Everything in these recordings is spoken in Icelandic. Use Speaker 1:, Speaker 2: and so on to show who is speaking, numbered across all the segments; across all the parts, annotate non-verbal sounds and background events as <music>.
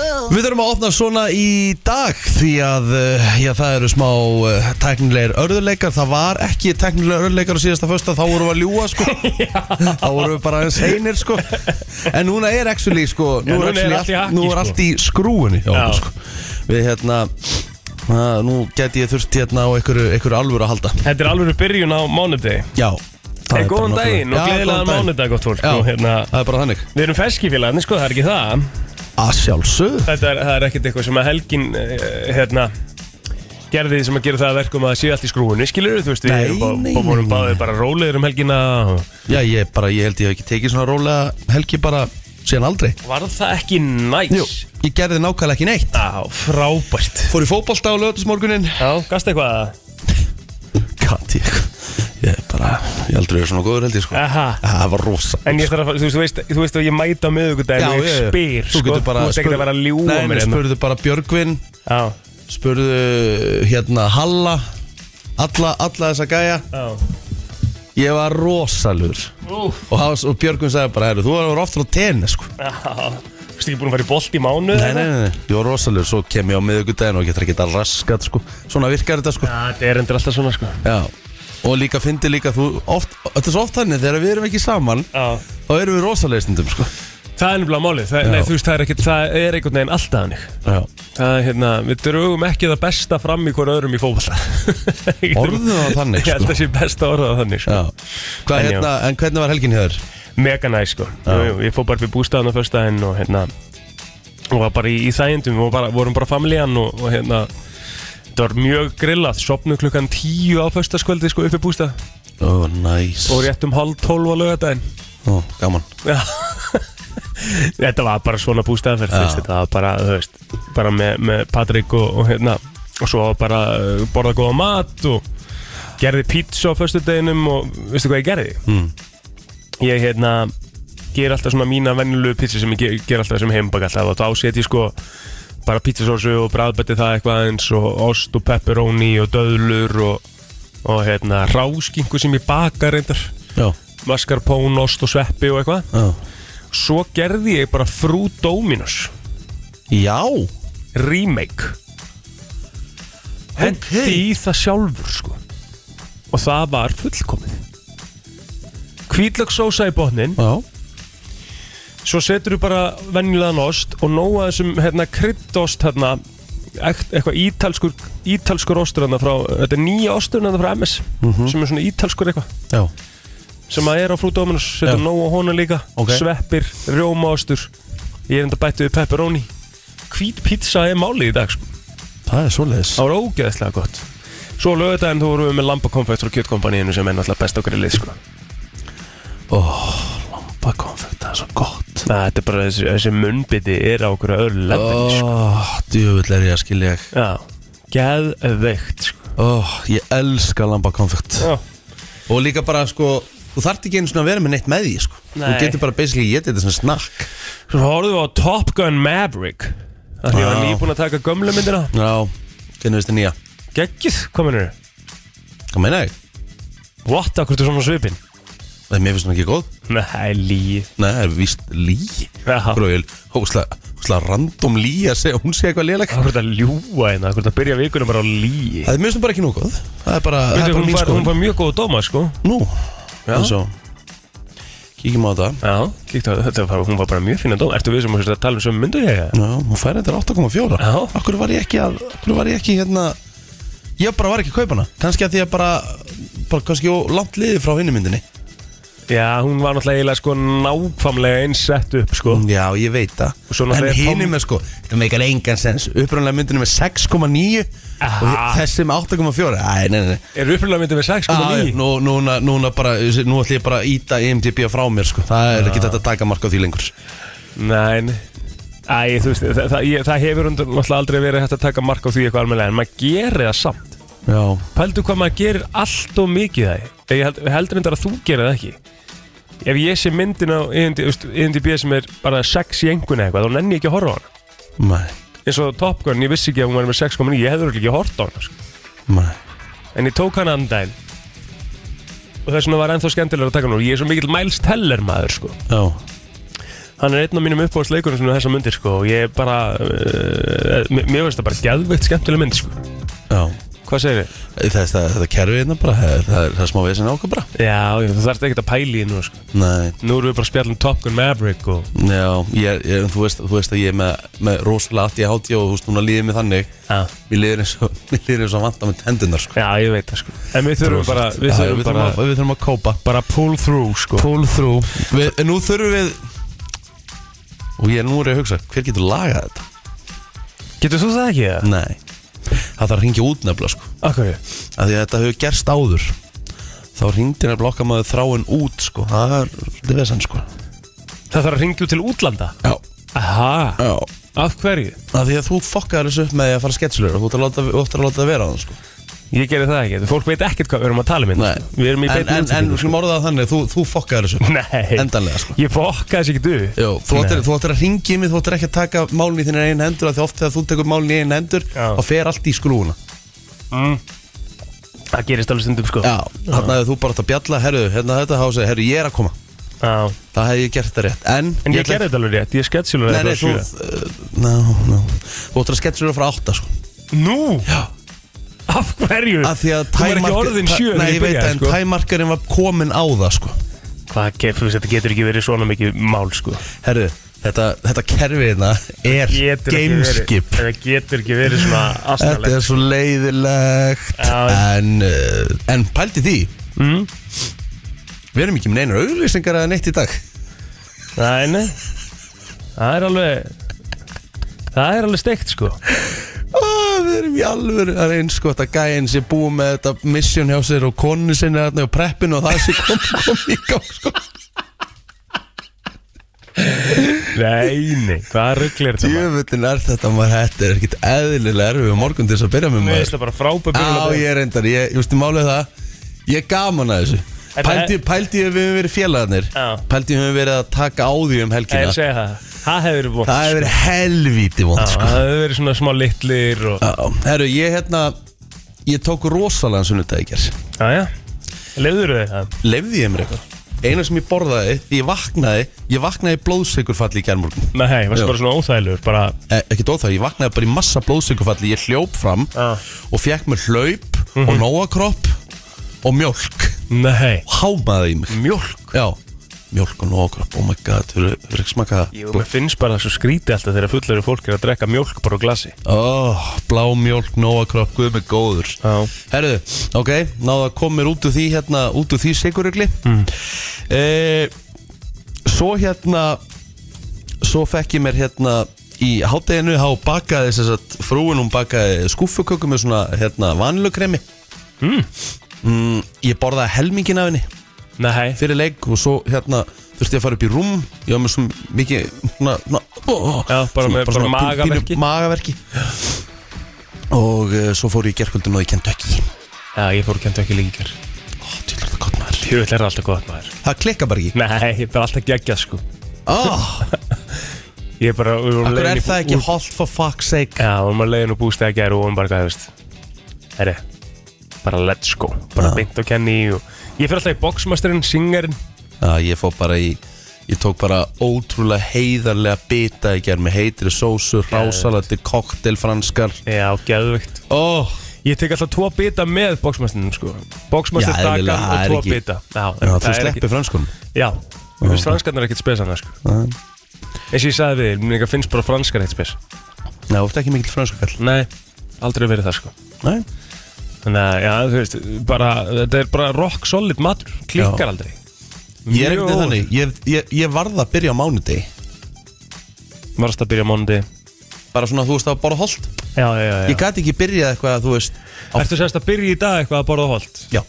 Speaker 1: Við þurfum að opna svona í dag því að eh, já, það eru smá eh, tæknilegir örðuleikar Það var ekki tæknilegar örðuleikar á síðasta fösta þá vorum við að ljúa
Speaker 2: <laughs>
Speaker 1: sko Þá vorum við bara aðeins einir sko En núna er actually sko
Speaker 2: Já,
Speaker 1: Nú
Speaker 2: núna
Speaker 1: er, actually,
Speaker 2: er allt í haki,
Speaker 1: nú er
Speaker 2: sko.
Speaker 1: allt í skrúinni hjá
Speaker 2: Já.
Speaker 1: okkur sko Við hérna að, Nú gæti ég þurft hérna á einhverju, einhverju alvöru að halda
Speaker 2: Þetta er alveg byrjun á mánudegi
Speaker 1: Já það
Speaker 2: Hey,
Speaker 1: er bara
Speaker 2: góðan
Speaker 1: náttúrulega-
Speaker 2: daginn og
Speaker 1: Já,
Speaker 2: gleðilegan
Speaker 1: góðan daginn.
Speaker 2: mánudag gott fólk
Speaker 1: Já.
Speaker 2: Nú, hérna,
Speaker 1: Það er bara þannig
Speaker 2: Við erum ferskifélagarnir sko, það er ekki það
Speaker 1: Að sjálfsög
Speaker 2: Þetta er, það er ekkert eitthvað sem að helgin eh, hérna, gerði sem að gera það að verkum að það sé allt í skrúinu skilur þú veist,
Speaker 1: Nei,
Speaker 2: við bá-
Speaker 1: nei,
Speaker 2: bá- vorum
Speaker 1: nei.
Speaker 2: báðir bara rólegir um helgina og-
Speaker 1: Já ég bara, ég held ég hef ekki tekið svona rólega helgi bara síðan aldrei
Speaker 2: Var það ekki næs?
Speaker 1: Jú, ég gerði nákvæmlega ekki neitt
Speaker 2: Á, frábært
Speaker 1: Fór í fótbolta á lögatismorgunin
Speaker 2: Já, gasta eitthvað
Speaker 1: Kati, ég er bara Ég aldrei er svona góður held ég sko
Speaker 2: Aha
Speaker 1: Það var rosa
Speaker 2: En ég þarf að, fara- þú veist, þú veist að ég mæta á miðugudaginn og ég spyr,
Speaker 1: Þú
Speaker 2: sko,
Speaker 1: getur bara
Speaker 2: þú veist ekki að vera að ljúa
Speaker 1: Nei,
Speaker 2: mér
Speaker 1: mér
Speaker 2: hérna.
Speaker 1: spurðu bara Björgvin
Speaker 2: Já,
Speaker 1: Spurðu hérna Halla Alla, alla þessa gæja
Speaker 2: já,
Speaker 1: Ég var rosalur
Speaker 2: úf,
Speaker 1: Og, hans, og Björgvin sagði bara, heyrðu, þú var ofta á tenni sko
Speaker 2: já, þú veist ekki búin að fara í bolt í mánuð
Speaker 1: Nei, nei, nei, nei, ég var rosalur Svo kem ég á miðvikudaginn og getur ekki þetta raskat sko Svona virkar þetta sko
Speaker 2: Já, þetta er endur alltaf svona, sko.
Speaker 1: Já Og líka fyndi líka þú oft, Þetta er svo oft þannig þegar við erum ekki saman
Speaker 2: Já.
Speaker 1: Þá erum við rosalestundum sko
Speaker 2: Það er nefnilega málið, það, nei,
Speaker 1: Já.
Speaker 2: þú veist, það er, ekkert, það er einhvern veginn alltaf hannig.
Speaker 1: Já
Speaker 2: Það er hérna, við drögum ekki það besta fram í hver öðrum í <laughs> fókvalla.
Speaker 1: Orðum það þannig,
Speaker 2: Ég held
Speaker 1: sko.
Speaker 2: að sé besta orðað þannig, sko.
Speaker 1: Já Hvað
Speaker 2: En já.
Speaker 1: hérna, en hvernig var helgin hér?
Speaker 2: Mega næ, sko.
Speaker 1: Já.
Speaker 2: Jú, jú, ég fór bara upp í bústæðan á förstæðin og hérna, og var bara í, í þægindum, og bara, vorum bara familjan og, og hérna, þetta var mjög grillað, sopnum klukkan tíu á förstaskvöldi, sko, upp í bústæð,
Speaker 1: Ó, næs
Speaker 2: og rétt um halv tólf á lögadaginn.
Speaker 1: Ó, gaman
Speaker 2: Já. Þetta var bara svona bústæðanferð þú
Speaker 1: Já.
Speaker 2: veist, Þetta var bara, þú veist, bara með, með Patrik og, og hérna Og svo bara uh, borða góða mat Og gerði pizza á föstudeginum Og veistu hvað ég gerði?
Speaker 1: Mm.
Speaker 2: Ég hérna ger alltaf svona mína venjulegu pizza sem ég ger, ger alltaf sem heimbak alltaf Og þá set ég sko bara pizzasósu og bræðbætti það eitthvað eins Og ost og pepperoni og döðlur og, og hérna ráskingu sem ég baka reyndar
Speaker 1: Já,
Speaker 2: Mascarpone, ost og sveppi og eitthvað
Speaker 1: já
Speaker 2: Svo gerði ég bara Frú Dominos
Speaker 1: Já
Speaker 2: Remake Hendi í það sjálfur sko Og það var fullkomið Hvítlöksósa í botnin
Speaker 1: Já
Speaker 2: Svo setur þú bara venjulegan ost Og nóa þessum hérna kryddost hérna ekt- Eitthvað ítalskur Ítalskur ostur hérna frá Þetta er nýja ostur hérna frá MS
Speaker 1: Mhm.
Speaker 2: Sem er svona ítalskur eitthvað
Speaker 1: Já
Speaker 2: sem að er á Frú Dominus
Speaker 1: Já.
Speaker 2: setur nóg á hona líka,
Speaker 1: Ok.
Speaker 2: sveppir, rjómaostur ég er enda bættið við pepperoni hvít pizza er málið í dag sko.
Speaker 1: Það er svoleiðis
Speaker 2: það var ógeðslega gott svo lögðaðin þú vorum við með lambakonfekt frá kjötkompaníinu sem er náttúrulega best okkur í lið sko.
Speaker 1: Lambakonfekt, það er svo gott
Speaker 2: Næ, þetta er bara þessi, þessi munnbytti er á okkur öðru lefni sko.
Speaker 1: Ó, djöfull er ég að skilja ég
Speaker 2: já, geðveikt sko.
Speaker 1: Ó, ég elska lambakonfekt
Speaker 2: já.
Speaker 1: Og líka bara sko Þú þarft ekki einu svona að vera með neitt með því sko Þú
Speaker 2: Nei.
Speaker 1: getur bara basically getið þetta sem snakk
Speaker 2: svo horfum við á Top Gun Maverick Af því ég var
Speaker 1: Já.
Speaker 2: nýbúin að taka gömlu myndina
Speaker 1: Já, hvernig veist þið nýja
Speaker 2: geggið, kominur
Speaker 1: Hvað meina ég?
Speaker 2: what, akkur þú svona á svipinn
Speaker 1: Það er mér finnst hún ekki góð
Speaker 2: Nei, líi
Speaker 1: Nei, það er víst lí
Speaker 2: Já.
Speaker 1: Hvað er hókslega random lí að segja Hún segja eitthvað léleg
Speaker 2: Akkur þetta ljúa hérna, akkur þetta byrja vikunum bara á líi
Speaker 1: Það er mér finnst hún bara ekki nóg góð Það er bara, það er
Speaker 2: Veitu,
Speaker 1: bara
Speaker 2: hún
Speaker 1: mín
Speaker 2: fær,
Speaker 1: sko
Speaker 2: hún fær mjög góða dóma, sko
Speaker 1: Nú, en svo Kíkjum á þetta
Speaker 2: Já, kíktu að þetta var, hún var bara mjög fína dóma Ertu við sem að tala um sömu myndu ég?
Speaker 1: Já, hún fær þetta 8,4
Speaker 2: Já.
Speaker 1: Akkur var ég ekki að Akkur var ég ekki hérna Ég bara var ekki að kaupa hana Kannski að því að bara Bara kannski og langt liði frá hinni myndinni
Speaker 2: Já, hún var náttúrulega eiginlega sko nákvæmlega eins sett upp, sko
Speaker 1: Já, ég veit
Speaker 2: Og
Speaker 1: það
Speaker 2: svo
Speaker 1: En
Speaker 2: náttúrulega er
Speaker 1: hinni
Speaker 2: tóm-
Speaker 1: með sko Það meikar engan sens Upprænlega myndinni með 6,9
Speaker 2: Aha.
Speaker 1: Og hi- þessi með 8,4 Æ, nei, nei, nei
Speaker 2: Er upplega myndið með 6,9?
Speaker 1: Já, nú, núna, núna bara Nú ætlum ég bara að íta E IMDb frá mér sko Það er ekki þetta að taka marka á því lengur
Speaker 2: Nei, nei. Æ, þú veist, það, það, ég, það hefur undir náttúrulega aldrei verið hægt að taka mark á því eitthvað almennilega En maður gerir það samt
Speaker 1: Já
Speaker 2: Pældu hvað maður gerir allt og mikið það Ég held, heldur reyndar að þú gerir það ekki Ef ég sé myndin á INDB sem er bara 6 í engun eitthvað, þá nenni ég ekki að horfa á hana
Speaker 1: Nei,
Speaker 2: eins og Top Gun, ég vissi ekki að hún var með 6.9 ég hefði örugglega ekki hort á hana sko.
Speaker 1: nei
Speaker 2: en ég tók hana annan daginn og þess vegna var ennþá skemmtilega að taka hana úr. ég er svo mikill Miles Teller maður sko.
Speaker 1: Já,
Speaker 2: hann er einn af mínum uppáðsleikunum svona þessa myndir sko og ég bara, uh, mér mér finnst það bara gæðveitt skemmtileg mynd sko
Speaker 1: Já
Speaker 2: Hvað segir þið?
Speaker 1: Þess, það, Þetta kerfi hérna bara, það, það, er, það er smá vesen á okkur bara
Speaker 2: Já, já, þú þarfst ekkert að pæli í nú sko
Speaker 1: Nei
Speaker 2: Nú erum við bara að spjalla um Top Gun Maverick og
Speaker 1: Já, ég, ég, þú, veist, þú veist að ég er með, með rosalega aðti að hátja og þú veist núna líðið mér þannig
Speaker 2: Já,
Speaker 1: Mér líður eins og, <laughs> mér líður eins og vanda með tendunar sko
Speaker 2: já ég veit það sko En við þurfum bara, við
Speaker 1: Já,
Speaker 2: þurfum bara,
Speaker 1: að, við þurfum að kópa
Speaker 2: bara pull through sko
Speaker 1: Pull through við, en Nú þurfum við Og ég nú er ég að hugsa, hver getur lagað þetta?
Speaker 2: Getur þú það ekki það?
Speaker 1: Nei Það þarf að ringja út nefnilega sko
Speaker 2: Akkur
Speaker 1: Af því að þetta hefur gerst áður Þá ringdi nefnilega okkar maður þráin út sko Það er svolítið vesan sko
Speaker 2: Það þarf að ringja út til útlanda
Speaker 1: Já,
Speaker 2: Aha,
Speaker 1: já
Speaker 2: af hverju?
Speaker 1: Af því að þú fokkaður þessu upp með því að fara sketsulur og þú ættir að láta- þú ættir að láta það vera á það sko
Speaker 2: Ég gerði það ekki, fólk veit ekkert hvað við erum að tala um hérna
Speaker 1: Nei.
Speaker 2: Við erum í
Speaker 1: en,
Speaker 2: beinni
Speaker 1: en,
Speaker 2: sko.
Speaker 1: en við
Speaker 2: útsendingu,
Speaker 1: skulum orða það þannig, þú, þú fokkaður þessu
Speaker 2: <laughs> Nei,
Speaker 1: endanlega sko
Speaker 2: ég fokka þess ekki duð
Speaker 1: Jó, þú ættir, þú ættir að ringi mig, þú ættir ekki að taka málun í þínu einu hendur af Því oft þegar þú tekur málun í einu hendur
Speaker 2: Já.
Speaker 1: þá fer allt í skrúuna
Speaker 2: Mm. Það gerist alveg stundum sko
Speaker 1: Já, þannig að þú bara átt að bjalla, herru, hérna þetta þá segir, herru, ég er að koma
Speaker 2: Já.
Speaker 1: Það hefði ég gert það rétt, en
Speaker 2: En ég,
Speaker 1: ætla-
Speaker 2: gerði þetta alveg rétt, ég sketsjulur
Speaker 1: Nei, nei, þú, uh, ná, ná Þú ættir að sketsur það frá átta, sko
Speaker 2: Nú,
Speaker 1: Já
Speaker 2: af hverju?
Speaker 1: Af því að
Speaker 2: Þú var ekki
Speaker 1: tæmark-
Speaker 2: orðin sjö
Speaker 1: ta- Nei,
Speaker 2: þegar
Speaker 1: ég veit
Speaker 2: byrjaði,
Speaker 1: það,
Speaker 2: sko.
Speaker 1: en tæmarkarinn var komin á það, sko
Speaker 2: Hvað gerð, þú veist, þetta getur ekki verið svona mikið mál sko
Speaker 1: Herru, þetta, þetta kerfi hérna er
Speaker 2: Getur ekki verið-
Speaker 1: gameskip
Speaker 2: Þetta getur ekki verið svona
Speaker 1: Þetta
Speaker 2: astanlegt
Speaker 1: er svo leiðilegt
Speaker 2: Já.
Speaker 1: en, uh, en pælti því mm. Við erum ekki með neinar auglýsingar eða neitt í dag
Speaker 2: Nei, nei Það er alveg Það er alveg steikt sko
Speaker 1: ah, Við erum í alvöru Það er eins gott að gæinn sé búið með þetta mission hjá sér og konu sinni þarna og preppinu og það sé kom, <laughs> kom í gang sko.
Speaker 2: Nei, nei, hvað rugglir þetta maður?
Speaker 1: Djöfullin er þetta maður Þetta er ekkit eðlilega erfið morgun til þess að byrja með
Speaker 2: Mér
Speaker 1: maður
Speaker 2: finnst það bara frábæð
Speaker 1: Já, ég er reyndar, ég, ég veist, ég málið það Ég er gaman að þessu
Speaker 2: En
Speaker 1: Pældi, pældi ég að við höfum verið félagarnir
Speaker 2: Já.
Speaker 1: Pældi ég að við höfum verið að taka á því um
Speaker 2: Ég er
Speaker 1: helgina
Speaker 2: að segja það Það hefur verið vont
Speaker 1: Það hefur
Speaker 2: sko.
Speaker 1: verið helvíti vond
Speaker 2: Já,
Speaker 1: sko.
Speaker 2: Það hefur verið svona smá litlir og
Speaker 1: Já, Herru, ég hérna Ég tók rosalega sunnudag í gerð
Speaker 2: Já, já Leður þau það?
Speaker 1: Lefði ég mér eitthvað Einu sem ég borðaði, því ég vaknaði Ég vaknaði í blóðsökurfalli í gerðmorgun
Speaker 2: Nei, hei, varst
Speaker 1: Jú.
Speaker 2: bara svona óþægilegur Bara
Speaker 1: e, Ekki dóð það, ég vaknaði bara í massa blóðsökurfalli Ég hljóp fram
Speaker 2: Já. Mhm.
Speaker 1: og fekk mér hlaup Og nóakropp og mjólk
Speaker 2: Nei
Speaker 1: Hámaði í mig
Speaker 2: Mjólk
Speaker 1: Já, mjólk og nóakropp, oh my god Þú eru ekki smakað
Speaker 2: Jú, mér finnst bara svo skrítið alltaf þegar fullari fólk er að drekka mjólk bara á glasi
Speaker 1: oh, Blá mjólk, nóakropp, guð með góður
Speaker 2: Já
Speaker 1: Herðu, ok, náðu að koma mér út úr því hérna, út úr því sigurugli mm. Svo hérna Svo fekk ég mér hérna í hátteginu Há bakaði þess að frúin hún bakaði skúfuköku með svona hérna vanlukremi mm. Ég borðaði helmingin af henni
Speaker 2: Nei, hei
Speaker 1: fyrir leik og svo hérna þurfti ég að fara upp í rúm ég var með svo mikið svona, svona, ó, ó,
Speaker 2: Já, bara með- bara
Speaker 1: pínu- pínu
Speaker 2: magaverki.
Speaker 1: magaverki. og uh, svo fór ég í gerkvöldun og ég kent ekki
Speaker 2: Já, ég fór kemta ekki lengur
Speaker 1: Ó, djöfull er það gott maður.
Speaker 2: Jú, þetta er alltaf gott maður
Speaker 1: Það klikka bara ekki
Speaker 2: Nei, ég er bara alltaf geggjað sko
Speaker 1: oh,
Speaker 2: Ég er bara við vorum
Speaker 1: Akkur
Speaker 2: leiðin
Speaker 1: er
Speaker 2: í-
Speaker 1: það ekki
Speaker 2: úr-
Speaker 1: hot for fuck's sake
Speaker 2: Já, við vorum að leiðin og búst ekki Og við vorum bara hvað, þú veist Herri, bara let's go Bara
Speaker 1: Já.
Speaker 2: beint og kenni í og Ég fyrir alltaf í boxmasterinn, singerinn
Speaker 1: Já, ég fór bara í Ég tók bara ótrúlega heiðarlega bita í gerð með heitri sósu, rásalati, koktel, franskar
Speaker 2: Já, geðvögt
Speaker 1: Ó,
Speaker 2: Ég tek alltaf tvo bita með boxmasternum sko Boxmaster
Speaker 1: Já,
Speaker 2: stakan
Speaker 1: eðlilega, það
Speaker 2: og
Speaker 1: er
Speaker 2: tvo
Speaker 1: ekki-
Speaker 2: bita Já,
Speaker 1: já,
Speaker 2: það
Speaker 1: þú
Speaker 2: er
Speaker 1: sleppir franskunum
Speaker 2: ekki- Já, þú veist franskarnar er ekkert spes annars sko
Speaker 1: Nei.
Speaker 2: Eins og ég sagði við, þér, mér líka finnst bara franskar eitt spes
Speaker 1: Nei, þú ert ekki mikill franskakall
Speaker 2: Nei, aldrei verið það sko
Speaker 1: Nei,
Speaker 2: Þannig að, já, þú veist, bara, þetta er bara rock solid matur Klikkar aldrei
Speaker 1: ég er ekkert
Speaker 2: Mjög óvart.
Speaker 1: þannig ég, ég, ég varð að byrja á mánudegi
Speaker 2: Varst að byrja á móndi
Speaker 1: Bara svona, þú veist, að borða holt
Speaker 2: Já, já, já,
Speaker 1: Ég gæti ekki byrjað eitthvað að þú veist á,
Speaker 2: Ertu semst að byrja í dag eitthvað að borða holt
Speaker 1: Já,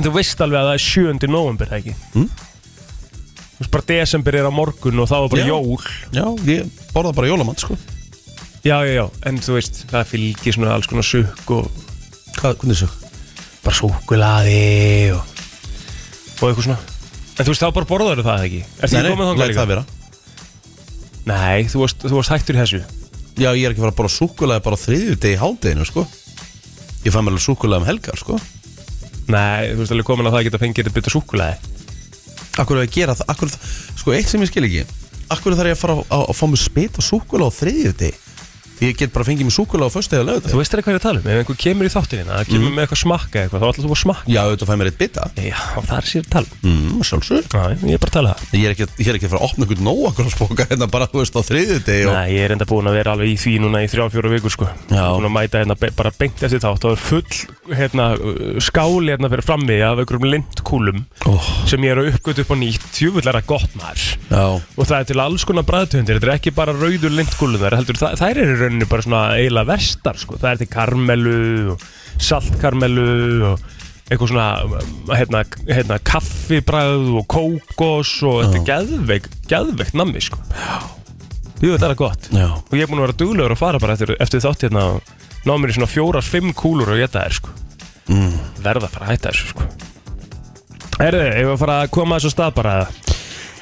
Speaker 2: En þú veist alveg að það er 7. november, það ekki?
Speaker 1: Mm.
Speaker 2: Þú veist, bara desember er á morgun og þá er bara
Speaker 1: Já.
Speaker 2: jól
Speaker 1: já, ég borða bara jólamann, sko
Speaker 2: Já, já, já, en þú veist, það fylgir svona alls konar sukk og
Speaker 1: Hvað, hvernig þessu?
Speaker 2: bara súkulaði og, og eitthvað svona En þú veist, þá bara borðaður það ekki? Ertu
Speaker 1: Nei,
Speaker 2: ekki komið
Speaker 1: nei,
Speaker 2: þangað
Speaker 1: læt
Speaker 2: líka?
Speaker 1: það vera
Speaker 2: Nei, þú varst, þú varst hættur í þessu
Speaker 1: Já, ég er ekki að fara að borða súkkulaði bara á þriðju degi hádeginu, sko Ég fæ mér alveg súkkulaði um helgar, sko
Speaker 2: Nei, þú veist alveg komin að það geta fengið þetta byrta súkulaði
Speaker 1: Akkur er að gera það, akkur, Sko eitt sem ég skil ekki Akkur þarf ég að fara að, að, að fá mig spit og súkula á þriðið Því ég get bara að fengi mig súkula á föstu eða lögut
Speaker 2: Þú veist það hvað ég er að tala um, ef einhver kemur í þáttinina það
Speaker 1: Mhm.
Speaker 2: kemur með eitthvað smakka eða eitthvað, þá ætlar þú að smakka
Speaker 1: Já, auðvitað fæ mér eitt bita
Speaker 2: Já, það er sér að tala um.
Speaker 1: mm, Sjálfsög
Speaker 2: Já, ég er bara að tala það
Speaker 1: Ég er ekki, ég er ekki að fara að opna einhvern nóakrósbóka hérna bara, þú veist, á þriðið og...
Speaker 2: Nei, ég er enda búin að vera alveg í því núna í þrjá, fjóra vikur sko
Speaker 1: Já.
Speaker 2: Búin að mæta hérna be bara beint eftir þátt og er full hérna, uh, skáli hérna fyrir frammi af einhverjum lindkúlum
Speaker 1: oh,
Speaker 2: sem ég er að uppgötu upp á nýtt tjúfullara gott maður
Speaker 1: Já,
Speaker 2: og það er til alls konar bræðtöndir þetta er ekki bara rauður lindkúlunar heldur, það, þær eru í rauninni bara svona eiginlega verstar sko. það er til karmelu og saltkarmelu og eitthvað svona um, hérna, hérna, kaffibræð og kókos og þetta er geðveik, geðveikt nammi sko. Jú, þetta er gott
Speaker 1: já
Speaker 2: og ég er búin að vera duglegur að fara bara eftir, eftir þátt hérna og ná mér í svona fjórar, fimm kúlur og geta þær sko.
Speaker 1: mm.
Speaker 2: verða að fara að hætta þessu sko. Herðu, ef við að fara að koma að þessu stað bara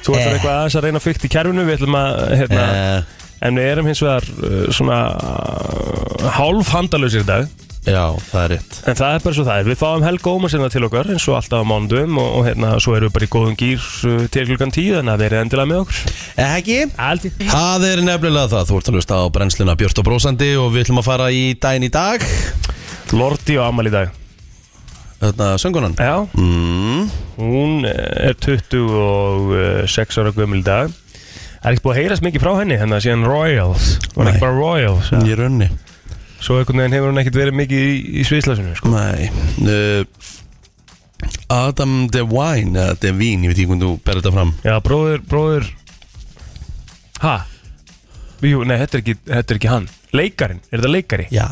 Speaker 2: Þú ætlar
Speaker 1: Eh.
Speaker 2: eitthvað aðeins að reyna að fykta í kerfinu Við ætlum að, hérna,
Speaker 1: Eh,
Speaker 2: En við erum hins vegar uh, svona uh, hálf handalösir í dag
Speaker 1: Já, það er rétt
Speaker 2: En það er bara svo það er Við fáum Helga Ómars hérna til okkar eins og alltaf á mándum og, og hérna, svo erum við bara í góðum gýr uh, til klukkan tíu Þannig að við erum endilega með okkur
Speaker 1: Eh, Ekki?
Speaker 2: Aldi
Speaker 1: Það er nefnilega það, þú ert að hlusta á brennsluna Björst og Brósandi og við ætlum að fara í daginn í dag
Speaker 2: Lordi og Amal í dag
Speaker 1: Þarna, söngunan
Speaker 2: Já,
Speaker 1: mm.
Speaker 2: hún eh, er 26 ára gömul í dag Það er ekki búið að heyrast mikið frá henni hérna síðan Royals Hún er
Speaker 1: Nei.
Speaker 2: ekki bara Royals ja.
Speaker 1: Í raunni
Speaker 2: Svo einhvern veginn hefur hún ekkert verið mikið í, í sviðslasinu sko.
Speaker 1: Nei uh, Adam Devine eða Devine, ég veit ekki hvernig þú berði þetta fram
Speaker 2: Já, bróður, bróður Ha? Jú, nei, þetta er ekki, þetta er ekki hann Leikarin, er þetta leikari?
Speaker 1: Já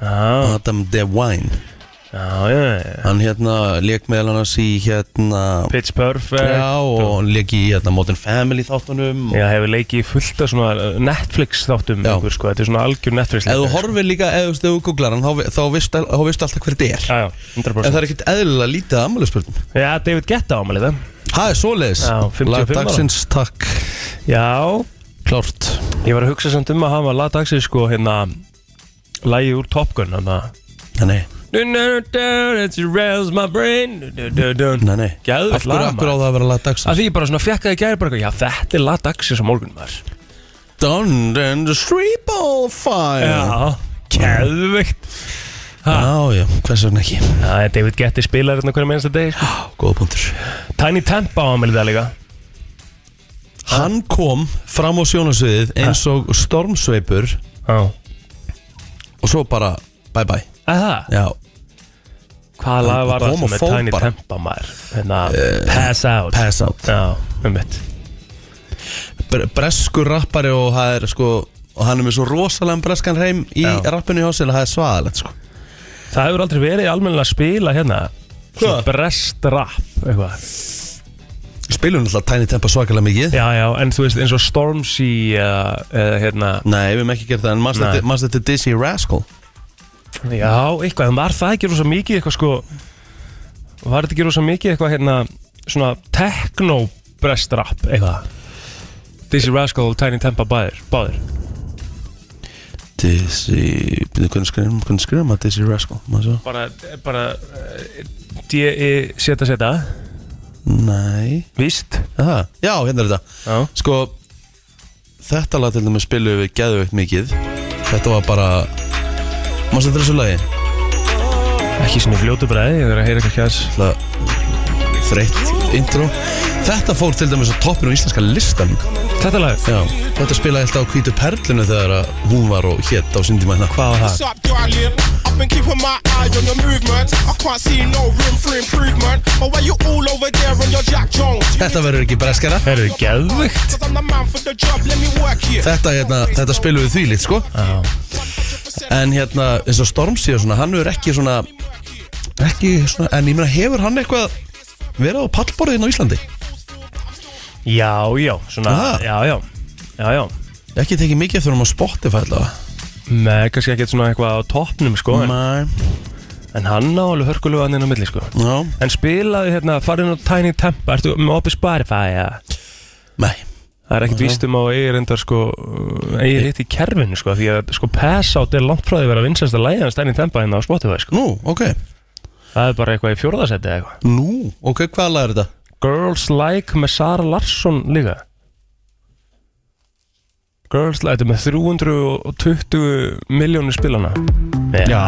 Speaker 2: Já,
Speaker 1: Adam Devine
Speaker 2: já, já, já
Speaker 1: Hann hérna leik meðal annars í hérna
Speaker 2: Pitch Perfect
Speaker 1: Já og hann leik í hérna Modern Family þáttunum og...
Speaker 2: Já, hefur leikið í fullt af svona uh, Netflix þáttum
Speaker 1: Já.
Speaker 2: ykkur, sko. Þetta er svona algjör Netflix
Speaker 1: Ef þú
Speaker 2: leikari.
Speaker 1: horfir líka, ef þú- ef þú googlar hann þá, vi- þá vistu vist alltaf hver þetta er
Speaker 2: Já, já,
Speaker 1: En
Speaker 2: 100%
Speaker 1: það er ekkert eðlilega lítið að ammælisbjörnum
Speaker 2: Já, David Guetta ámalið það
Speaker 1: Það er svoleiðis
Speaker 2: Já, 55
Speaker 1: Lag
Speaker 2: ára.
Speaker 1: dagsins, takk
Speaker 2: Já,
Speaker 1: Klárt
Speaker 2: ég var að hugsa samt um að hafa lagdagsins sko hérna Lægi úr Top Gun hérna. hana.
Speaker 1: Nei, nei, nei
Speaker 2: Geðveikt
Speaker 1: Af hverju,
Speaker 2: lag,
Speaker 1: af hverju á
Speaker 2: maður.
Speaker 1: það að vera lag dagsins?
Speaker 2: Af því ég bara svona fekk að ég gæri bara eitthvað, Já, þetta er lagdagsins á morgun maður
Speaker 1: Done and the street ball fire
Speaker 2: Já, geðvikt
Speaker 1: Já, já, hvers vegna ekki
Speaker 2: Það er David Getty spilar hérna hverja mennsta deg sko.
Speaker 1: Góða punktur
Speaker 2: Tiny Tempa á aðmelið það líka
Speaker 1: Hann kom fram á sjónasviðið eins og stormsveipur
Speaker 2: Já
Speaker 1: og svo bara bye bye
Speaker 2: Aha,
Speaker 1: Já,
Speaker 2: hvaða lag var
Speaker 1: Kom og
Speaker 2: það sem er
Speaker 1: fór
Speaker 2: Tiny
Speaker 1: bara.
Speaker 2: Tempa maður hérna, Pass Out
Speaker 1: pass out
Speaker 2: Já, um mitt
Speaker 1: Bre Breskur rappari og það er sko og hann er með svo rosalega breskan reym í
Speaker 2: Já.
Speaker 1: rappinu hjá sér og það er svaðalegt sko
Speaker 2: Það hefur aldrei verið almennilega að spila hérna Svona
Speaker 1: Hvað?
Speaker 2: Brest rap eitthvað
Speaker 1: Spilum náttúrulega tæni tempa svakalega mikið
Speaker 2: Já, já, en þú veist eins og Stormzy uh, uh, hérna,
Speaker 1: Nei, við hefum ekki gert það en
Speaker 2: Nei.
Speaker 1: mannst þetta er Dizzy Rascal
Speaker 2: Já, eitthvað, en var það ekki rosa mikið eitthvað sko Var þetta ekki rosa mikið eitthvað hérna Svona techno breast rap eitthvað Dizzy Rascal og Tiny Tempa báðir, báðir.
Speaker 1: Dizzy, byrju, hvernig skrifum hvernig skrifum maður Dizzy Rascal, maður svo
Speaker 2: Bara, bara eh, E D.E. seta seta
Speaker 1: Nei,
Speaker 2: Víst
Speaker 1: Aha. já, hérna er þetta
Speaker 2: Já,
Speaker 1: Sko, þetta lag til dæmis spilum við geðveikt mikið Þetta var bara Maður þetta þessu lagi
Speaker 2: ekki svona í fljótu bræði Ég er að heyra eitthvað kjás
Speaker 1: Það þreytt intro Þetta fór til dæmis á toppinu á íslenska listan
Speaker 2: Þetta lag,
Speaker 1: Já, þetta spilaði alltaf á hvítu perlinu þegar að hún var og hétt á hérna. sindimæna
Speaker 2: hvað var það?
Speaker 3: What's up, do I live? I've been keeping my eye on your movement. I can't see no room for improvement. But why you all over there on your Jack Jones? You
Speaker 1: Þetta verður ekki breskara
Speaker 2: Herru, geðvikt
Speaker 3: Cause I'm the man for the job, let me work here.
Speaker 1: Þetta, hérna, þetta spilum við þvílíkt, sko
Speaker 2: Já,
Speaker 3: 100%
Speaker 1: En hérna, eins og Stormzy og svona, hann hefur ekki svona Ekki svona, en ég meina, hefur hann eitthvað verið á pallborðin á Íslandi?
Speaker 2: já, já, svona,
Speaker 1: Aha.
Speaker 2: já, já Já, já
Speaker 1: Ekki tekið mikið eftir hann á Spotify allavega
Speaker 2: Nei, kannski ekki svona eitthvað á toppnum sko en,
Speaker 1: Nei
Speaker 2: en hann á alveg hörkulega hann inn á milli sko
Speaker 1: Já
Speaker 2: En spilaði hérna, farið á Tiny Tempa, ertu með opið Spotify, ja?
Speaker 1: Nei
Speaker 2: Það er ekkert víst um á eigir endar sko, eigir hitt í kerfinu sko, því að sko Pass Out er langt frá því að vera vinsast að læða hans Tiny Tempa hérna á Spotify sko.
Speaker 1: Nú, ok
Speaker 2: Það er bara eitthvað í fjórðasetti eða eitthvað.
Speaker 1: Nú, ok, hvað lag er þetta?
Speaker 2: Girls Like með Sara Larsson líka Girls Like, þetta er með 320 miljónir spilana
Speaker 1: Já, já,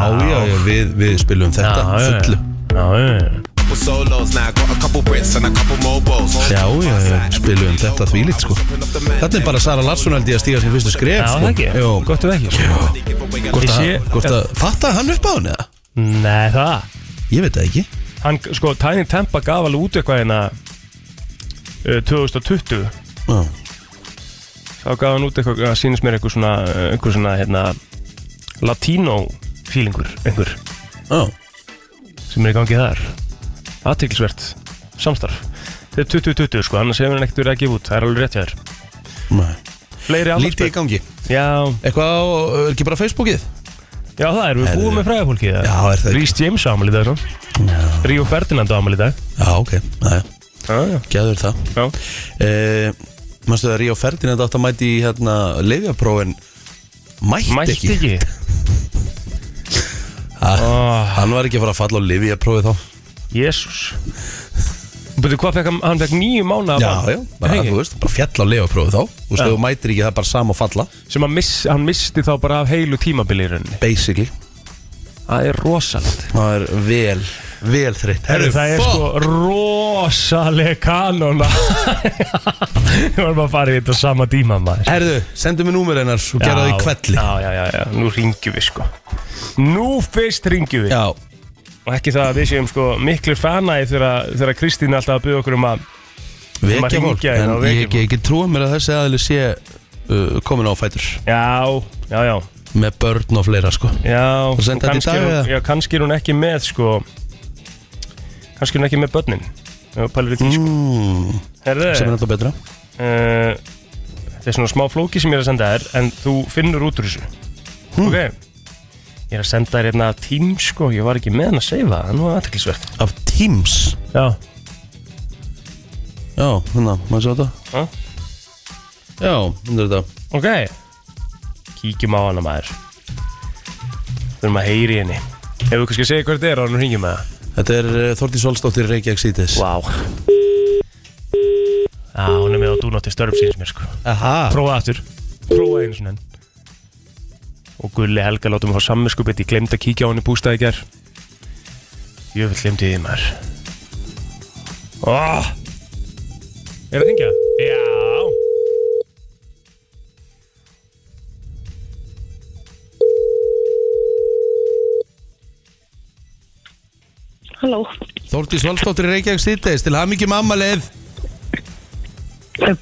Speaker 1: já, við, við spilum þetta
Speaker 2: já, já.
Speaker 1: fullu
Speaker 2: Já, já, já.
Speaker 3: Couple solos now, got a couple Brits and a couple mobos.
Speaker 1: Já, já, já, spilum þetta þvílít sko Þetta er bara Sara Larsson held ég að stíga sér fyrstu skref
Speaker 2: Já,
Speaker 1: sko.
Speaker 2: það ekki,
Speaker 1: Jó, gott
Speaker 2: gott ef ekki sko. Ég
Speaker 1: að,
Speaker 2: sé-
Speaker 1: gott að, fattaði hann upp á hann eða?
Speaker 2: Nei, það
Speaker 1: Ég veit það ekki
Speaker 2: Hann, sko, Tiny Tempa gaf alveg út eitthvað hérna uh, 2020
Speaker 1: Já,
Speaker 2: þá gaf hann út eitthvað, það sýnist mér eitthvað svona, eitthvað svona, hérna, latínó fílingur, einhver,
Speaker 1: já,
Speaker 2: sem er í gangi þar. Aðtiklisvert, samstarf. Þetta er 2020, sko, annars hefur hann ekkert verið að gefa út, það er alveg rétt hjá þér.
Speaker 1: nei
Speaker 2: Fleiri
Speaker 1: Lítið í
Speaker 2: aflagsbyrg.
Speaker 1: gangi
Speaker 2: Já,
Speaker 1: Eitthvað á, er ekki bara Facebookið?
Speaker 2: já, það er, við búum með fræða fólkið það.
Speaker 1: Já, er það ekki
Speaker 2: Rhys James ámæli í dag, svo. Ríó Ferdinand ámæli í dag.
Speaker 1: Já, ok, já, já,
Speaker 2: Já, já,
Speaker 1: gæður það
Speaker 2: já.
Speaker 1: Eh, Manstu það að Ríó Ferdinand átt að mæti í hérna leifjaprófin Mætti
Speaker 2: Mætti
Speaker 1: ekki
Speaker 2: ekki.
Speaker 1: Ah.
Speaker 2: Ó,
Speaker 1: Hann var ekki að fara að falla á leifjaprófi þá
Speaker 2: Jésús. Betur, hvað fekk hann, hann fekk nýju mánu
Speaker 1: Já, já, bara,
Speaker 2: Hei,
Speaker 1: þú veist, bara fjall á leifaprófi þá Þú veist,
Speaker 2: Já.
Speaker 1: þú mætir ekki það er bara sama að falla
Speaker 2: sem hann, miss, hann misti þá bara af heilu tímabili í rauninni
Speaker 1: Basically
Speaker 2: Það er rosalegt
Speaker 1: Það er vel, vel þreytt
Speaker 2: Það er sko rosaleg kanona <laughs> Ég var bara að fara í þetta á sama tíma maður
Speaker 1: Herðu, sendu mér númur hennar og gera
Speaker 2: Já,
Speaker 1: þau kvelli
Speaker 2: Já, já, já, já, nú ringjum við sko Nú fyrst ringjum við
Speaker 1: Já,
Speaker 2: Og ekki það að við séum sko miklu fanæði þegar, þegar Kristín er alltaf að byggja okkur um að Maður
Speaker 1: vekja
Speaker 2: hringja
Speaker 1: fólk
Speaker 2: hérna
Speaker 1: En
Speaker 2: og
Speaker 1: ég
Speaker 2: vekja
Speaker 1: ekki,
Speaker 2: fólk.
Speaker 1: ekki trúa mér að þessi aðli sé uh, komin á fætur
Speaker 2: Já, já, já,
Speaker 1: Með börn og fleira sko
Speaker 2: já
Speaker 1: Og senda þetta í
Speaker 2: kannski er
Speaker 1: dag,
Speaker 2: hún-
Speaker 1: eða?
Speaker 2: Já, kannski er hún ekki með sko Kannski er hún ekki með börnin Já, pælir í því sko
Speaker 1: mm,
Speaker 2: Herðu
Speaker 1: Sem er alltaf betra
Speaker 2: Eh, Þetta er svona smá flóki sem ég er að senda þér En þú finnur út úr þessu Ok Ég er að senda þér hérna tím sko Ég var ekki með hann að seifa Það er nú aðteklisvert
Speaker 1: Af Teams
Speaker 2: Já
Speaker 1: Já, hérna, maður svo þetta
Speaker 2: Ha?
Speaker 1: Já, hérna er þetta
Speaker 2: Ok Kíkjum á hana maður Þurfum að heyri henni Hefur við kannski að segja hvað þetta er á hann og hringjum með það
Speaker 1: Þetta er uh, Þordís Olsdóttir Reykjavík Sýtis
Speaker 2: Vá Já, hún er með á dúnátti störf síns mér sko
Speaker 1: Aha
Speaker 2: Prófa aftur Prófa einu svona enn. Og Gulli Helga látum við fá sammiskupið Ég glemd að kíkja á hann í bústaði gær Jöfnvel glemdi ég því maður oh! Er það hengja? Já
Speaker 4: Halló,
Speaker 1: Þordís Olsdóttir Reykjavík Sýtis Til hamingjum ammaleið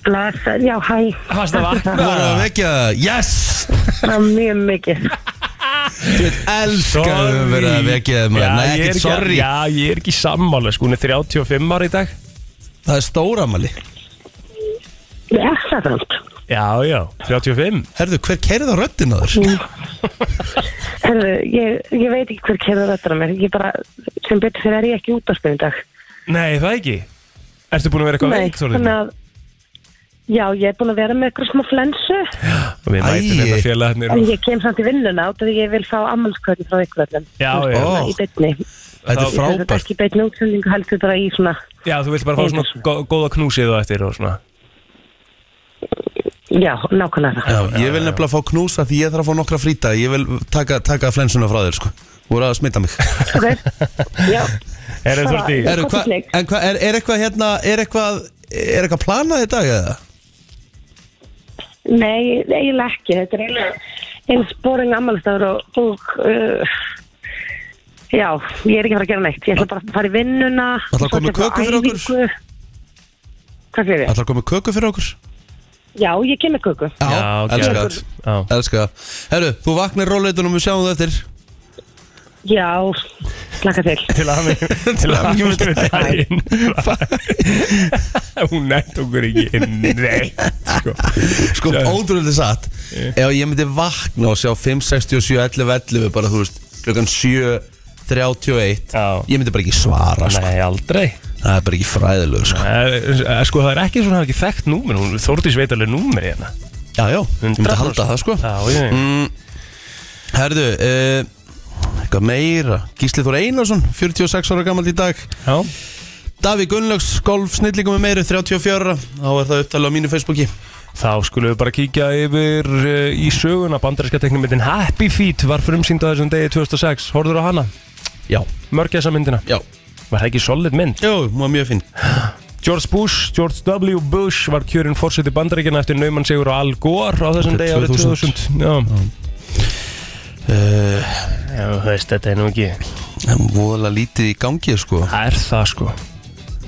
Speaker 4: blasar, já hæ
Speaker 2: Varstu að vakna?
Speaker 1: Þú voru að vekja það Yes
Speaker 4: Það er mjög mikið
Speaker 1: Elskar
Speaker 2: um
Speaker 1: að vera að vekja þig maður Nei,
Speaker 2: ég er
Speaker 1: ekkert
Speaker 2: ekki-
Speaker 1: sorry
Speaker 2: Já, ég er ekki sammála sko Hún er 35 ára í dag
Speaker 1: Það er stóramali
Speaker 4: Við er það samt
Speaker 2: Já, já, 35
Speaker 1: Herðu, hver keirið á röddina þér?
Speaker 4: Herðu, ég, ég veit ekki hver kemur þetta að mér Ég bara, sem betur fyrir er ég ekki útvarpinu í dag
Speaker 2: Nei, það ekki Ertu búin að vera eitthvað veik, Þorður?
Speaker 4: þannig að Já, ég er búin að vera með eitthvað smá flensu
Speaker 2: Við mætum
Speaker 1: Æi.
Speaker 2: þetta félagarnir
Speaker 4: En
Speaker 2: og-
Speaker 4: ég kem samt í vinnuna át að ég vil fá ammalskvöldin frá ykkur öllum
Speaker 2: Já,
Speaker 4: Þú veist,
Speaker 2: já.
Speaker 4: svona Í beinni
Speaker 1: Þetta er
Speaker 4: Ég þarf þetta
Speaker 1: frábært
Speaker 4: Ekki í beinni útsendingu heldur bara í svona
Speaker 2: Já, þú vilt bara fá svona gó- góða knúsið og eftir og svona
Speaker 4: Já, nákvæmlega
Speaker 1: Já, ég vil nefnilega fá knúsa því ég þarf að fá nokkra frýta Ég vil taka, taka flensuna frá þér sko Þú voru að smita mig
Speaker 4: það Ok, já
Speaker 2: Herru
Speaker 4: Bara-
Speaker 2: Þordi,
Speaker 1: Herru, hva,
Speaker 4: Kostusleik.
Speaker 1: En hvað, er, er eitthvað hérna Er eitthvað, er eitthvað planað í dag eða?
Speaker 4: Nei, eiginlega ekki. Þetta er eiginlega eins boring ammálstafur og, og uh, já, ég er ekki að fara að gera neitt. Ég ætla bara að fara í vinnuna.
Speaker 1: Ætlarðu að koma með
Speaker 4: svo ætla ég
Speaker 1: köku fyrir okkur?
Speaker 4: að fara á æfingu. Hvað segir ég?
Speaker 1: Ætlar að koma með köku fyrir okkur?
Speaker 4: Já, ég kem með köku.
Speaker 1: Já,
Speaker 2: Já, ok.
Speaker 1: elska það
Speaker 2: Já.
Speaker 1: Elska það Herru, þú vaknar róleitunum við sjáum það eftir
Speaker 4: Já, slaka til.
Speaker 2: til
Speaker 1: <laughs>
Speaker 2: að hafa til að hafa með daginn <laughs> hún nætt okkur ekki inn neitt sko.
Speaker 1: Sko,
Speaker 2: Sjáðu.
Speaker 1: ótrúlega satt Ef ég myndi vakna og sjá 5, 67, 11, 11 bara, þú veist, klukkan 7 31,
Speaker 2: Já.
Speaker 1: ég myndi bara ekki svara sko.
Speaker 2: nei aldrei
Speaker 1: Það er bara ekki fræðilegu sko.
Speaker 2: Eh, sko það er ekki svona hafa ekki þekkt númer hún Þórdís veit alveg númer hérna Mm.
Speaker 1: Já, já, ég myndi
Speaker 2: 100%.
Speaker 1: halda það sko
Speaker 2: já, já, já.
Speaker 1: Herðu, eh, uh, eitthvað meira Gísli Þór Einarsson, 46 ára gammal í dag
Speaker 2: já.
Speaker 1: Daví Gunnlaugs, golfsnillingum með meiri 34, þá er það upptalið á mínu Facebooki
Speaker 2: Þá skulum við bara kíkja yfir uh, í söguna bandaríska teknimyndin Happy Feet var frumsýnd á þessum degi 2006 Horður á hana?
Speaker 1: Já,
Speaker 2: Mörgja þessa myndina?
Speaker 1: já,
Speaker 2: Var það ekki solid mynd?
Speaker 1: jú, hún var mjög fín
Speaker 2: George Bush, George W. Bush var kjörinn fórseti bandaríkina eftir naumann sigur á Al Gore á þessum
Speaker 1: Þetta
Speaker 2: degi
Speaker 1: er
Speaker 2: árið
Speaker 1: 2000.
Speaker 2: 2000 Já,
Speaker 1: uh,
Speaker 2: Já þú veist, þetta er nú ekki
Speaker 1: En voðalega lítið í gangi, sko
Speaker 2: Það er það sko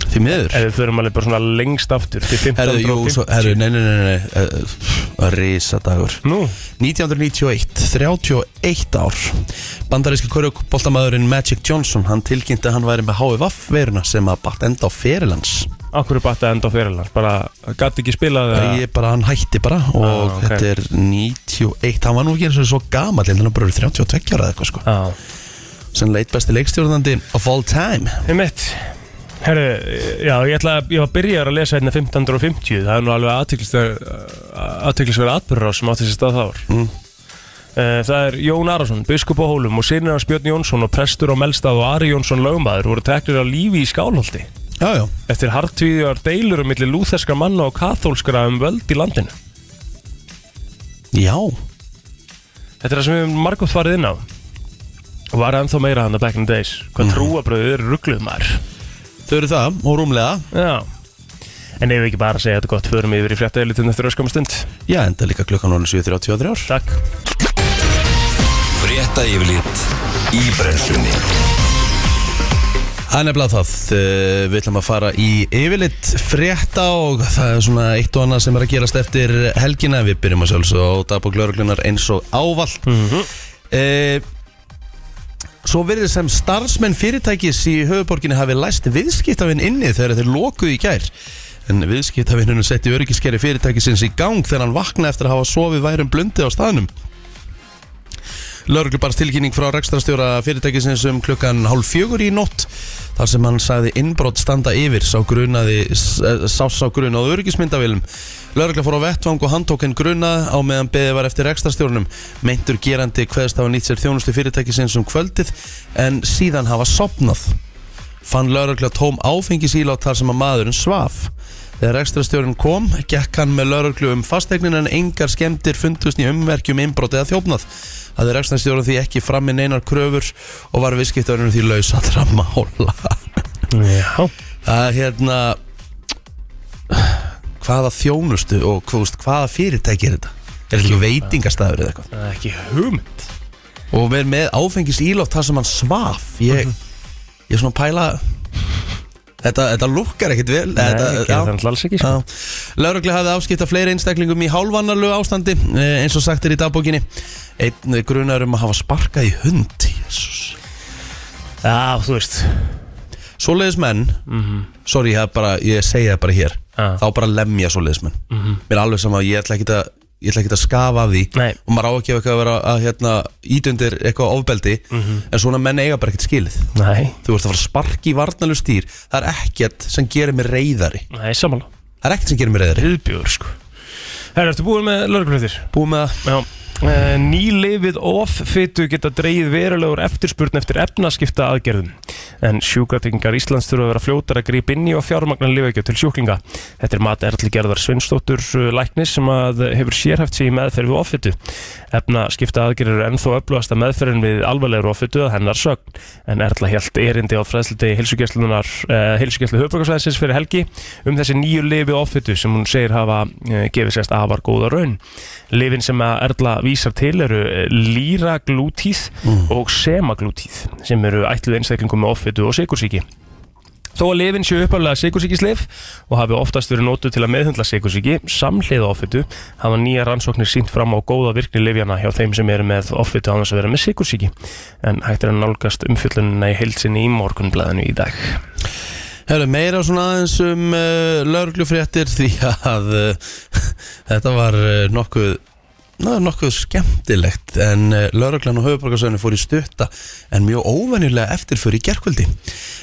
Speaker 1: Því miður
Speaker 2: Ef við förum alveg bara svona lengst aftur til
Speaker 1: Herðu, jú, svo,
Speaker 2: 1550
Speaker 1: herðu, nei, nei, nei, nei, nei uh, Rísadagur
Speaker 2: Nú,
Speaker 1: 1991, 31 ár Bandaríski körjuboltamæðurinn Magic Johnson Hann tilkynnti að hann væri með HVF-veruna sem að bakt enda á ferilans
Speaker 2: akkur er battað enda á fyrirlega Bara gæti ekki spilað eða-
Speaker 1: Ég bara, hann hætti bara og
Speaker 2: Ah, ok.
Speaker 1: þetta er 91 Hann var nú ekki eins og svo gamall Þannig að bara eru 32 ára eða eitthvað sko
Speaker 2: Já
Speaker 1: Sem leit besti leikstjórnandi of all time
Speaker 2: Einmitt Herru, já, ég ætla að, ég var byrjar að lesa hérna 1550, það er nú alveg aðtöklisverð atbyrður á sem átti sér stað þá var
Speaker 1: Mm.
Speaker 2: Eh, Það er Jón Arason, biskup á Hólum og sinir hans Björn Jónsson og prestur á Melstað og Ari Jónsson lögmaður voru teknir á lífi í Skálholti
Speaker 1: Já, já,
Speaker 2: eftir hartvíðjar deilur um milli lúþeskra manna og kathólskra um völd í landinu
Speaker 1: já
Speaker 2: Þetta er það sem við höfum margótt farið inn á og var ennþá meira hann að back in the days hvað mm. trúabröðið eru rugluð maður
Speaker 1: Þau eru það og rúmlega
Speaker 2: Já En ef við ekki bara að segja þetta gott, förum yfir í fréttaeilitin eftir öskama stund.
Speaker 1: Já, enda líka klukkan 7.33 ár
Speaker 2: Takk.
Speaker 5: Frétta yfirlit í brennslunni
Speaker 1: Það er nefnilega það, Eh, við ætlum að fara í yfirleitt frétta og það er svona eitt og annað sem er að gerast eftir helgina Við byrjum að sjálfsög á dagbók lauruglunar eins og ávallt mm Svo verður sem starfsmenn fyrirtækis í höfuborginni hafi læst viðskiptafinn inni þegar þeir lokuðu í gær En viðskiptafinnunum setti öryggiskeri fyrirtækisins í gang þegar hann vaknaði eftir að hafa sofið værum blundi á staðnum Lörglu barst tilkynning frá rekstrastjóra fyrirtækisins um klukkan hálf fjögur í nótt þar sem hann sagði innbrott standa yfir sá grunaði, sá, sá grunaði öryggismyndavélum. Lörgla fór á vettvang og handtók henn grunað á meðan beðið var eftir rekstrastjórnum. Meintur gerandi hverðist hafa nýtt sér þjónustu fyrirtækisins um kvöldið en síðan hafa sopnað fann laurugla tóm áfengisílát þar sem að maðurinn svaf. Þegar ekstrastjórun kom, gekk hann með lauruglu um fastegnin en engar skemmtir fundust í umverkjum innbrot eða þjófnað. Það er ekstrastjórun því ekki fram með neinar kröfur og var viðskiptavörnum því laus allra mála. <laughs>
Speaker 2: Já.
Speaker 1: Það er hérna, hvaða þjónustu og hvað, þú veist, hvaða fyrirtæki er þetta? Er þetta ekki veitingastæður eða eitthvað?
Speaker 2: Það er ekki hugmynd.
Speaker 1: Og verið með áfengisílát þar sem hann svaf. Ég,
Speaker 2: Mhm.
Speaker 1: ég er svona að pæla... Þetta, þetta lukkar ekkert vel
Speaker 2: Nei,
Speaker 1: þetta,
Speaker 2: ekki,
Speaker 1: já.
Speaker 2: það er alltaf alls ekki. Sko.
Speaker 1: Laurugli hafði afskipta fleiri einstaklingum í hálfanarlu ástandi eh, eins og sagt er í dagbókinni einn grunar um að hafa sparkað í hund Jesus.
Speaker 2: Já, þú veist.
Speaker 1: svoleiðis menn sorry, ég, hef bara, ég segi það bara hér
Speaker 2: Ah.
Speaker 1: þá bara lemja svoleiðis menn mér er alveg sama, ég ætla ekki að ég ætla ekki að skafa af því
Speaker 2: Nei.
Speaker 1: og maður á ekki eitthvað að vera að hérna, ítundir eitthvað ofbeldi en svona menn eiga bara ekkert skilið
Speaker 2: Nei.
Speaker 1: þú ert að fara að sparki í varnalust dýr það er ekkert sem gerir mig reyðari
Speaker 2: Nei, samanlá.
Speaker 1: það er ekkert sem gerir mig reyðari
Speaker 2: Viðbjör, sko. Herra, ertu búin með lögreglunöðir?
Speaker 1: búið með það
Speaker 2: Já. Eh, Nýlifið offitu geta dreigið verulegur eftirspurn eftir efnaskipta aðgerðum en sjúkratryggingar Íslands þurfa að vera fljótar að grípa inn í og fjármagnan lifegjöf til sjúklinga. Þetta er mat Erli Gerðar Svinsdóttur eh, læknis sem að eh, hefur sérhæft sig í meðferð við offitu. Efnaskipta aðgerður er ennþó öflugasta meðferðin við alvarlegur offitu að hennar sögn en Erla held erindi á fræðslutegi heilsugjæslunar eh, heilsugjæslu höfbrukarsvæðsins fyrir helgi um þessi nýju lifi offitu sem hún segir hafa eh, gefið sérst afar góða raun. Lifin sem að Erla vísar til eru líraglútíð og semaglútíð sem eru ætluð einstaklingum með offitu og sikursíki. Þó að lifin séu uppalega sikursíkislif og hafi oftast verið nótuð til að meðhundla sikursíki samhliða offitu hafa nýja rannsóknir sínt fram á góða virkni lifjana hjá þeim sem eru með offitu án þess að vera með sikursíki en hægt er að nálgast umfyllunina í heilsinni í morgunblæðinu í dag.
Speaker 1: Herru, meira svona aðeins um uh, lauruglufréttir <laughs> því að uh, <laughs> þetta var uh, nokkuð, na, nokkuð skemmtilegt en uh, lauruglan og höfuborgarsöðinu fór í stutta en mjög óvenjulega eftirför í gerkvöldi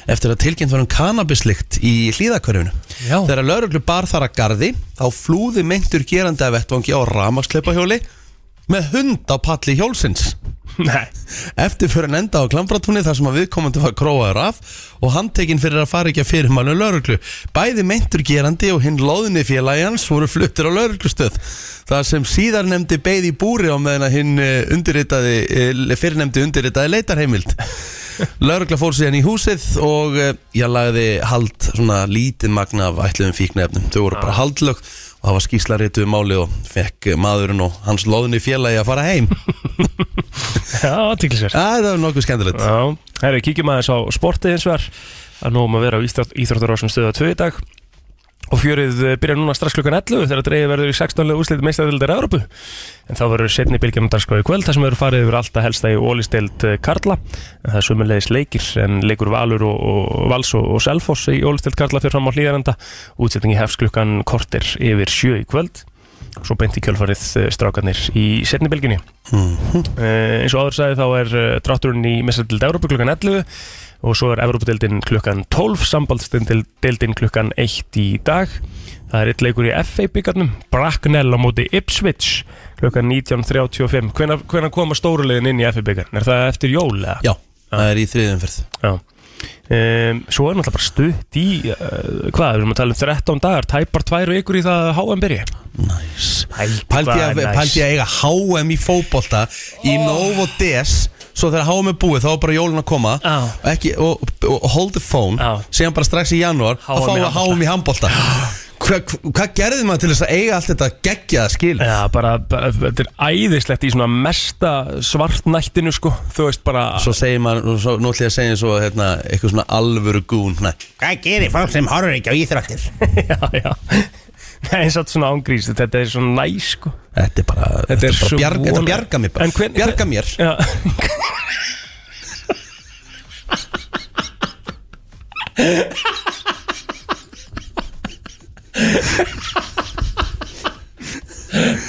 Speaker 1: eftir að tilkynnt var um kannabislikt í hlýðakverfinu.
Speaker 2: Já.
Speaker 1: Þegar lauruglu bar þar að gardi þá flúði myndur gerandi af vettvangi á ramaskleipahjóli með hund á palli hjólsins.
Speaker 2: Nei, <laughs>
Speaker 1: Eftirförin enda á klambratúni þar sem að viðkomandi var króaður af og handtekinn fyrir að fara ekki að fyrir mannu lauruglu. Bæði meintur gerandi og hinn loðni félagi hans voru fluttir á lauruglustöð. þar sem síðar nefndi beið í búri á meðan að hinn eh, undirritaði, eh, fyrrnefndi undirritaði leitarheimild. Laurugla fór síðan í húsið og eh, ég lagði hald svona lítið magna af ætluðum fíknefnum. Þau voru bara haldlög og það var skýslarituðu máli um og fekk eh, maðurinn og hans loðni félagi að fara heim.
Speaker 2: já, aðtiklisverð
Speaker 1: Æ, það var nokkuð skemmtilegt.
Speaker 2: Já, herri, kíkjum aðeins á sportið eins vegar að nógum að vera á Íþróttarásum stöða 2 í dag og fjörið eh, byrjar núna strax klukkan 11 þegar dreigið verður í 16. lega úrslit meistadildar Európu en þá verður setni bylgjum dagskráð í kvöld þar sem verður farið yfir alltaf helsta í ólistild Karla en það er sumulegis leikir en leikur Valur og, og Vals og, og Selfoss í ólistild Karla fyrir fram á hlýðarenda útsetningi hefst klukkan kortir yfir 7 í kvöld og svo beint í kjölfarið eh, strákarnir í setni bylginni Uh, eins og áður sagði þá er uh, drátturinn í mestadild Európa klukkan 11 og svo er Európa-dildin klukkan 12 sambaldstildin klukkan 1 í dag það er eitt leikur í FA byggarnum Bracknell á móti Ipswich klukkan 19.35 hvenær, hvenær koma stórulegin inn í FA byggarn? Er það eftir jól eða?
Speaker 1: Já, það er í þriðumferð.
Speaker 2: Já. Um, svo er náttúrulega bara stutt í uh, hvað, við erum að tala um 13 dagar tæpar tvær vikur í það að HM byrja
Speaker 1: Næs.
Speaker 2: Æ,
Speaker 1: Pældi
Speaker 2: hvað
Speaker 1: að,
Speaker 2: er næs.
Speaker 1: pældi að eiga HM í fótbolta í Novo DS Svo þegar HM er búið þá er bara jólun að koma
Speaker 2: Já.
Speaker 1: og, ekki, og, og hold the phone
Speaker 2: Já.
Speaker 1: Síðan bara strax í janúar
Speaker 2: HM
Speaker 1: að fá
Speaker 2: í
Speaker 1: að HM í handbolta Hva, Hvað gerði maður til þess að eiga allt þetta geggjaða skil?
Speaker 2: Já, bara, bara, þetta er æðislegt í svona mesta svartnættinu, sko, þú veist, bara,
Speaker 1: Svo segir maður, svo, nú ætlum ég að segja svo hérna, eitthvað svona alvöru gún Nei,
Speaker 6: Hvað gerir fólk sem horfur ekki á íþróttir?
Speaker 2: <laughs> já, já, nei, eins og svona ángrís, þetta er svona næ, sko.
Speaker 1: þetta er bara, þetta er bara
Speaker 2: svo
Speaker 1: bjarga, þetta
Speaker 2: von-
Speaker 1: bjarga mér
Speaker 2: En
Speaker 1: bara
Speaker 2: hvern-
Speaker 1: Bjarga mér
Speaker 2: Já,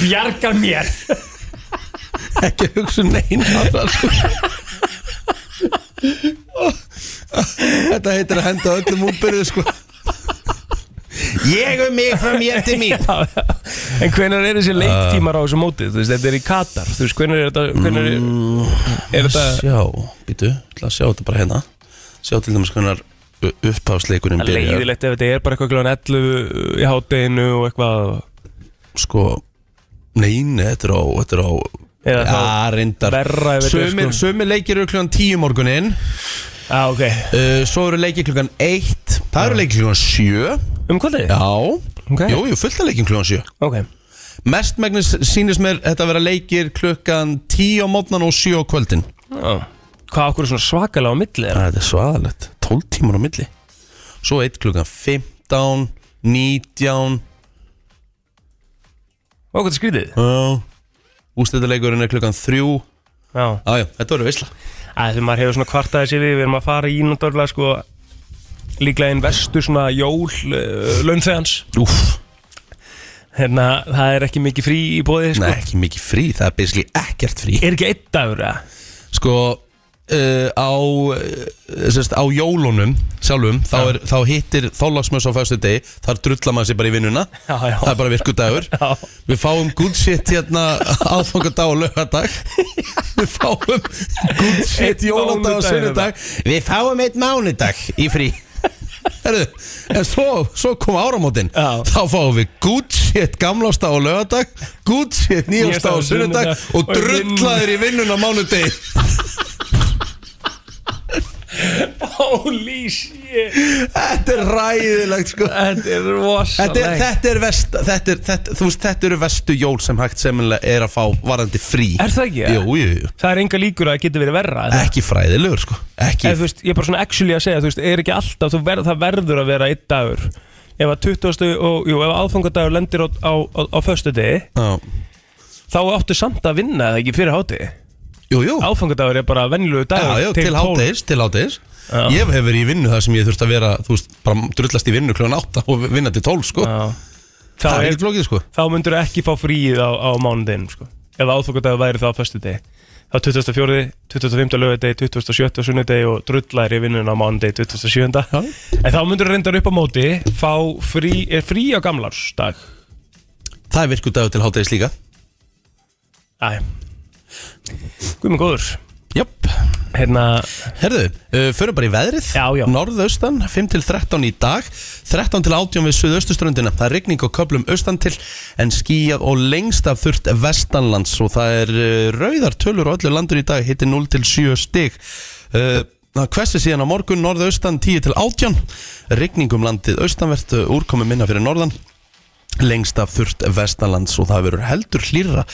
Speaker 2: Bjarga mér
Speaker 1: ekki að hugsa um neina aðra, sko. Þetta heitir að henda öllum útbyrðu sko.
Speaker 6: Ég um mig frá mér til mín
Speaker 2: Já, já. En hvenær er
Speaker 1: Uh.
Speaker 2: þessi leiktímar á þessu móti? Þú veist, þetta er í Katar Þú veist, hvenær er þetta hvenær er,
Speaker 1: Mm.
Speaker 2: er þetta
Speaker 1: Sjá, býtu, ætla að sjá þetta bara hérna Sjá til dæmis hvernar uppháðsleikurinn byrjar
Speaker 2: leiðilegt ef þetta er bara eitthvað kljóðan 11 í hátteginu og eitthvað
Speaker 1: Sko, neina, þetta er á, þetta er á
Speaker 2: Eða
Speaker 1: Já,
Speaker 2: þá
Speaker 1: reyndar
Speaker 2: verra ef þetta er
Speaker 1: Sumir,
Speaker 2: sko
Speaker 1: sumir leikir eru klukkan 10 morguninn
Speaker 2: Já, Ah, ok
Speaker 1: uh, Svo eru leikir klukkan 1 Það eru leikir klukkan 7
Speaker 2: Um kvöldið?
Speaker 1: Já,
Speaker 2: Ok.
Speaker 1: jú, jú, fullt að leikir klukkan 7
Speaker 2: Ok
Speaker 1: Mestmægnis sýnist mér þetta að vera leikir klukkan 10 á mótnan og 7 á kvöldin
Speaker 2: Já. Hvað okkur er svona svakalega á milli er?
Speaker 1: Þetta er svaðalegt, 12 tímar á milli Svo 1 klukkan 15 19
Speaker 2: Ó, hvað er skrítið?
Speaker 1: Ústættileikurinn er klukkan 3
Speaker 2: Já
Speaker 1: Jájá, þetta voru veisla
Speaker 2: Æ, Þegar maður hefur svona kvartaði sér við Við erum að fara í náttúrulega sko Líklega einn vestu svona jól uh, Launþegans
Speaker 1: Úf,
Speaker 2: Hérna, það er ekki mikið frí í bóði sko
Speaker 1: nei, ekki mikið frí, það er basically ekkert frí
Speaker 2: Er ekki einn dagur, eða?
Speaker 1: Sko, uh, á, uh, sérst, á jólunum sjálfum Þá, er, þá hittir þólagsmjöss á fæstu degi Þar drullar maður sér bara í vinnuna
Speaker 2: Já, já.
Speaker 1: Það er bara virkudagur
Speaker 2: Já.
Speaker 1: Við fáum good shit hérna aðfangadag og lögadag Við fáum good shit
Speaker 2: Einn
Speaker 1: jóladag og
Speaker 2: mánudag hérna.
Speaker 1: sunnudag Við fáum eitt mánudag í frí Herðu, en svo, svo kom áramótin
Speaker 2: Já.
Speaker 1: Þá fáum við good shit gamlástag og lögadag Good shit nýjástag og sunnudag Og
Speaker 2: Og vinn-
Speaker 1: drullaður í vinnun á mánudegi
Speaker 2: Holy shit
Speaker 1: Þetta er ræðilegt sko
Speaker 2: Þetta er rosalegt
Speaker 1: Þetta, er, þetta, er vest, þetta, er, þetta, þú veist, þetta eru vestu jól sem hægt seminlega er að fá varandi frí
Speaker 2: Er það ekki?
Speaker 1: Jú, jú, jú
Speaker 2: Það er enga líkur að það getur verið verra eða?
Speaker 1: ekki fræðilegur sko ekki,
Speaker 2: Eða, þú veist, Ég er bara svona actually að segja þú veist, er ekki alltaf, þú verð, það verður að vera einn dagur Ef að 20. og, jú, ef aðfangadagur lendir á, á, á, á föstu
Speaker 1: á,
Speaker 2: Þá áttu samt að vinna eða ekki fyrir háti
Speaker 1: jú, jú,
Speaker 2: Áfangadagur er bara venjulegu
Speaker 1: já,
Speaker 2: dagur
Speaker 1: já, til
Speaker 2: tólf.
Speaker 1: háttegis til háttegis
Speaker 2: Já.
Speaker 1: ég hef verið í vinnu þar sem ég þurft að vera þú veist, bara drullast í vinnu kljóðan átta og vinna til tól sko,
Speaker 2: Já. Þá,
Speaker 1: það er
Speaker 2: er,
Speaker 1: ekkert flókið sko
Speaker 2: þá myndur ekki fá fríið á, á mánudin sko. Ef aðfangadagur væri það á föstu Þá 24. 25. lögadegi, 27. sunnudegi og drullar í vinnun á mánudegi 27. En þá myndur reyndar upp á móti fá frí, er frí á gamlarsdag
Speaker 1: það er virkudagur til háttegis líka
Speaker 2: Æ Guð minn góður
Speaker 1: Jöp,
Speaker 2: Hérna,
Speaker 1: herðu, uh, förum bara í veðrið
Speaker 2: Já, já.
Speaker 1: Norðaustan, 5 til 13 í dag 13 til 18 við suðaustuströndina Það er rigning og köplum austan til En skíjað og lengst af þurft vestanlands Og það er uh, rauðar tölur á öllu landur í dag Hitti 0 til 7 stig uh, Það hvessi síðan á morgun Norðaustan 10 til 18 Rigning um landið austanvert uh, Úrkomi minna fyrir norðan lengst af þurft vestanlands og það verður heldur hlýra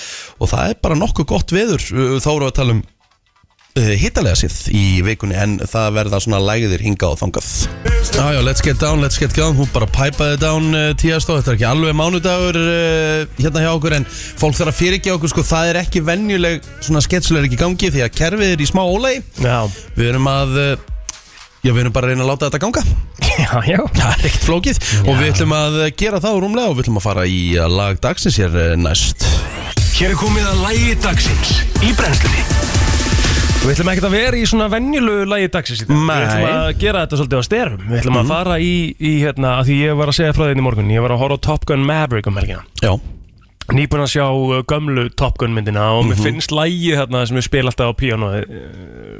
Speaker 1: og það er bara nokkuð gott veður uh, þá erum við að tala um hittalega síð í vikunni en það verða svona lægðir hinga og þangað Já, já, let's get down, let's get down hún bara pæpaði down uh, tíast og þetta er ekki alveg mánudagur uh, hérna hjá okkur en fólk þarf að fyrirgefa okkur sko, það er ekki venjuleg svona sketsul er ekki í gangi því að kerfið er í smá ólei
Speaker 2: já,
Speaker 1: <laughs> við erum að uh, já, við erum bara að reyna að láta þetta ganga <laughs>
Speaker 2: já, já
Speaker 1: það er ekkert flókið og við ætlum að uh, gera það rúmlega og við ætlum að fara í uh, lag dagsins hér uh, næst
Speaker 5: Hér er komið að lægi dagsins í brennslunni
Speaker 2: Við ætlum ekkert að vera í svona venjulegu lagi dagsins í dag
Speaker 1: Nei.
Speaker 2: Við ætlum að gera þetta svolítið á styrum Við ætlum
Speaker 5: Mhm.
Speaker 2: að fara í, í hérna, að því ég var að segja frá þeim í morgun Ég var að horfa á Top Gun Maverick um helgina
Speaker 1: Já,
Speaker 2: Nýbúin að sjá uh, gömlu Top Gun myndina Og
Speaker 5: Mhm.
Speaker 2: mér finnst lagi hérna sem ég spila alltaf á píano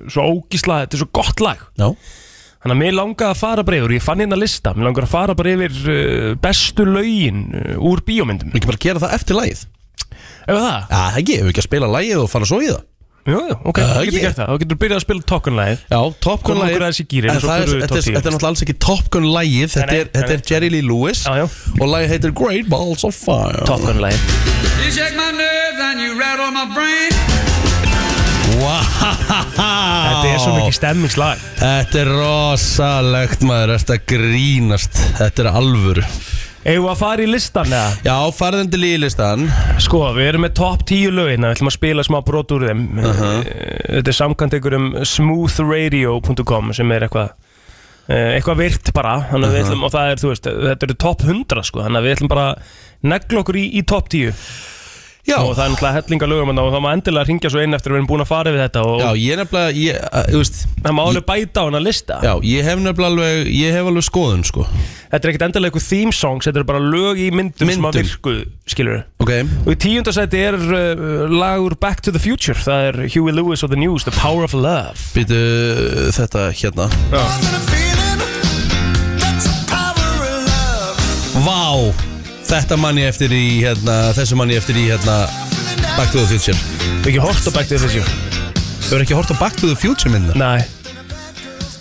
Speaker 2: Svo ógísla, þetta er svo gott lag
Speaker 1: já,
Speaker 2: Þannig að mér langaði að fara bara yfir, ég fann hérna lista Mér langaði að fara bara yfir uh, bestu lögin uh, úr bíómyndum
Speaker 1: við ekki bara að gera það eftir lagið
Speaker 2: Ef það?
Speaker 1: Já, það ekki, við ekki að spila lagið og fara svo í það
Speaker 2: Jú, jú,
Speaker 5: Uh,
Speaker 2: ok,
Speaker 1: Já,
Speaker 2: þú getur
Speaker 1: ég-
Speaker 2: gert það Þú getur byrjað að spila Top Gun-lægið
Speaker 1: Já, Top Gun
Speaker 2: Komum
Speaker 1: lagið
Speaker 2: okkur aðeins í gírinn,
Speaker 1: En
Speaker 2: svo
Speaker 1: það er,
Speaker 2: förum við í
Speaker 1: þetta,
Speaker 2: top
Speaker 1: er, þetta
Speaker 2: 10.
Speaker 1: er náttúrulega alls ekki Top Gun lagið Þetta,
Speaker 2: Nei,
Speaker 1: er,
Speaker 2: nei,
Speaker 1: þetta
Speaker 2: nei.
Speaker 1: er Jerry Lee Lewis
Speaker 2: Já, já.
Speaker 1: Og lagið heitir Great Balls of Fire
Speaker 2: Top Gun-lægið
Speaker 7: You shake my nerves and you rattle my brain.
Speaker 1: wow.
Speaker 2: Þetta er svo mikið stemmingslag
Speaker 1: Þetta er rosalegt maður Þetta grínast Þetta er alvöru
Speaker 2: Eigum við að fara í listan eða?
Speaker 1: Já, farðin til í listan
Speaker 2: Sko, við erum með top 10 lögin Við ætlum að spila smá brot úr þeim Eh, Þetta er samkvæmt einhverjum smoothradio.com sem er eitthvað eh, eitthvað virt bara þannig að við ætlum, og það er, þú veist, þetta eru top 100 sko, þannig að við ætlum bara að negla okkur í, í top 10
Speaker 1: Já,
Speaker 2: og það er náttúrulega hellinga lögum þarna og það má endilega ringja svo inn eftir að við erum búin að fara við þetta og
Speaker 1: já ég er nefnilega ég, að, þú veist,
Speaker 2: það má alveg bæta á hana lista
Speaker 1: Já, ég hef nefnilega alveg Ég hef alveg skoðun, sko
Speaker 2: þetta er ekkert endilega eitthvað theme songs þetta eru bara lög í myndum, sem að
Speaker 1: Myndum.
Speaker 2: virku skilur
Speaker 1: Ok,
Speaker 2: Og í tíundasæti er uh, lagur Back to the Future Það er Huey Lewis og The News, The Power of Love
Speaker 1: býtu þetta hérna Vá, þetta mann ég eftir í hérna Þessu mann ég eftir í hérna Back to the Future
Speaker 2: Við ekki hort á Back to the Future
Speaker 1: Þau eru ekki hort á Back to the Future minna
Speaker 2: Nei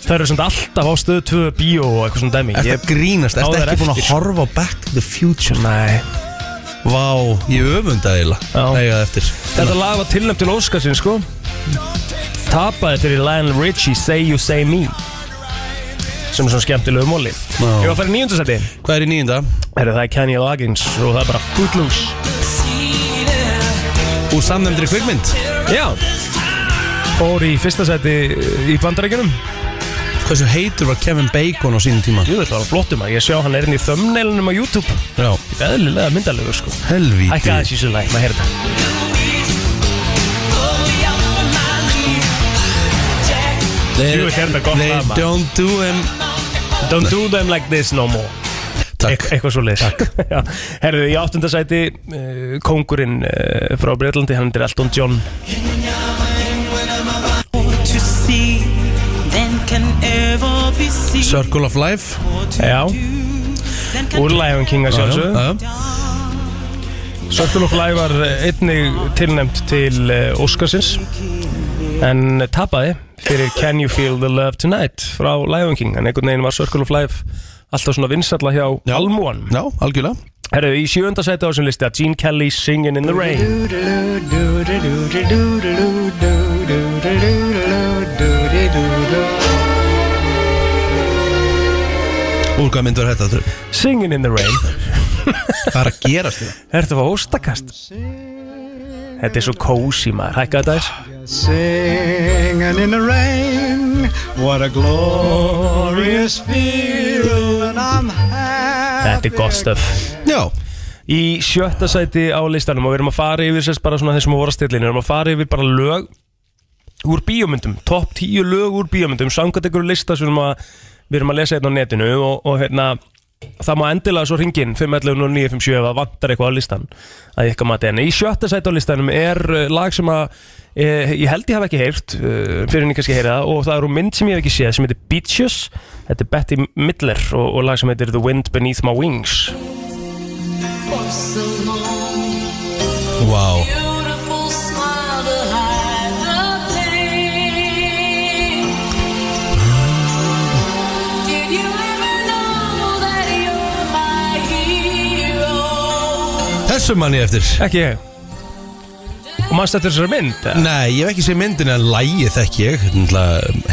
Speaker 2: Það eru svona alltaf á stöðu 2 bíó og eitthvað svona dæmi
Speaker 1: Ertu
Speaker 2: Ég-
Speaker 1: að grínast,
Speaker 2: á
Speaker 1: ertu
Speaker 2: þær
Speaker 1: ekki búin að
Speaker 2: eftir.
Speaker 1: horfa á Back to the Future
Speaker 2: Nei
Speaker 1: Vá, ég öfunda eila
Speaker 2: Já.
Speaker 1: Nei, það eftir
Speaker 2: Þetta lag var tilnæmt til Óskarsinn sko Tapaði fyrir Lionel Richie Say You Say Me sem er svona skemmtilegu móli
Speaker 1: Já.
Speaker 2: Ég var að fara í níundasæti
Speaker 1: Hvað er í nýjunda?
Speaker 2: Herru, það er Kanye Loggins og það er bara Footloose
Speaker 1: Úr samnefndri kvikmynd
Speaker 2: Já Fór í fyrsta sæti í bandarækjunum
Speaker 1: Hversu heitur var Kevin Bacon á sínum tíma?
Speaker 2: Jú, þetta var flottum að ég sjá hann er inn í thumbnailinum á YouTube
Speaker 1: Já,
Speaker 2: Eðlilega myndalegur sko Hækka
Speaker 1: helvíti
Speaker 2: aðeins í svo læg, maður heyrði það
Speaker 1: Þeir-
Speaker 2: Jú, þetta er þetta gott
Speaker 1: They
Speaker 2: lag, maður.
Speaker 1: don't do them
Speaker 2: Don't do them like this no more
Speaker 1: Takk
Speaker 2: Eitthvað svo leiðis <laughs> Herðu, í áttundasæti uh, Kongurinn uh, frá Breitlandi Hann er Elton John
Speaker 8: to see than can ever be seen.
Speaker 1: Circle of Life
Speaker 8: eh,
Speaker 2: Já
Speaker 8: Than can
Speaker 2: Úr Lion King að sjálfsögðu
Speaker 1: Já, já.
Speaker 2: Circle of Life var eh, einnig tilnæmt til uh, Óskarsins En tapaði fyrir Can You Feel the Love Tonight frá Lion King En einhvern veginn var Circle of Life Alltaf svona vinsalla hjá
Speaker 1: Já.
Speaker 2: Almúan
Speaker 1: Já, algjörlega
Speaker 2: Herru, í sjöunda sæti á þessum listi að Gene Kelly Singin' in the Rain
Speaker 1: Úr hvað mynd verður þetta þurr?
Speaker 2: Singin' in the Rain
Speaker 1: Hvað er að gerast hérna? þetta?
Speaker 2: Ertu að fá óstakast? Þetta er svo cozy maður, hækka þetta þess
Speaker 9: Singing in the rain, what a glorious feeling, and I'm happy.
Speaker 2: Þetta er gott stöf
Speaker 1: Já,
Speaker 2: Í sjötta sæti á listanum og við erum að fara yfir sérst bara svona þessum að voru að stillinu Við erum að fara yfir bara lög úr bíómyndum Topp 10 lög úr bíómyndum Sangat ykkur lista sem við erum að, við erum að lesa hérna á netinu Og, og hérna það má endilega svo ringin 511 og 957 ef það vantar eitthvað á listan að ykkar mati en í sjötta sæti á listanum er eh, lag sem að e, ég held ég hafa ekki heyrt uh, fyrir en ég kannski heyri það og það er úr mynd sem ég hef ekki séð sem heitir Beaches þetta er Betty Midler og, og lag sem heitir The Wind Beneath My Wings
Speaker 1: Vá Þessum mann ég eftir
Speaker 2: ekki ég og mannst eftir þessari mynd eða?
Speaker 1: Nei, ég hef ekki séð myndin en lægið þekki ég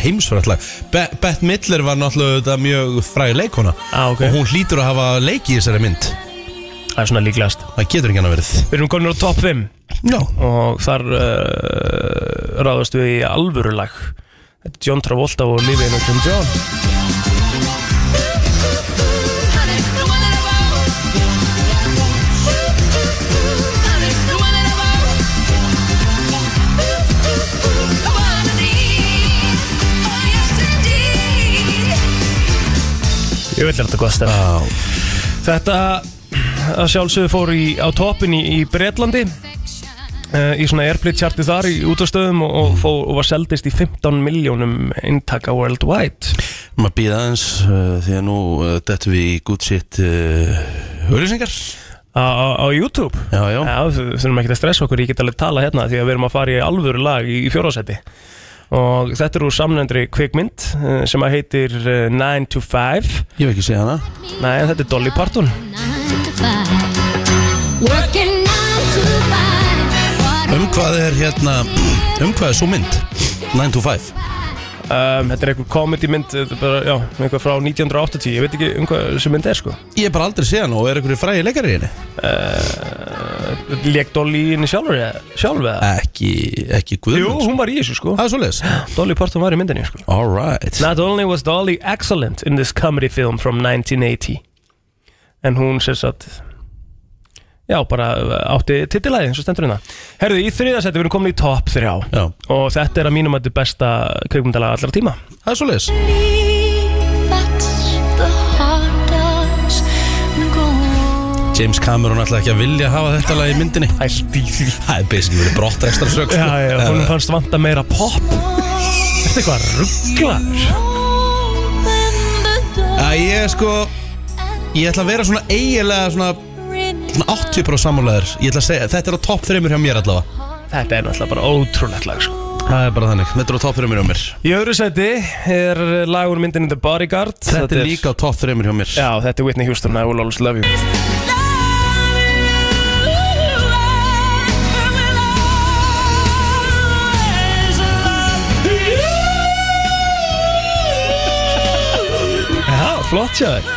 Speaker 1: heimsfræðlag Be Beth Midler var náttúrulega þetta mjög fræg leikona
Speaker 2: Á, Ah, ok.
Speaker 1: og hún hlýtur að hafa leiki í þessari mynd
Speaker 2: það er svona líklegast
Speaker 1: Það getur ekki hann að verið
Speaker 2: við erum komin á top 5
Speaker 1: Já,
Speaker 2: og þar uh, ráðast við í alvöru lag Þetta er John Travolta og Olivia Newton-John Ég vil þetta gott stefna
Speaker 1: Já.
Speaker 2: Ah. Þetta að sjálfsögðu fór í, á toppin í, í Bretlandi uh, í svona airplay charti þar í útastöðum og, og, fó, og var seldist í 15 miljónum inntaka worldwide
Speaker 1: maður býða aðeins uh, því að nú uh, dettum við í good shit uh, auðlýsingar
Speaker 2: á, á, Ah, á YouTube
Speaker 1: Já, já,
Speaker 2: Já, þú þurfum ekki að stressa okkur, ég get alveg tala hérna því að við erum að fara í alvöru lag í, í fjórðarsæti og þetta er úr samlendri kvikmynd eh, sem að heitir eh, 9 to 5
Speaker 1: ég hef ekki séð hana
Speaker 2: Nei, en þetta er Dolly Parton
Speaker 1: Um hvað er hérna, um hvað er svo mynd? 9 to 5
Speaker 2: um, Þetta er einhver comedy mynd, þetta er bara, já, einhver frá 1980 Ég veit ekki um hvað þessi mynd er sko
Speaker 1: Ég hef bara aldrei séð hana og er einhverju fræði leikari í henni
Speaker 2: Lék Dolly inn í sjálfur eða? Sjálf eða?
Speaker 1: Ekki, ekki
Speaker 2: Jú,
Speaker 1: guðmund
Speaker 2: hún var í þessu sko
Speaker 1: Það er svoleiðis
Speaker 2: Dolly Parton var í myndinni sko
Speaker 1: Alright
Speaker 2: Not only was Dolly excellent in this comedy film from 1980 En hún sér satt Já, bara uh, átti titilæði eins og stendur hérna Herðu, í þriðasætti við erum komin í top 3
Speaker 1: Já,
Speaker 2: Og þetta er að mínum að þetta besta kveikmyndala allra tíma
Speaker 1: það er svoleiðis <laughs> James Cameron ætla ekki að vilja hafa þetta lag í myndinni
Speaker 2: Ælt í því
Speaker 1: Það er basically verið brott sko. ekstra sög
Speaker 2: Já, já, hún fannst vanta meira pop Þetta er eitthvað rugglaður
Speaker 1: Æ, ég sko Ég ætla að vera svona eiginlega svona, svona 80% sammálaður Ég ætla að segja, þetta er á topp 3 hjá mér allavega
Speaker 2: Þetta er náttúrulega bara ótrúlegt lag sko
Speaker 1: Það er bara þannig, þetta er á topp 3 hjá mér
Speaker 2: Í öðru sæti er lagur myndin The Bodyguard
Speaker 1: Þetta er líka á topp 3 hjá mér
Speaker 2: Já, þetta er Whitney Houston, I will always love you Já, flott sjáður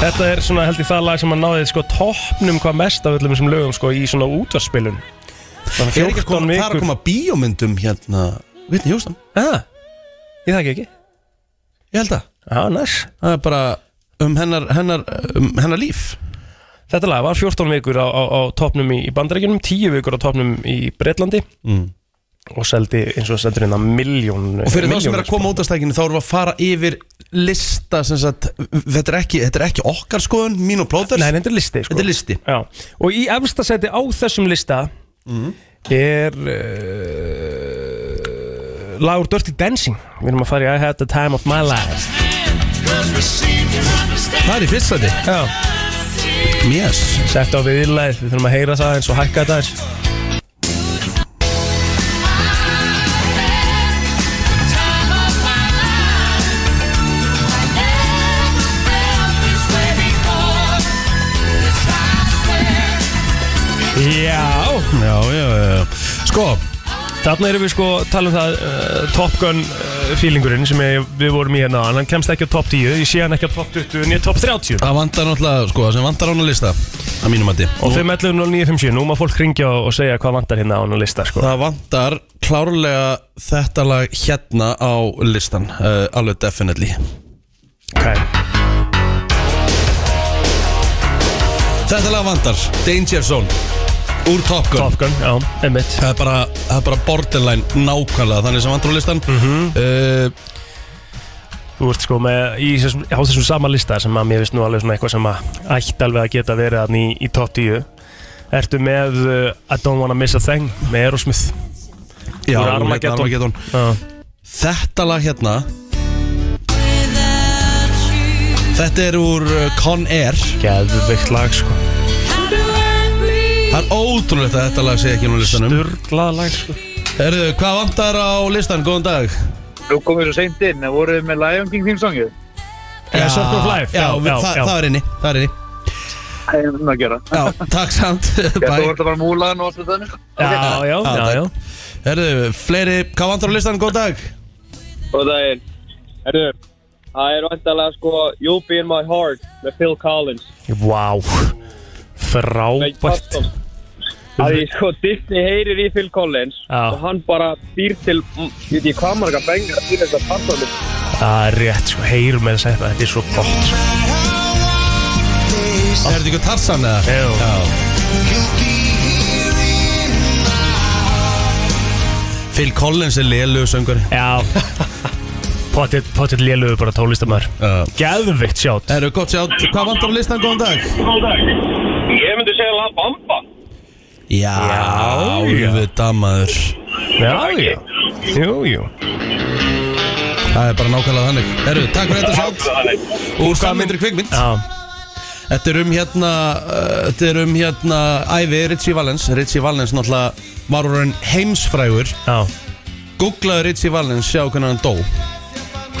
Speaker 2: Þetta er svona held ég það lag sem að náði sko toppnum hvað mest af öllum þessum lögum sko í svona útvarspilun Það var
Speaker 1: Er ekki að
Speaker 2: 14
Speaker 1: koma, það er að
Speaker 2: vikur
Speaker 1: koma bíómyndum hérna Vitni Hjóstam,
Speaker 2: ah, Ég þekki ekki
Speaker 1: ég held að
Speaker 2: Já, næs
Speaker 1: Það er bara um hennar, hennar, um hennar líf
Speaker 2: Þetta lag var 14 vikur á, á, á topnum í, í bandaríkjunum, 10 vikur á topnum í Breitlandi og seldi eins og seldi hérna sko. miljón
Speaker 1: Mm. Og fyrir þá sem er að koma út af stækinu þá erum við að fara yfir lista sem sagt Þetta er ekki, þetta er ekki okkar skoðun, mín og plóters
Speaker 2: Nei, nei, þetta er listi sko.
Speaker 1: Þetta er listi.
Speaker 2: Já. Og í efsta seti á þessum lista
Speaker 1: Mhm.
Speaker 2: er uh, lagur Dirty Dancing Við erum að fara í I had the time of my life
Speaker 1: Það er í fyrst sæti
Speaker 2: Já.
Speaker 1: Yes
Speaker 2: Sett á við ílæð, við þurfum að heyra það eins og hækka það eins Já
Speaker 1: Já, já, já, já Sko,
Speaker 2: Þarna erum við sko að tala um það uh, Top Gun uh, feelingurinn sem ég, við vorum í hérna áðan. hann kemst ekki á top 10, ég sé hann ekki á top 20 en ég er top 30
Speaker 1: það vantar náttúrulega, sko, það sem vantar á hana lista Að mínum að
Speaker 2: og 5.11.09.57, nú má fólk ringja og segja hvað vantar hérna á hann lista sko
Speaker 1: Það vantar klárlega þetta lag hérna á listan uh, Alveg definitely
Speaker 2: okay.
Speaker 1: Þetta lag vantar, Danger Zone Úr Top Gun
Speaker 2: Top Gun, já, einmitt
Speaker 1: Það er bara, Mhm. Eh, það er bara borderline nákvæmlega þannig sem vantur á listan mm -hmm.
Speaker 2: Þú veist sko með í þessum, á þessum sama lista sem að mér veist nú alveg svona eitthvað sem að ætti alveg að geta verið hann í, í top 10 Ertu með uh, I Don't Wanna Miss a Thing með Aerosmith
Speaker 1: Já,
Speaker 2: Úr
Speaker 1: hún heitir Armageddon
Speaker 2: Armageddon. Já.
Speaker 1: Þetta lag hérna Þetta er úr uh, Con Air
Speaker 2: Geðveikt lag sko
Speaker 1: Það er ótrúlegt að þetta lag sé ekki nú á listanum
Speaker 2: Sturglað lag sko
Speaker 1: Herðu, hvað vantar á listan? Góðan dag
Speaker 10: Nú komum við svo seint inn, en voruð þið með Lion King þýmsangið?
Speaker 2: Já, Circle of Life,
Speaker 1: Já,
Speaker 2: já,
Speaker 1: já,
Speaker 2: já,
Speaker 1: það,
Speaker 2: já.
Speaker 1: það er inni Það er inni
Speaker 10: Það er svona að gera.
Speaker 1: Já, <laughs> takk
Speaker 2: <laughs>
Speaker 1: samt
Speaker 10: Ég þú
Speaker 1: Bye
Speaker 10: ert að fara múlan og allt þetta. sko.
Speaker 2: Já, já,
Speaker 1: Já,
Speaker 2: já, já
Speaker 1: Herðu, fleiri, hvað vantar á listan? Góðan dag
Speaker 11: Góð daginn. Herru, það er vantalega sko You'll Be In My Heart með Phil Collins.
Speaker 2: Vá, frábært
Speaker 11: Custom. Að því sko Disney heyrir í Phil Collins
Speaker 2: Já.
Speaker 11: og hann bara býr til, mm, ég veit ég hvað marga bengar að býr þetta passamil.
Speaker 2: Það er rétt sko, heyrum með þess að þetta er svo gott sko. Ah.
Speaker 1: Er þetta ykkur Tarsan eða?
Speaker 2: Jú.
Speaker 1: Phil Collins er lélu söngur
Speaker 2: <laughs> Já Pottit, pottit lélugu bara tólistamæður
Speaker 1: Já.
Speaker 2: Geðveikt sjátt
Speaker 1: Herru, gott sjátt, hvað vantar á listan? Góðan dag
Speaker 11: Ég myndi segja La Bamba.
Speaker 1: Já,
Speaker 2: Já, já.
Speaker 1: auðvitað maður
Speaker 2: Já, já Jú, jú
Speaker 1: Það er bara nákvæmlega þannig Herru, takk fyrir þetta sjátt Úr sammyndri kvikmynd
Speaker 2: Já,
Speaker 1: Þetta er um hérna uh, Þetta er um hérna ævi Ritchie Valens Ritchie Valens náttúrulega var orðin heimsfrægur
Speaker 2: já
Speaker 1: Googlaðu Ritchie Valens, sjáðu hvernig hann dó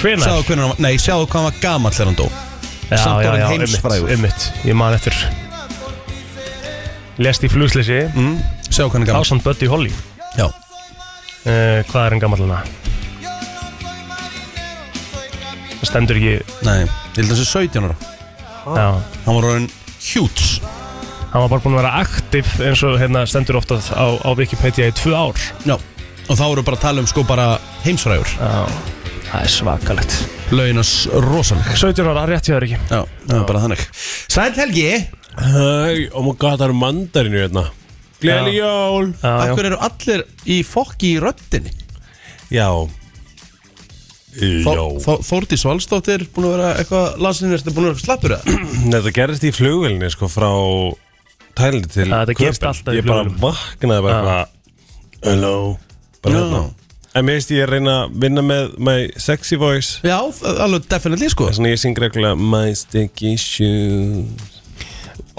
Speaker 1: Sjáðu
Speaker 2: Hvenær?
Speaker 1: hvernig hann var, nei, sjáðu hvað hann var gamall þegar hann dó
Speaker 2: Já,
Speaker 1: samt
Speaker 2: já,
Speaker 1: orðinn
Speaker 2: já,
Speaker 1: heimsfrægur.
Speaker 2: einmitt, einmitt Ég man eftir Lest í flugsleysi
Speaker 1: mm? Sjáðu hvernig gamall
Speaker 2: Ásand Böddi Holly
Speaker 1: Já,
Speaker 2: uh, Hvað er hann gammal hana? Það stendur ekki
Speaker 1: nei, ég held að það sé 17 ára Ah.
Speaker 2: Já
Speaker 1: Hann var orðin hjúts
Speaker 2: Hann var bara búinn að vera aktiv eins og hérna stendur ofta á, á Wikipedia í tvö ár
Speaker 1: Já, og þá voru bara að tala um sko bara heimsfrægur
Speaker 2: Já Það er svakalegt
Speaker 1: Lauginas rosaleg
Speaker 2: 17 ára, rétt hjá þér ekki
Speaker 1: Já, það er bara þannig Sæl Helgi,
Speaker 12: Hei, oh my god, það eru mandarinu hérna Gleðileg jól
Speaker 2: Já, já.
Speaker 1: akkur eru allir í fokki í röddinni
Speaker 12: Já
Speaker 1: Þó-
Speaker 12: Jó
Speaker 1: Þó- Þórdís Valstóttir búin að vera eitthvað lasin ertu búin að vera slappur eða?
Speaker 12: Þetta gerðist í flugvilni sko frá Tælandi til
Speaker 2: Já, þetta gerist
Speaker 12: Köben.
Speaker 2: alltaf í
Speaker 12: Ég bara
Speaker 2: flugvélum.
Speaker 12: vaknaði bara eitthvað Hello Bara
Speaker 1: Já.
Speaker 12: hérna En mér veist ég er að reyna að vinna með my sexy voice
Speaker 1: Já, alveg definitely sko
Speaker 12: Þess vegna ég syng reglulega My sticky shoes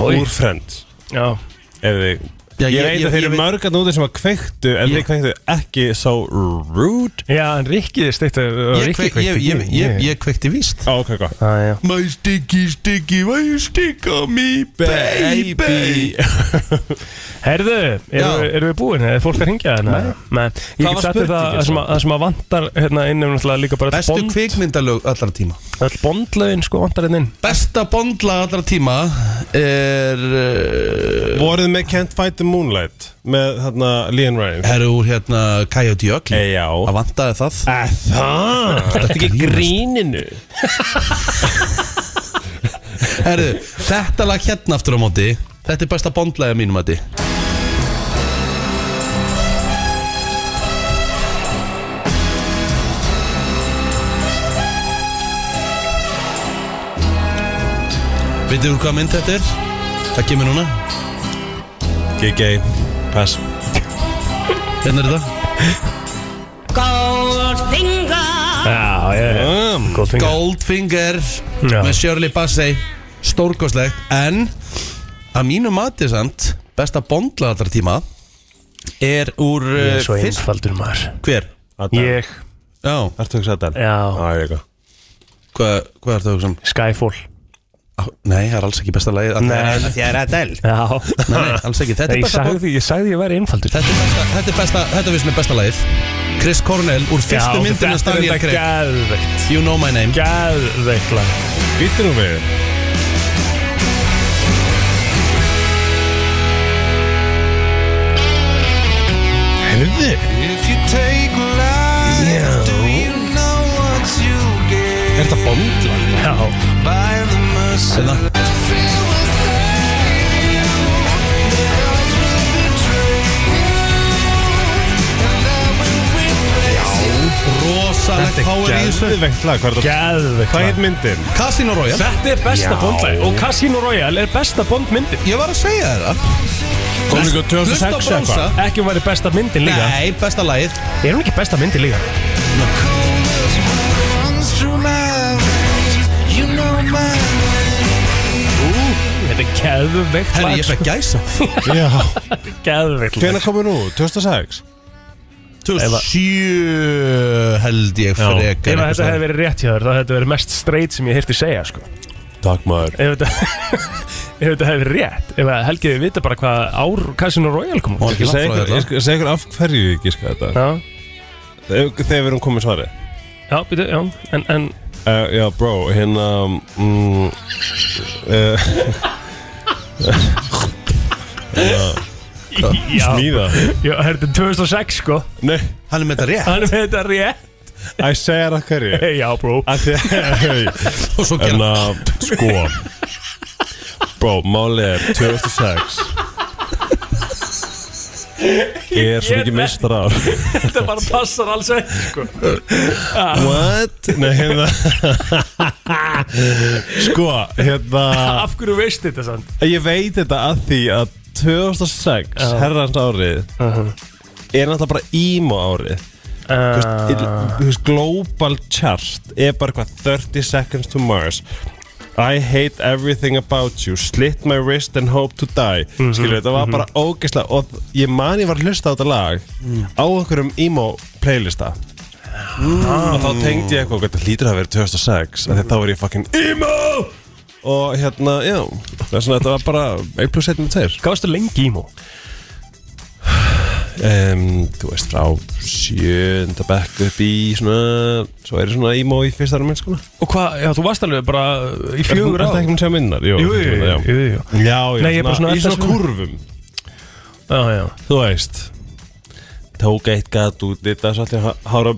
Speaker 2: Oj.
Speaker 12: Úr frend
Speaker 2: Já
Speaker 12: Ef þið
Speaker 1: Já,
Speaker 12: Ég
Speaker 1: ég-
Speaker 12: veit
Speaker 1: ég-
Speaker 12: að
Speaker 1: ég
Speaker 12: þeir eru
Speaker 1: veit-
Speaker 12: mörgarn úti sem að kveiktu En þið kveiktu ekki so rude
Speaker 2: Já, en Rikki steikt
Speaker 1: Ég, kveik, ég, ég, ég, ég kveikti víst
Speaker 12: Á, ok, ok
Speaker 2: Já, já
Speaker 1: My sticky sticky, why you stick on me baby
Speaker 2: Herðu, eru
Speaker 1: Já.
Speaker 2: eru við búin? Er fólk að ringja þarna? Nei Ég
Speaker 12: Hvað
Speaker 2: get
Speaker 12: var
Speaker 2: sagt þér það
Speaker 12: spurningin
Speaker 2: það sem að- það sem að vantar hérna inn er náttúrulega líka bara öll
Speaker 1: sko? Bestu
Speaker 2: bond-
Speaker 1: kvikmyndalög allra tíma
Speaker 2: Öll bondlaugin sko vantar hérna inn
Speaker 1: Besta bondlag allra tíma er uh,
Speaker 12: Voruð með Can't Fight the Moonlight með hérna Leon Ryan
Speaker 1: er úr hérna Coyote Jökli
Speaker 12: E, já.
Speaker 1: Það vantaði það
Speaker 12: Það? Þetta er ekki gríninu
Speaker 1: Herru, þetta lag hérna aftur á móti Þetta er besta bondlaga mínum að því Vitið þú hvað mynd þetta er? Það kemur núna
Speaker 12: G.G. Pass
Speaker 1: Hérna er þetta
Speaker 2: Já, já, já
Speaker 12: um,
Speaker 2: Góð fingur
Speaker 1: Goldfinger
Speaker 2: Já.
Speaker 1: með Shirley Bassey Stórkoslegt En að mínu mati samt Besta bondlaga allra tíma Er úr
Speaker 2: Ég
Speaker 1: uh,
Speaker 2: er svo
Speaker 1: fyrst
Speaker 2: einfaldur maður
Speaker 1: Hver?
Speaker 2: Ég, Eh,
Speaker 1: Já,
Speaker 12: Ertu hugsað að þetta?
Speaker 2: já,
Speaker 12: Já, ég eitthvað
Speaker 1: hvað, hvað er það að hugsa um?
Speaker 2: Skyfall
Speaker 1: Á, Nei, það er alls ekki besta lagið Nei,
Speaker 6: Því
Speaker 1: nei,
Speaker 6: að það er
Speaker 2: <laughs>
Speaker 6: Adele
Speaker 2: Já
Speaker 1: nei, alls ekki Þetta
Speaker 2: Nei,
Speaker 1: er
Speaker 2: ég
Speaker 1: besta bók
Speaker 2: sagði, ég sagði ég væri einfaldur
Speaker 1: Þetta er besta, þetta er besta, þetta finnst mér besta lagið Chris Cornell úr fyrstu myndinu
Speaker 2: þetta er
Speaker 1: Daniel
Speaker 2: þetta
Speaker 1: Craig
Speaker 2: gæðveikt
Speaker 1: You know my name
Speaker 2: Gæðveikt lag
Speaker 12: Býttu nú við Herði Er þetta bondla?
Speaker 2: Já
Speaker 1: Hérna. Rosa rosalegt power í þessu
Speaker 12: Geðveikt lag, hvað er þetta?
Speaker 2: Geðveikt
Speaker 12: Hvað heit myndin?
Speaker 1: Casino Royale
Speaker 2: Þetta er besta
Speaker 12: Já.
Speaker 2: bondlag og Casino Royale er besta bondmyndin
Speaker 1: Ég var að segja þér það
Speaker 12: Kom ekki á
Speaker 1: Hlusta á
Speaker 12: 2006 eitthvað?
Speaker 1: Brósa.
Speaker 2: Ekki hún væri besta myndin líka
Speaker 1: Nei, besta lagið
Speaker 2: Er hún ekki besta myndin líka? Þetta er geðveikt
Speaker 1: Herri, ég
Speaker 2: lag sko.
Speaker 1: fekk gæsa
Speaker 2: Geðveikt lag
Speaker 12: Hvernig komið nú? 2006?
Speaker 1: 2007 held ég
Speaker 12: Já.
Speaker 2: Ef
Speaker 1: frekar
Speaker 2: að
Speaker 1: einhvers
Speaker 2: þetta
Speaker 1: staðar.
Speaker 2: hefði verið rétt hjá þér þá hefði þetta verið mest straight sem ég heyrti segja sko.
Speaker 12: Takk maður
Speaker 2: Ef þetta <laughs> Ef þetta hefði verið rétt Ef að Helgi við vita bara hvað ár Casino Royale kom
Speaker 1: Ó,
Speaker 2: út
Speaker 1: ekki
Speaker 12: Ég segi
Speaker 1: langt frá þetta.
Speaker 12: ykkur- ég skal segja ykkur af hverju ég gíska þetta
Speaker 2: Já,
Speaker 12: Þegar þegar við erum komið svarið
Speaker 2: já, býtu, já En, en
Speaker 12: Uh, já, bró, hérna mm, uh,
Speaker 2: já,
Speaker 12: Smíða
Speaker 2: já, þetta er 2006 sko
Speaker 12: Nei,
Speaker 1: Hann er með þetta rétt
Speaker 2: Hann er með þetta rétt
Speaker 12: að ég segja það hverju
Speaker 2: Já, bró
Speaker 12: Af því að-
Speaker 1: <laughs> Og svo
Speaker 12: En
Speaker 1: gera
Speaker 12: að, sko Bró, málið er 2006 Ég er svo mikið mistar ár
Speaker 2: Þetta bara passar alls ekki sko
Speaker 12: What? Nei, hérna <laughs> Sko, hérna
Speaker 2: Af hverju veist þetta sann?
Speaker 12: Ég veit þetta að því að 2006,
Speaker 2: Já.
Speaker 12: herrans árið er náttúrulega bara ímó árið Þú veist, il- þú veist, global chart er bara eitthvað 30 seconds to Mars I hate everything about you slit my wrist and hope to die mm þetta var bara ógeðslega og ég man ég var að hlusta á þetta lag á einhverjum emo playlista og þá tengdi ég eitthvað "Ok, þetta hlýtur að vera 2006 af því þá er ég fucking emo og hérna, já það er svona, þetta var bara 1 plus 1 með 2
Speaker 2: Gáðstu lengi í mó
Speaker 12: um, þú veist frá sjönda bekk upp í svona svo er ég svona ímó í fyrsta ára minn sko
Speaker 2: Og hvað, já, þú varst alveg bara í fjögur
Speaker 12: það
Speaker 2: ár
Speaker 12: ekki með tjá minnar jú,
Speaker 2: Jú, jú,
Speaker 12: já.
Speaker 2: jú, jú.
Speaker 12: já, já,
Speaker 2: Nei, ég er bara svona
Speaker 12: í
Speaker 2: eftir
Speaker 12: svona
Speaker 2: svona-
Speaker 12: kurvum
Speaker 2: Já, já
Speaker 12: þú veist tók eitt gat út þetta svo allir hára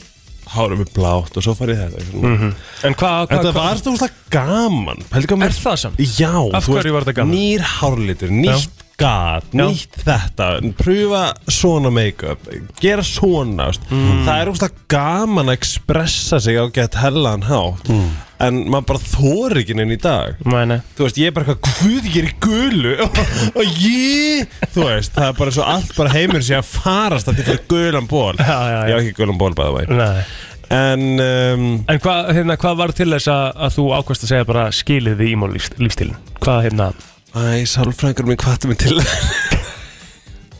Speaker 12: hára með blátt og svo farið þetta mm
Speaker 2: Mhm.
Speaker 12: -hmm.
Speaker 2: En hvað, hvað,
Speaker 12: þetta var þú veist gaman pældi hvað
Speaker 2: Er það samt?
Speaker 12: já,
Speaker 2: Af
Speaker 12: þú
Speaker 2: hverju var þetta gaman?
Speaker 12: nýr hárlitur, nýtt gat
Speaker 2: Já.
Speaker 12: nýtt þetta, pröfa svona make-up, gera svona veist.
Speaker 2: Mm.
Speaker 12: það er úrslag gaman að expressa sig á gett hellan hátt
Speaker 2: Mm.
Speaker 12: en maður bara þóri ekki inn í dag
Speaker 2: Nei, nei
Speaker 12: þú veist, ég er bara eitthvað guð, ég er í gulu <laughs> og ég, þú veist það er bara svo allt bara heimur sé að farast að því fyrir gulan ból
Speaker 2: Já, já, já.
Speaker 12: ég hef ekki gulan ból bæða væg
Speaker 2: Nei
Speaker 12: en um,
Speaker 2: En hvað hérna, hva var til þess að, að þú ákvæmst að segja bara skilið við ímól lífst, lífstílinn? Hvað hérna?
Speaker 12: æ, sálfrængur minn hvað er minn til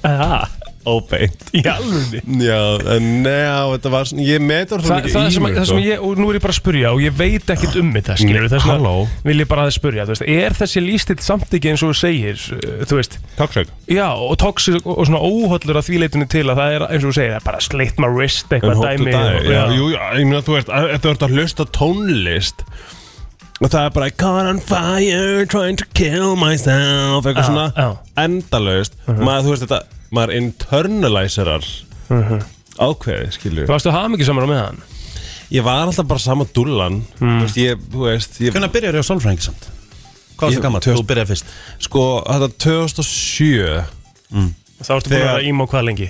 Speaker 2: Ah,
Speaker 12: óbeint
Speaker 2: í alvunni
Speaker 12: Já, en neða, þetta var svona, ég metur
Speaker 2: Þa,
Speaker 12: það mikið
Speaker 2: það,
Speaker 12: í
Speaker 2: sem,
Speaker 12: mig,
Speaker 2: það
Speaker 12: sko.
Speaker 2: sem ég, og nú er ég bara að spurja og ég veit ekkert um þetta skilur við þess vegna
Speaker 12: halló.
Speaker 2: vil ég bara að spurja, þú veist, er þessi lífstíl samt ekki eins og þú segir, uh, þú veist
Speaker 12: Tóksök
Speaker 2: já, og toxic og og svona óhollur að því leitinu til að það er eins og þú segir, það er bara slitt my wrist
Speaker 12: En
Speaker 2: eitthvað
Speaker 12: hóttu
Speaker 2: dæmi og,
Speaker 12: dag, já, jú, já, ég meina þú veist, að- ef þú ert að hlusta tónlist Og það er bara I caught on fire, trying to kill myself Eitthvað
Speaker 2: Já,
Speaker 12: svona
Speaker 2: já. Mhm.
Speaker 12: endalaust Maður, þú veist, þetta, maður internaliserar
Speaker 2: Mhm.
Speaker 12: Ákveðið, skilju
Speaker 2: Þú varstu að hafa mikið saman á með hann
Speaker 12: Ég var alltaf bara sama dullan
Speaker 2: Mhm.
Speaker 12: Þú veist, ég, þú veist, ég
Speaker 1: Hvernig byrjar ég á sálfræðingi samt? Hvað var
Speaker 12: Ég-
Speaker 1: það gaman?
Speaker 12: tvö-
Speaker 1: Þú byrjar fyrst
Speaker 12: Sko, þetta 2007
Speaker 2: Þá varstu búin að
Speaker 12: Þegar-
Speaker 2: vera ímó hvað lengi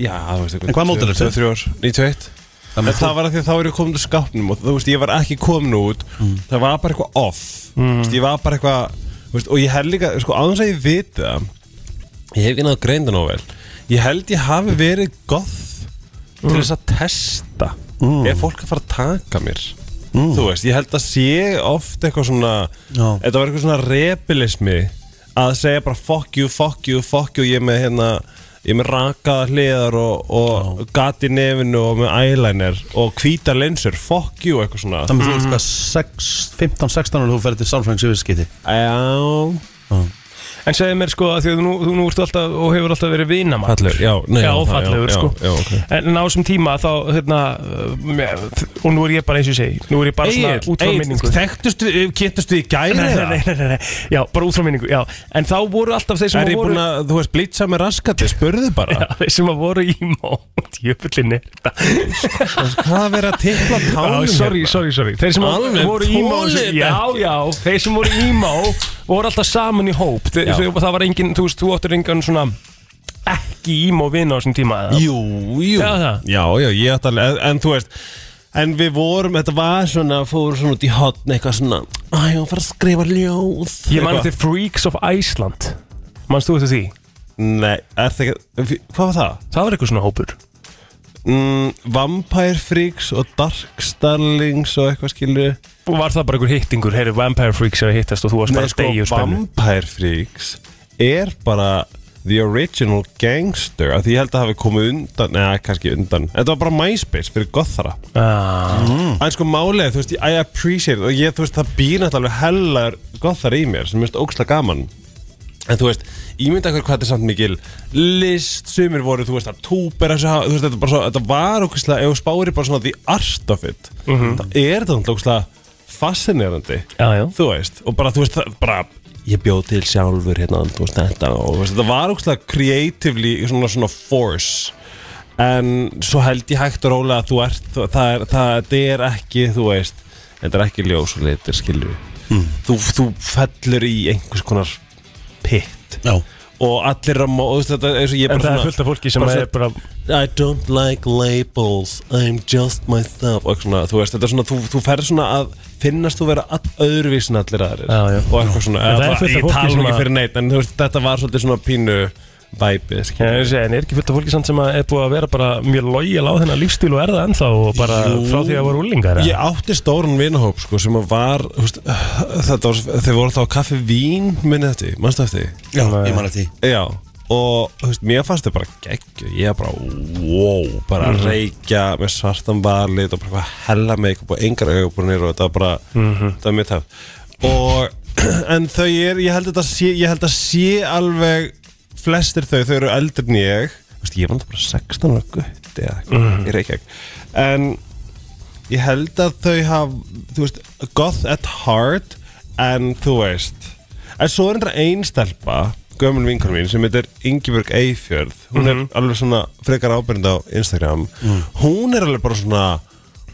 Speaker 12: Já, þú veist
Speaker 1: En hvað módel er þetta?
Speaker 12: 23 ár, 91 En
Speaker 1: Þannig að
Speaker 12: það var að því að þá er ég komin úr skápnum og þú veist, ég var ekki komin út
Speaker 1: Mm.
Speaker 12: það var bara eitthvað off mm. veist, ég var bara eitthvað, þú veist, og ég held líka sko, aðeins að ég viti það ég hef ekki náðu greinda nóg vel ég held ég hafi verið goth til
Speaker 1: Mm.
Speaker 12: þess að testa mm. er fólk að fara að taka mér þú veist, ég held að sé oft eitthvað svona,
Speaker 1: Mm. Já.
Speaker 12: þetta var eitthvað svona rebelismi að segja bara fuck you, fuck you, fuck you ég er með hérna ég er með rakaða hliðar og, og gat í nefinu og með eyeliner og hvítar linsur, fuck you eitthvað svona
Speaker 1: Þannig að þú ert hvað 6, 15, 16 og þú ferði til sálfræðings yfirskipti
Speaker 12: Já,
Speaker 2: En segðu mér sko að því að þú nú, þú nú ert alltaf og hefur alltaf verið vinamann
Speaker 12: fallegur, já, nei,
Speaker 2: Já,
Speaker 12: það-
Speaker 2: fallegur
Speaker 12: já,
Speaker 2: sko
Speaker 12: já, já, okay.
Speaker 2: En á þessum tíma þá, hérna, uh, mér- og nú er ég bara eins og ég segi Nú er ég bara svona út frá minningu
Speaker 12: þekktust við, kynntust við í
Speaker 2: Nei,
Speaker 12: gæri
Speaker 2: nei, nei, nei, nei, nei, já, bara út frá minningu, já En þá voru alltaf þeir sem
Speaker 12: Er ég
Speaker 2: voru
Speaker 12: búin að, þú veist, blitza með raskati, spurðu bara
Speaker 2: Já, <laughs> þeir sem að voru í mót, <laughs> jöfullinni
Speaker 12: Hvað að vera að tipla tánum
Speaker 2: Sorry, sorry, sorry Þeir sem að
Speaker 12: Alveg
Speaker 2: voru í mót
Speaker 12: þolið
Speaker 2: Já,
Speaker 12: ekki.
Speaker 2: já, þeir sem voru í mót voru alltaf saman í hóp Þe-
Speaker 12: Já.
Speaker 2: þau- Það var engin, þú veist, þú áttur engan svona ekki í mót vina á þessum tíma eða?
Speaker 12: Jú, jú
Speaker 2: Já, það.
Speaker 12: já, já, ég ætti alveg en, en þú veist En við vorum, þetta var svona, fórum svona út í hotn eitthvað svona Æ, hún fara að skrifa ljóð
Speaker 2: Ég man eftir Freaks of Iceland Manst þú eftir því?
Speaker 12: Nei, er það ekki, hvað var það?
Speaker 2: Það var eitthvað svona hópur
Speaker 12: mm, Vampire Freaks og Dark Starlings og eitthvað skilur
Speaker 2: Og var það bara einhver hittingur, heyri Vampire Freaks að hittast og þú varst
Speaker 12: Nei,
Speaker 2: bara
Speaker 12: sko,
Speaker 2: degi og spennu
Speaker 12: Vampire Freaks er bara the original gangster af því ég held að hafi komið undan neða, kannski undan, þetta var bara MySpace fyrir gothara
Speaker 2: ah.
Speaker 12: en sko málega, þú veist, I appreciate it og ég, þú veist, það býr náttúrulega hellar gothar í mér sem er óksla gaman en þú veist, ímynda hver hvað þetta er samt mikil list, sumir voru, þú veist, að túper þessu, ha- þú veist, þetta, er bara svo, þetta var óksla ef þú spáir í bara svona the art of it
Speaker 2: Mhm.
Speaker 12: það er þetta náttúrulega óksla fascinerandi
Speaker 2: já, já.
Speaker 12: þú veist, og bara, þú veist, það- bara ég bjóð til sjálfur hérna, þú veist, þetta og þú veist, þetta var ókslega creatively svona, svona force en svo held ég hægt og rólega að þú ert, þú- það er, það, það er ekki þú veist, þetta er ekki ljós og litur skilju, þú, þú fellur í einhvers konar pitt
Speaker 1: já.
Speaker 12: og allir að mó, þú veist, þetta er eins og ég
Speaker 2: En
Speaker 12: bara
Speaker 2: það er
Speaker 12: svona-
Speaker 2: fullt af fólki sem
Speaker 12: svona-
Speaker 2: er bara
Speaker 12: I don't like labels I'm just myself og svona, þú veist, þetta er svona, þú, þú ferð svona að finnast þú vera all, öðruvísin allir aðrir já, já. og eitthvað svona,
Speaker 2: En það er
Speaker 12: eða bara-
Speaker 2: fullt af
Speaker 12: ég
Speaker 2: fólki
Speaker 12: tala
Speaker 2: sem
Speaker 12: nú ekki
Speaker 2: að-
Speaker 12: fyrir neitt en þú veist, þetta var svolítið svona pínu væpið,
Speaker 2: Já,
Speaker 12: skilja
Speaker 2: ég segi, En er ekki fullt af fólki samt sem að er búið að vera bara mjög lojal á þennan lífstíl og er það ennþá og bara frá því að voru úlingar
Speaker 12: Ég átti stóran vinahóp, sko, sem að var þú veist, þetta var, þeir voru alltaf á kaffi vín, minni þetta, mannstu eftir því?
Speaker 1: Já, ég man eftir
Speaker 12: Já, og þú veist, mér fannst þetta bara geggju Ég bara, wow, bara
Speaker 2: Mhm.
Speaker 12: reykja með svartan varlit og bara eitthvað hella make-up og engar augubunir og þetta var bara,
Speaker 2: Mhm.
Speaker 12: þetta var mjög tæft og, <clears throat> en þau er, ég held að þetta sé, ég held að sé alveg flestir þau, þau eru eldur en ég Þú veist, ég var náttúrulega bara 16 ára gutti eða eitthvað,
Speaker 2: Mhm.
Speaker 12: í Reykjavík en ég held að þau haf, þú veist, goth at heart en þú veist en svo er þetta ein stelpa gömul vinkunum mín sem heitir Ingibjörg Eifjörð hún er
Speaker 2: Mhm. Mm.
Speaker 12: alveg svona frekar ábyrnd á Instagram hún er alveg bara svona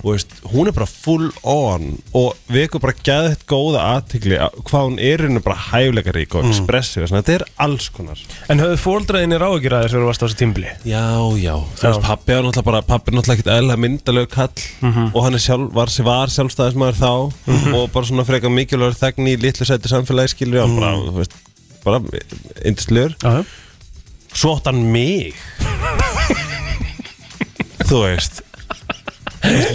Speaker 12: þú veist, hún er bara full on og vekur bara geðið góða aðtikli hvað hún er í rauninni bara hæfleikarík og
Speaker 2: Mm.
Speaker 12: expressiv mm. þetta er alls konar
Speaker 2: En höfðu fóldræðinir áhugir að þessu eru vast á þessu tímbli?
Speaker 12: Já, já Þú veist, pappi er náttúrulega bara, pappi er náttúrulega ekkert eðla myndalög kall
Speaker 2: Mhm.
Speaker 12: og hann er sjálf, var, var sjálfstæðismæður þá og bara svona frekar mikilvægur þegn í litlu sæti samfélagi skilur mm. bara, þú veist, bara indislur Svo átt hann mig Þú veist Þú veist,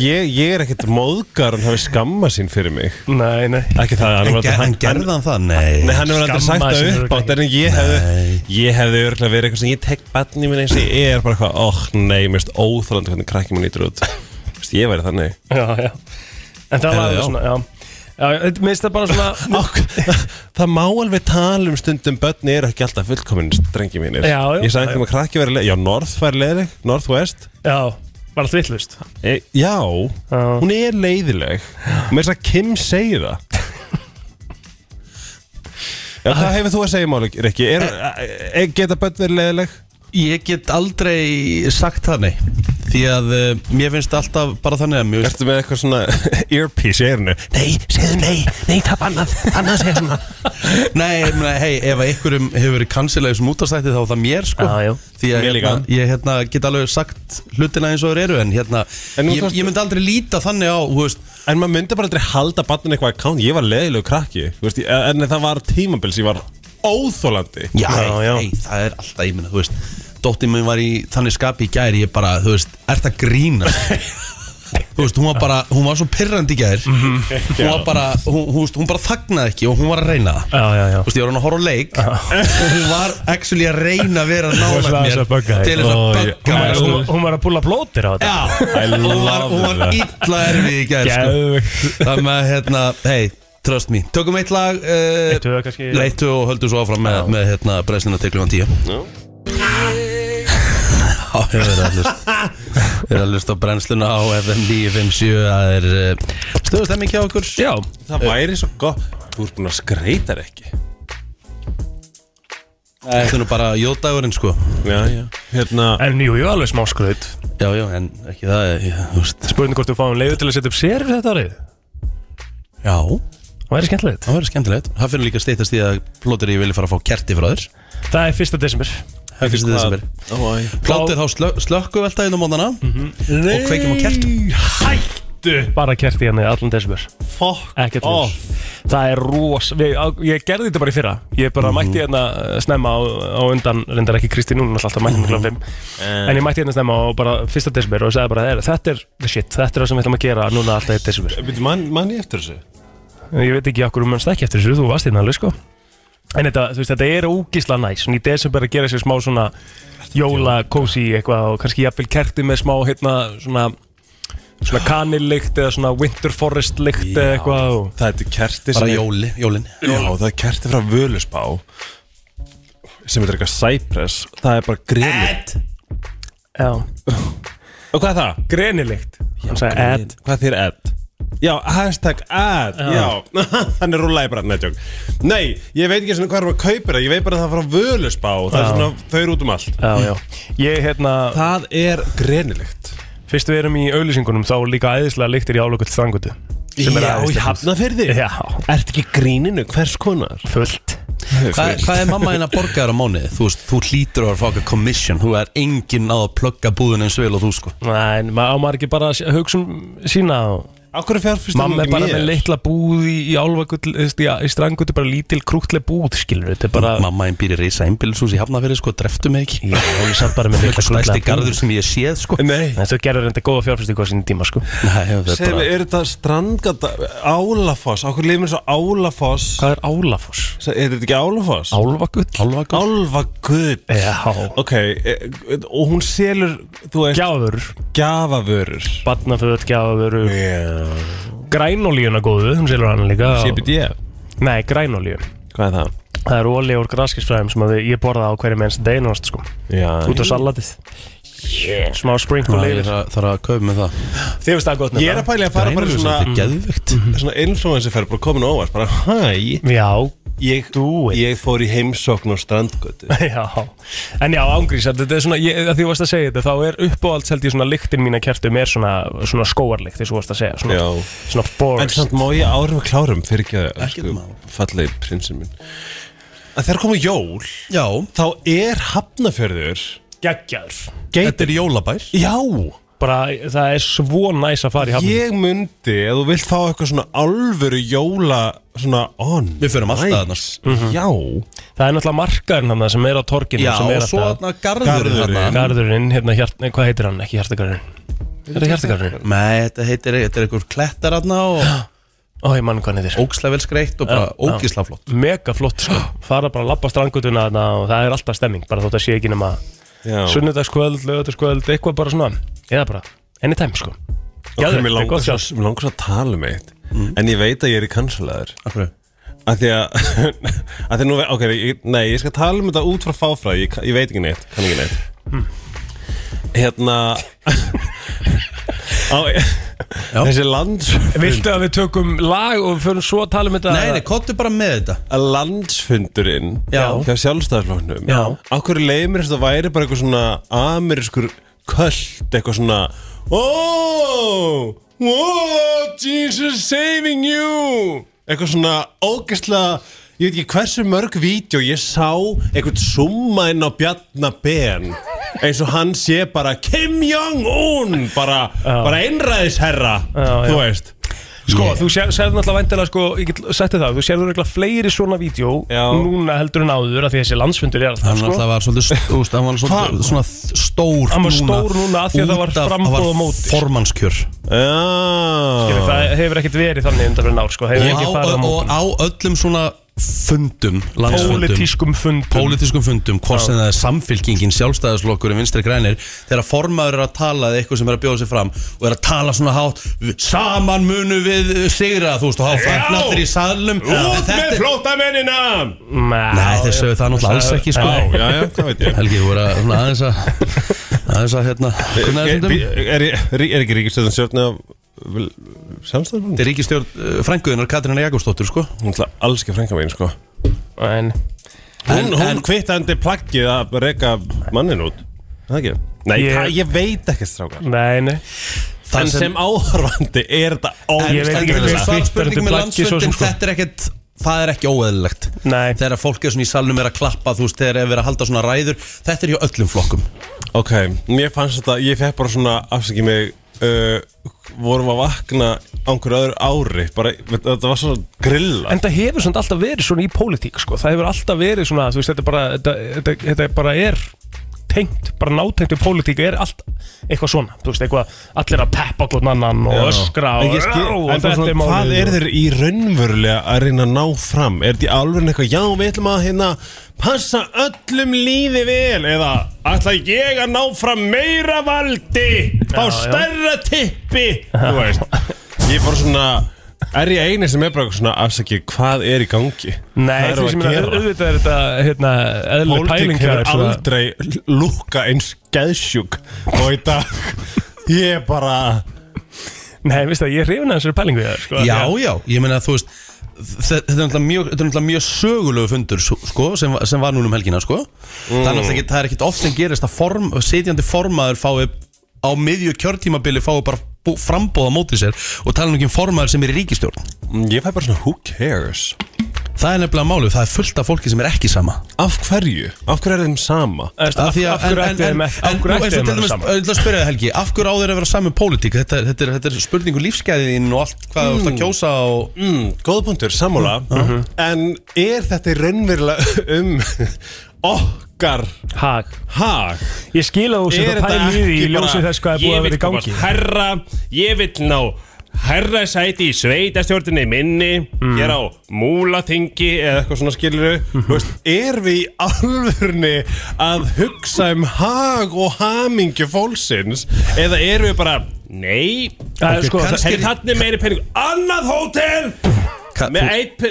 Speaker 12: Ég, ég er ekkert móðgar hann hafi skamma sín fyrir mig
Speaker 2: Nei, nei
Speaker 12: Ekki það, hann
Speaker 1: En
Speaker 12: var
Speaker 1: ger- en gerði hann það? Nei.
Speaker 12: Nei, hann hefur aldrei sagt
Speaker 1: Skammaði
Speaker 12: það
Speaker 1: sín
Speaker 12: upp átt En ég hefði, ég hefði örgulega verið eitthvað sem ég tek batni minn eins og ég er bara eitthvað Óh, nei, mér finnst óþólandi hvernig krakki minn lítur út Þú veist, ég væri þannig
Speaker 2: Já, já En það
Speaker 12: Heyrðu,
Speaker 2: var alveg
Speaker 12: já.
Speaker 2: svona, já Já, þetta- mér finnst það bara svona
Speaker 12: Það má alveg tala um stundum Bönni eru ekki alltaf fullkomin strengi mínir
Speaker 2: Já, já.
Speaker 12: Ég sagði einhverjum að krakki verið leið Já, North væri leiðileg, Northwest
Speaker 2: Já, var allt vittlust
Speaker 12: e, Já, hún er leiðileg Mér finnst að Kim segi það Já, hvað hefur þú að segja máli, Rikki? Er, e, geta börn verið leiðileg?
Speaker 1: Ég get aldrei sagt það nei Því að uh, mér finnst alltaf bara þannig að mér
Speaker 12: Ertu með eitthvað svona <laughs> earpiece í eirinu? Nei, segðu nei, nei, það bannað Annað segja svona
Speaker 1: Nei, ég meina, hei, ef að einhverjum hefur verið kansilega sem útastætti þá er það mér sko
Speaker 2: Já, já.
Speaker 1: Því að
Speaker 2: Mér líka.
Speaker 1: hérna, ég hérna, get alveg sagt hlutina eins og þeir eru en hérna
Speaker 12: nú
Speaker 1: ég,
Speaker 12: þarftu-
Speaker 1: ég myndi aldrei líta þannig á, þú veist
Speaker 12: <laughs> En maður myndi bara aldrei halda bannin eitthvað account Ég var leiðilegu krakki þú veist, ég- En það var tímabils, ég var óþólandi
Speaker 1: Já, Nei, það er alltaf, ég meina, þú veist Dóttir minn var í þannig skapi í gær Ég bara, þú veist, ert að
Speaker 2: <laughs>
Speaker 1: grína Þú veist, hún var bara Hún var svo pirrandi í gær
Speaker 2: Mhm.
Speaker 1: Hún var bara, hún, hún, veist, hún bara þagnaði ekki Og hún var að reyna það
Speaker 2: Já, já, já
Speaker 1: Þú veist, ég var hann að horfa á leik Og hún var actually að reyna að vera
Speaker 2: Hún var
Speaker 1: nálægt
Speaker 2: aðeins
Speaker 1: mér
Speaker 2: að bögga þig.
Speaker 1: Til þess
Speaker 2: Ó,
Speaker 1: að sko.
Speaker 2: ég- hún
Speaker 1: bögga
Speaker 2: var-
Speaker 1: mér,
Speaker 2: hún- Hún var að búla blótir á þetta
Speaker 1: Já, hún var, hún var illa erfið í gær sko. Það með hérna, hei, trust me Tökum eitt lag uh,
Speaker 2: Eitt höga kannski
Speaker 1: Leittu og höldum svo áfram með, með hérna breyslina til klukkan 10 Já ég verið að <laughs> hlusta Við erum að hlusta á brennsluna á FM 957 Það er uh, stöðustemming hjá okkur
Speaker 2: Já
Speaker 12: Það væri svo gott Þú ert búin að skreita ekki
Speaker 1: Þetta er nú bara jódagurinn sko
Speaker 12: Já, já Hérna
Speaker 2: En jú, jú, alveg smá skraut
Speaker 1: Já, já, en ekki það ég, þú veist.
Speaker 2: Spurning hvort þú fáum leiðu til að setja upp sér þetta árið
Speaker 1: Já Það
Speaker 2: væri skemmtilegt
Speaker 1: Það væri skemmtilegt Það fyrir líka að steytast í að plótir ég vilja fara að fá kerti frá þér
Speaker 2: Það er fyrsta desember
Speaker 1: Það er fyrsta desember Plótir þá slökku veltaðinu á mótana Og kveikjum á kertum
Speaker 2: Hæ Bíddu. Bara kerti hérna í allan desember
Speaker 12: Fuck
Speaker 2: Ekkert ljós Það er ros við, á, Ég gerði þetta bara í fyrra Ég bara mætti hérna eh, snemma á, á undan Reyndar ekki Kristi núna náttúrulega alltaf mætti mikla fimm En ég mætti hérna snemma á bara fyrsta desember Og sagði bara "Heyrðu, þetta er the shit Þetta er það sem við ætlum að gera núna alltaf í desember
Speaker 12: Býttu, man, man ég eftir þessu?
Speaker 2: Ég veit ekki okkur um mannst ekki eftir þessu Þú varst hérna alveg sko En þetta, þú veist, þetta er ógísla næs Svona í desember að gera sér smá svona Jóla, kósi eitthvað Og kannski jafnvel kerti með smá hérna Svona, svona kanillikt Eða svona winter forest likt Eða eitthvað og...
Speaker 12: Það er kerti
Speaker 1: Bara jóli, jólin
Speaker 12: Já, það er kerti frá Völusbá sem er eitthvað Cypress það er bara grenið
Speaker 2: Já
Speaker 12: Og hvað er það?
Speaker 2: Grenilikt Hann sagði Ed
Speaker 12: Hvað þýr Ed? Já, hashtag ad,
Speaker 2: Já.
Speaker 12: já, <laughs> þannig rúlaði bara netjók Nei, ég veit ekki svona hvað er að kaupa það, ég veit bara að það er frá völusbá og það er
Speaker 2: Já.
Speaker 12: svona, þau eru út um allt
Speaker 2: Já, já Ég hérna
Speaker 12: Það er grenilegt
Speaker 2: Fyrst við erum í auðlýsingunum Þá er líka æðislega lyktir í álokut strangutu
Speaker 12: Já, í Hafnarfirði?
Speaker 2: Já
Speaker 12: Ert ekki í gríninu, hvers konar?
Speaker 2: Fullt
Speaker 1: Hvað, hvað er mamma hérna að borga þér á mánuði? Þú veist, þú hlýtur að fá eitthvað commission Þú er enginn á að plugga búðun eins vel og þú sko
Speaker 2: Nei, en ma- á maður ekki bara að s- hugsa um sína
Speaker 12: Akkur er fjárfyrstu
Speaker 2: Mamma er bara með litla búð í, í álfagull Þú veist, í, í strangutu bara lítil krútleg búð skilur Þetta er bara
Speaker 1: Mamma einn býr í reysa einbílisús í Hafnafjörði sko, dreftu mig ekki
Speaker 2: Já, hún er samt bara með litla
Speaker 1: Stærsti
Speaker 2: krútlega
Speaker 1: garður sem ég séð sko
Speaker 12: Nei
Speaker 2: Þú gerður reynda góða fjárfyrstingu á sinni tíma sko
Speaker 1: Nei, það er
Speaker 12: Segðu
Speaker 1: bara
Speaker 12: mig, er þetta strandgata, álafoss, okkur lifir eins og álafoss
Speaker 2: Hvað er álafoss?
Speaker 12: Er þetta ekki álafoss?
Speaker 2: Álfagull
Speaker 1: Álfagull
Speaker 12: Álfagull
Speaker 2: Já
Speaker 12: Ok, e- og hún selur, þú veist
Speaker 2: Gjafur
Speaker 12: Gjafavörur
Speaker 2: Batnaföt, gjafur
Speaker 12: yeah.
Speaker 2: Grænolíuna góðu, hún selur hann líka og-
Speaker 12: CBD
Speaker 2: Nei, grænolíu
Speaker 12: Hvað er það?
Speaker 2: Það er olíu úr graskisfræðum sem að við- ég borða á hverjum einst degi náast sko
Speaker 12: Já
Speaker 2: Út á salatið Smá sprinkle
Speaker 1: Ég
Speaker 2: yfir
Speaker 1: þarf að- þarf að kaupa með það
Speaker 2: Þið finnst það gott
Speaker 12: Ég er að pæli að fara bara í
Speaker 1: Grænlösa, þetta er
Speaker 12: svona Mm.
Speaker 1: geðvögt
Speaker 12: Svona influencer fer bara komin á óvart Bara hæ
Speaker 2: Já,
Speaker 12: Ég,
Speaker 2: Do it.
Speaker 12: ég fór í heimsókn á strandgötu
Speaker 2: <laughs> já En já, ángrís, að þetta er svona ég, að Því þú varst að segja þetta, þá er uppáhalds held ég svona lyktin mína kertum er svona, svona skóarlykt Því þú varst að segja, svona,
Speaker 12: Já.
Speaker 2: svona
Speaker 12: En
Speaker 2: forest
Speaker 12: samt má ég árum að klárum Fyrir ekki að
Speaker 1: Ekkert
Speaker 12: sko,
Speaker 1: mál.
Speaker 12: fallegi prinsinn minn Að þegar koma jól
Speaker 1: Já,
Speaker 12: Þá er hafnafjörður
Speaker 2: Geggjaður
Speaker 1: þetta er jólabær
Speaker 12: Já
Speaker 2: Bara, það er svo næs að fara í hafnum
Speaker 12: Ég mundi Ef þú vilt fá eitthvað svona alvöru jóla Svona on
Speaker 1: Við förum alltaf þarna. sko.
Speaker 12: Já
Speaker 2: Það er náttúrulega markaðurinn hann sem er á torginu
Speaker 1: Já,
Speaker 2: sem er
Speaker 1: og svo
Speaker 2: alltaf-
Speaker 1: þarna garður
Speaker 12: Garðurinn.
Speaker 1: þarna
Speaker 2: Garðurinn, hérna, hjart, nei, hvað heitir hann? Ekki hjartagarðurinn Er þetta hjartagarðurinn?
Speaker 1: Nei, þetta heitir, þetta er einhver klettar þarna og
Speaker 2: Ó, ég mann hvað hann heitir
Speaker 1: ógislega vel skreitt og bara
Speaker 2: Já, já.
Speaker 1: ógislega flott
Speaker 2: Mega flott sko Fara bara að labba strangutuna þarna og það er alltaf stemming Bara þótt að sé ekki nema
Speaker 12: Já
Speaker 2: sunnudagskvöld, lögadagskvöld, eitthvað bara svona eða bara anytime sko
Speaker 12: Ok,
Speaker 2: Geðveikt, þetta
Speaker 12: mér
Speaker 2: er
Speaker 12: langar
Speaker 2: gott Mm.
Speaker 12: svo,
Speaker 2: sjálf
Speaker 12: mér langar svo að tala um eitt En ég veit að ég er í kansalaður
Speaker 1: Af hverju?
Speaker 12: Af því að, að <laughs> því að nú, ve- ok, ég, nei, ég skal tala um þetta út frá fáfræði, ég, ka- ég veit ekki neitt, kann ekki neitt.
Speaker 2: Hmm.
Speaker 12: Hérna,
Speaker 2: <laughs>
Speaker 12: <laughs> á, <laughs> þessi landsfundur,
Speaker 2: Viltu að við tökum lag og förum svo að tala um þetta
Speaker 1: Nei, nei, kottu bara með þetta
Speaker 12: landsfundurinn
Speaker 1: Já.
Speaker 12: hjá sjálfstæðarflóknum,
Speaker 2: Já.
Speaker 12: á hverju leiði mér þess að það væri bara eitthvað svona amerískur köld, eitthvað svona, oh, oh, Jesus saving you, eitthvað svona ógeðslega, ég veit ekki hversu mörg vídeo ég sá eitthvað summa inn á Bjarnaben eins og hann sé bara Kim Jong-un, bara, bara einræðisherra,
Speaker 2: Já,
Speaker 12: þú
Speaker 2: já.
Speaker 12: veist.
Speaker 2: Sko, þú sér, sérðu náttúrulega væntilega sko, ég get setti það, þú sérðu náttúrulega fleiri svona vídeo
Speaker 12: Já.
Speaker 2: núna heldur en áður af því að þessi landsfundur er alltaf
Speaker 1: Hann
Speaker 2: sko
Speaker 1: alltaf var svolítið, st- úst, hann var svolítið svona stór
Speaker 2: Hann var stór núna af því að það var
Speaker 1: út af-
Speaker 2: framboð á móti.
Speaker 1: Það var formannskjör
Speaker 12: Já.
Speaker 2: Skilur, Það hefur ekkert verið þannig undanfyrir ár sko, það hefur
Speaker 1: og,
Speaker 2: ekki
Speaker 1: á-
Speaker 2: farið á
Speaker 1: og
Speaker 2: mótum
Speaker 1: á öllum svona fundum, landsfundum
Speaker 2: Pólitískum fundum
Speaker 1: pólitískum fundum, hvort sem það er samfylkingin sjálfstæðaslokkurinn, vinstri grænir þegar formaður er að tala eða eitthvað sem er að bjóða sig fram og er að tala svona hátt saman munu við sigra þú veist og hafa fagnatir í salnum En
Speaker 12: Út með
Speaker 1: þetta-
Speaker 12: flótamennina!
Speaker 1: Nei, þeir sögðu það náttúrulega alls ekki sko
Speaker 12: Já, já, já, hvað veit ég?
Speaker 1: Helgi, þú voru að svona aðeins að aðeins að hérna kunna
Speaker 12: Er,
Speaker 1: þessum
Speaker 12: Eh, er, er, er, er ekki ríkistöðin stjórn af
Speaker 1: Þetta
Speaker 12: samstæðarfloknum?
Speaker 1: er ríkistjórn frænguðunar Katrínar Jakobsdóttir sko
Speaker 12: Hún ætla alls ekki frænka mín, sko.
Speaker 2: En
Speaker 12: Hún, hún kvittandi plaggið að reka mannin út. Er Það ekki? Nei,
Speaker 2: Ég-
Speaker 12: ég, ég veit ekki strákar.
Speaker 2: Nei, nei
Speaker 1: Það
Speaker 12: En sem áhorfandi er þetta
Speaker 2: Ég veit
Speaker 12: ógæðslega.
Speaker 1: En
Speaker 2: ekki hvernig
Speaker 1: þú svarar
Speaker 2: Twitter
Speaker 1: spurningum með
Speaker 2: þetta plaggi svo sem,
Speaker 1: landsfundin
Speaker 2: sko.
Speaker 1: Þetta er ekkert Það er ekki óeðlilegt
Speaker 2: Nei.
Speaker 1: Þegar fólk er svona í salnum er að klappa Þú veist, þegar er verið að halda svona ræður Þetta er hjá öllum flokkum
Speaker 12: Ok, mér fannst þetta, ég fekk bara svona afsakið mig uh, vorum að vakna á einhverju öðru ári bara, þetta var svo grilla
Speaker 2: En það hefur svona alltaf verið svona í pólitík sko. Það hefur alltaf verið svona þú veist, þetta, bara, þetta, þetta, þetta bara er tengt, bara nátengt við pólitík er allt eitthvað svona, þú veist, eitthvað allir að peppa hvern annan og
Speaker 12: Já.
Speaker 2: öskra
Speaker 12: En
Speaker 2: og,
Speaker 12: ég
Speaker 2: og,
Speaker 12: skil- en bara
Speaker 2: þetta
Speaker 12: svona,
Speaker 2: er málið sko.
Speaker 12: Hvað er
Speaker 2: og-
Speaker 12: þeir í raunverulega að reyna að ná fram? Er þetta í alveg eitthvað, já við ætlum að hérna passa öllum líði vel eða ætla ég að ná fram meira valdi á
Speaker 2: Já, já.
Speaker 12: stærra tippi Þú veist, ég er bara svona er ég eini sem er bara svona afsakið hvað er í gangi?
Speaker 2: Nei, því
Speaker 12: Hvað erum við
Speaker 2: sem
Speaker 12: að
Speaker 2: er
Speaker 12: gera?
Speaker 2: auðvitað er þetta hérna, eðlileg
Speaker 12: Pólitík
Speaker 2: pælingar
Speaker 12: hefur aldrei lukka eins geðsjúk og í dag ég er bara
Speaker 2: Nei, veistu það, ég er hrifin að þessari pælingu þér
Speaker 1: Já,
Speaker 2: sko, Því að-
Speaker 1: já, ég meina að þú veist þe- Þetta er náttúrulega mjög, þetta er náttúrulega mjög sögulegu fundur svo- sko, sem, var- sem var núna um helgina sko. það, er náttúrulega ekki, það er ekkit oft sem gerist að form, sitjandi formaður fái á miðju kjörtímabili fái bara bú- framboð á móti sér og tala nú ekki um formaður sem er í ríkistjórn
Speaker 12: Ég fæ bara svona who cares
Speaker 1: Það er nefnilega málið, það er fullt af fólki sem er ekki sama
Speaker 12: Af hverju? Af hverju er þeim sama?
Speaker 1: Af því að- en- en- en- en- nú, eins og til dæmis- ég ætla að spyrja þig Helgi, af hverju á þeir að vera saman pólitík? Þetta, þetta, er- þetta er spurningu lífsgæðin og allt hvað þú ert að kjósa og...
Speaker 12: Mm, góða punktur, sammála En er þetta í raunverulega <laughs> um okkar
Speaker 2: Hag
Speaker 12: Hag
Speaker 2: Ég skil að þú sért að pæla í því í ljósi þess hvað er búið að vera í gangi.
Speaker 12: herra, ég vil ná herra sæti í sveitastjórninni minni Hér á múlathingi eða eitthvað svona skiluru Þú veist, Er við í alvörni að hugsa um hag og hamingju fólksins Eða er við bara, nei
Speaker 2: Það er
Speaker 12: Ok,
Speaker 2: sko-
Speaker 12: kannski-
Speaker 2: Herri,
Speaker 12: Þannig meiri pening Annað hótel Með eitt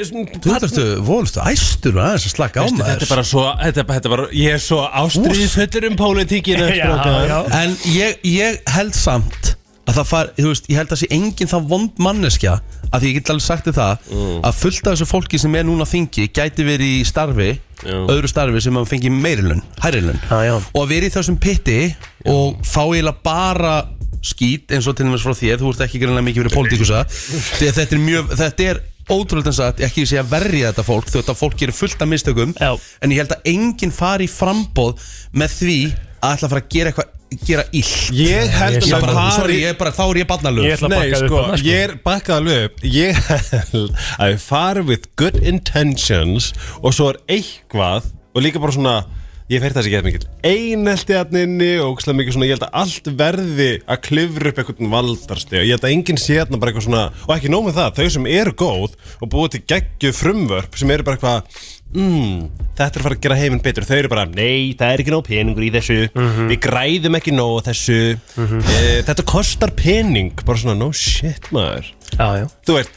Speaker 1: Þú ertu, vonstu, æstur og aðeins að slaka á
Speaker 12: Veistu,
Speaker 1: maður
Speaker 12: þetta er bara svo þetta, er bara- þetta er bara, Ég er svo ástríðfullur um <laughs> pólitíkina strákar.
Speaker 1: En ég, ég held samt að það far, þú veist, ég held að það sé engin það vond manneskja að því ég get alveg sagt þér það að fullt af þessu fólki sem er núna á þingi gæti verið í starfi, öðru starfi sem að fengi meirilun, hærilun já, já. og að vera í þessum pitti og fá eiginlega bara skít eins og til dæmis frá þér, þú ert ekki greinlega mikið fyrir pólitíkusa Því að þetta er mjög, þetta er ótrúlega sagt, ekki sé að verja þetta fólk þú veit að fólk gerir fullt af mistökum já. en ég held að enginn fari í framboð með því að ætla að fara að gera eitthvað gera illt
Speaker 12: Ég held að
Speaker 1: ég bara,
Speaker 12: fari-
Speaker 1: sorry, ég er bara, þá er ég barnalög
Speaker 12: Nei, sko, ég er bakkað alveg upp Ég held að við farum with good intentions og svo er eitthvað og líka bara svona ég fer þessi ekki mikið einelti aðninni og ógeðslega mikið svona ég held að allt verði að klifra upp einhvern valdarsteg ég held að enginn sé þarna bara eitthvað svona og ekki nóg með það, þau sem eru góð og búið til geggju frumvörp sem eru bara eitthvað mm, þetta er að fara að gera heiminn betur þau eru bara, nei, það er ekki nóg peningur í þessu
Speaker 1: Mhm.
Speaker 12: við græðum ekki nóg á þessu eh, þetta kostar pening bara svona, no shit maður
Speaker 2: já, já.
Speaker 12: þú veist,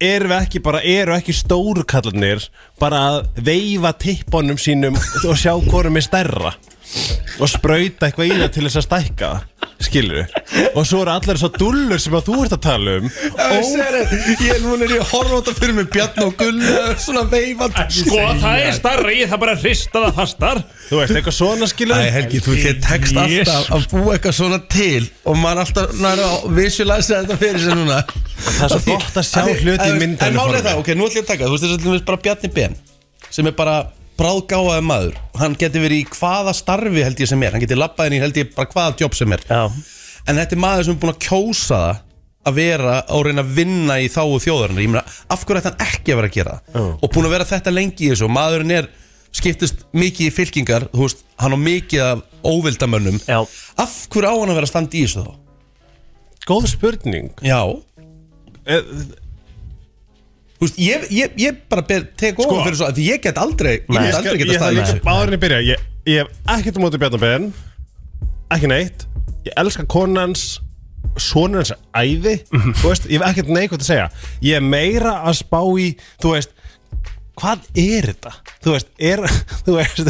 Speaker 12: eru við ekki bara eru ekki stórkallarnir bara að veifa tippunum sínum og sjá hvorum er stærra og sprauta eitthvað í það til þess að stækka það, skilur og svo eru allar þessar dullur sem að þú ert að tala um
Speaker 1: Ég er núna er ég að horfa á þetta fyrir mig Bjarn og Gull svona veifand
Speaker 12: Sko, það er starra, ég það bara hrista það fastar Þú veist, eitthvað svona skilur
Speaker 1: Æ, Helgi, þú þér tekst alltaf að búa eitthvað svona til og maður alltaf næra að visualisa þetta fyrir sér núna Það
Speaker 12: er svo gott að sjá hluti í myndrænu
Speaker 1: En málið er
Speaker 12: formi.
Speaker 1: það, ok, nú ætlum ég að taka það, þú veist þess að til dæmis bara Bjarni Ben sem er bara bráðgáðaði maður hann geti verið í hvaða starfi held ég sem er hann geti labbað inn í held ég bara hvaða jobb sem er
Speaker 2: Já.
Speaker 1: en þetta er maður sem er búin að kjósa það að vera og reyna að vinna í þáu þjóðarinnar ég meina, af hverju ætti hann ekki að vera að gera það og búin að vera þetta lengi í þessu og maðurinn er skiptist mikið í fylkingar þú veist, hann á mikið af óvildamönnum Já. af hverju á hann að vera að standa í þessu þá?
Speaker 12: Góð spurning Eh,
Speaker 1: Já Þú veist, ég, ég, ég bara ber, tek ofan
Speaker 12: Sko.
Speaker 1: fyrir svo því ég get aldrei, ég
Speaker 12: Nei,
Speaker 1: get
Speaker 12: skal-
Speaker 1: aldrei geta staðið
Speaker 12: Ég það
Speaker 1: í
Speaker 12: líka
Speaker 1: þessu
Speaker 12: báðurinn í byrja Ég, ég hef ekkert á móti Bjarnar Ben Ekki neitt Ég elska konans Sonur hans er æði
Speaker 2: Mhm.
Speaker 12: Þú veist, ég hef ekkert neikvæmt að segja Ég er meira að spá í, þú veist Hvað er þetta? Þú veist, er <laughs> þú veist,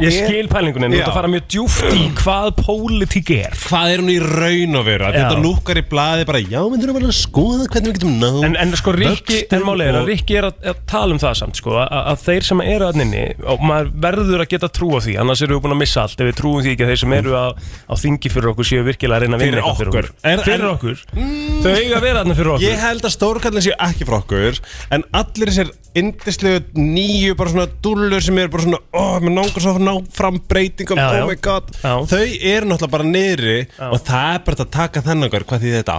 Speaker 2: Ég
Speaker 12: er-
Speaker 2: skil pælingunin, þú ert
Speaker 12: Já.
Speaker 2: að fara mjög djúft í hvað pólitík er
Speaker 12: Hvað er hún í raun og veru? Að
Speaker 2: Já.
Speaker 12: Þetta lúkkar í blaði bara Já, myndur við að skoða hvernig við getum náð
Speaker 2: En, en sko Rikki,
Speaker 12: vöxtum
Speaker 2: en máli er
Speaker 12: og-
Speaker 2: að Rikki er að, að tala um það samt sko, að, að þeir sem eru að nynni og maður verður að geta trúa því annars erum við búin að missa allt ef við trúum því ekki að þeir sem eru að, á þingi fyrir okkur séu virkilega að reyna að vinna
Speaker 12: Fyrir
Speaker 2: eitthvað
Speaker 12: okkur. Er-
Speaker 2: fyrir okkur, fyrir
Speaker 12: en-
Speaker 2: okkur. þau eiga að vera þarna fyrir okkur
Speaker 12: Ég held að stórkallin séu ekki frá okkur En allir þessir indislegu nýju bara svona dúllur sem eru bara svona oh, mér langar svo að ná fram breytingum
Speaker 2: Já,
Speaker 12: oh
Speaker 2: já.
Speaker 12: my god, þau eru náttúrulega bara niðri og það er bara að taka þennan hver, hvað því þetta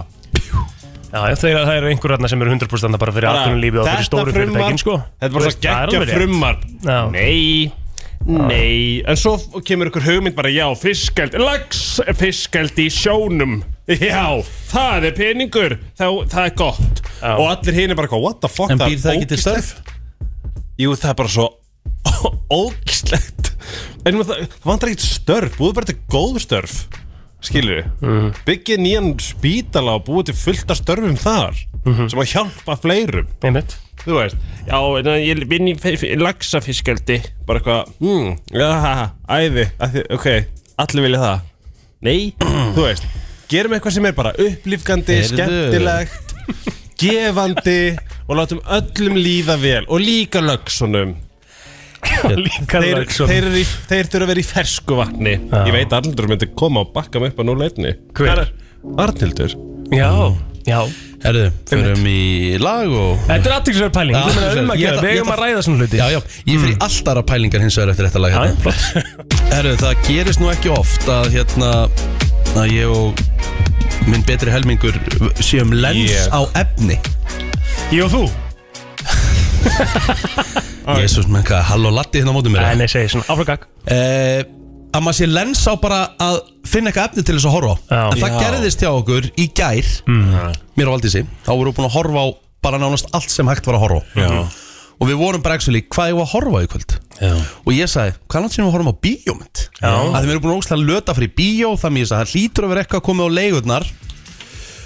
Speaker 2: Já, já, þegar það eru einhverjarna sem eru 100% þarna bara fyrir
Speaker 12: Bara,
Speaker 2: atvinnulífið og fyrir
Speaker 12: þetta
Speaker 2: stóru
Speaker 12: frumvarp-
Speaker 2: fyrirtækin sko.
Speaker 12: þetta er bara
Speaker 2: Þú
Speaker 12: svo
Speaker 2: veist, það er
Speaker 12: geggja
Speaker 2: alveg rétt.
Speaker 12: frumvarp.
Speaker 2: Já.
Speaker 12: nei, nei en svo f- kemur ykkur hugmynd bara já, fiskeld, lags fiskeld í sjónum já, það er peningur þá, það er gott og allir hinn er bara eitthvað, what the fuck
Speaker 1: En býr það ekki til
Speaker 12: ógeðslegt." jú, það er bara svo <laughs> ógislegt en það, það vantar ekkert störf, búið bara til góð störf skilur við byggja nýjan spítala og búið til fullt af störfum þar sem að hjálpa fleirum
Speaker 2: Einmitt. <laughs>
Speaker 12: þú veist, já, en að ég vinn í fe- fe- laxafiskeldi bara eitthvað, mm, aha, æði af því- ok, allir vilja það nei, þú veist gerum eitthvað sem er bara upplýfgandi,
Speaker 1: Heyrðu.
Speaker 12: skemmtilegt gefandi og látum öllum líða vel og líka lögsunum
Speaker 2: Líka
Speaker 12: þeir,
Speaker 2: laxunum.
Speaker 12: þeir, eru í- þeir þurfa að vera í fersku vatni
Speaker 2: Já.
Speaker 12: Ég veit að Arnildur myndi koma og bakka mig upp að núl einni
Speaker 2: Hver?
Speaker 12: Arnildur
Speaker 2: Já, já
Speaker 1: Herðu, förum í lag og
Speaker 2: Þetta er aðtýrsverð pæling, ég meina um að gera, við eigum að ræða svona hluti
Speaker 1: Já, já, ég fyrir mm. allt aðra pælingar hins vegar eftir þetta lag hérna. Herru, það gerist nú ekki oft að hérna að ég og minn betri helmingur séum lens
Speaker 2: Ég.
Speaker 1: á efni
Speaker 2: <laughs> Ég og þú
Speaker 1: Jésús, menn hvað, halló latti hérna á móti mér
Speaker 2: Nei, nei, segi svona, áfragag
Speaker 1: uh, að maður sé lens á bara að finna eitthvað efni til þess að horfa á en það
Speaker 2: Já.
Speaker 1: gerðist hjá okkur í gær mér og Valdísi, þá vorum við búin að horfa á bara nánast allt sem hægt var að horfa á
Speaker 12: Já.
Speaker 1: og við vorum bara actually, hvað ég var að horfa á í kvöld Já. og ég sagði, hvað er langt sem við horfum á bíómynd Já. að þið erum búin að ógstlega löta fyrir bíó þannig að það hlýtur að vera eitthvað að koma á leigurnar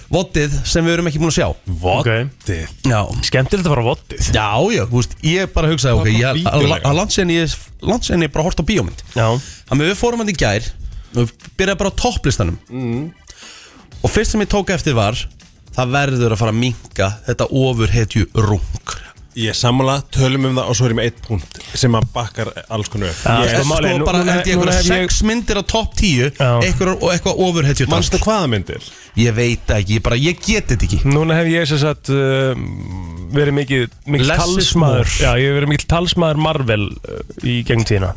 Speaker 1: vottið sem við erum ekki búin að sjá
Speaker 2: Voddið
Speaker 1: Já
Speaker 2: Skemmtilegt að fara á voddið
Speaker 1: Já, já, þú veist, ég bara hugsaði, ok, ég, að, að landsenni ég, landsenni ég bara hort á bíómynd
Speaker 2: Já
Speaker 1: Þannig að við fórum hann í gær Við byrjaði bara á topplistanum Og fyrst sem ég tók eftir var Það verður að fara að minka Þetta ofur hetju rung
Speaker 12: Ég samla, tölum um það og svo er ég með eitt punkt sem að bakkar alls konar upp
Speaker 1: Ég
Speaker 12: Ég-
Speaker 1: er sko bara held ég einhverja sex myndir á topp tíu einhverjar og eitthvað ofur hetju
Speaker 12: Manstu hvaða myndir?
Speaker 1: Ég veit ekki, ég, bara, ég get þetta ekki
Speaker 2: Núna hef ég sem sagt uh, verið mikið, mikið
Speaker 1: Less is
Speaker 2: talsmaður
Speaker 1: more.
Speaker 2: Já, ég hef verið mikið talsmaður Marvel uh, í gegnum tíðina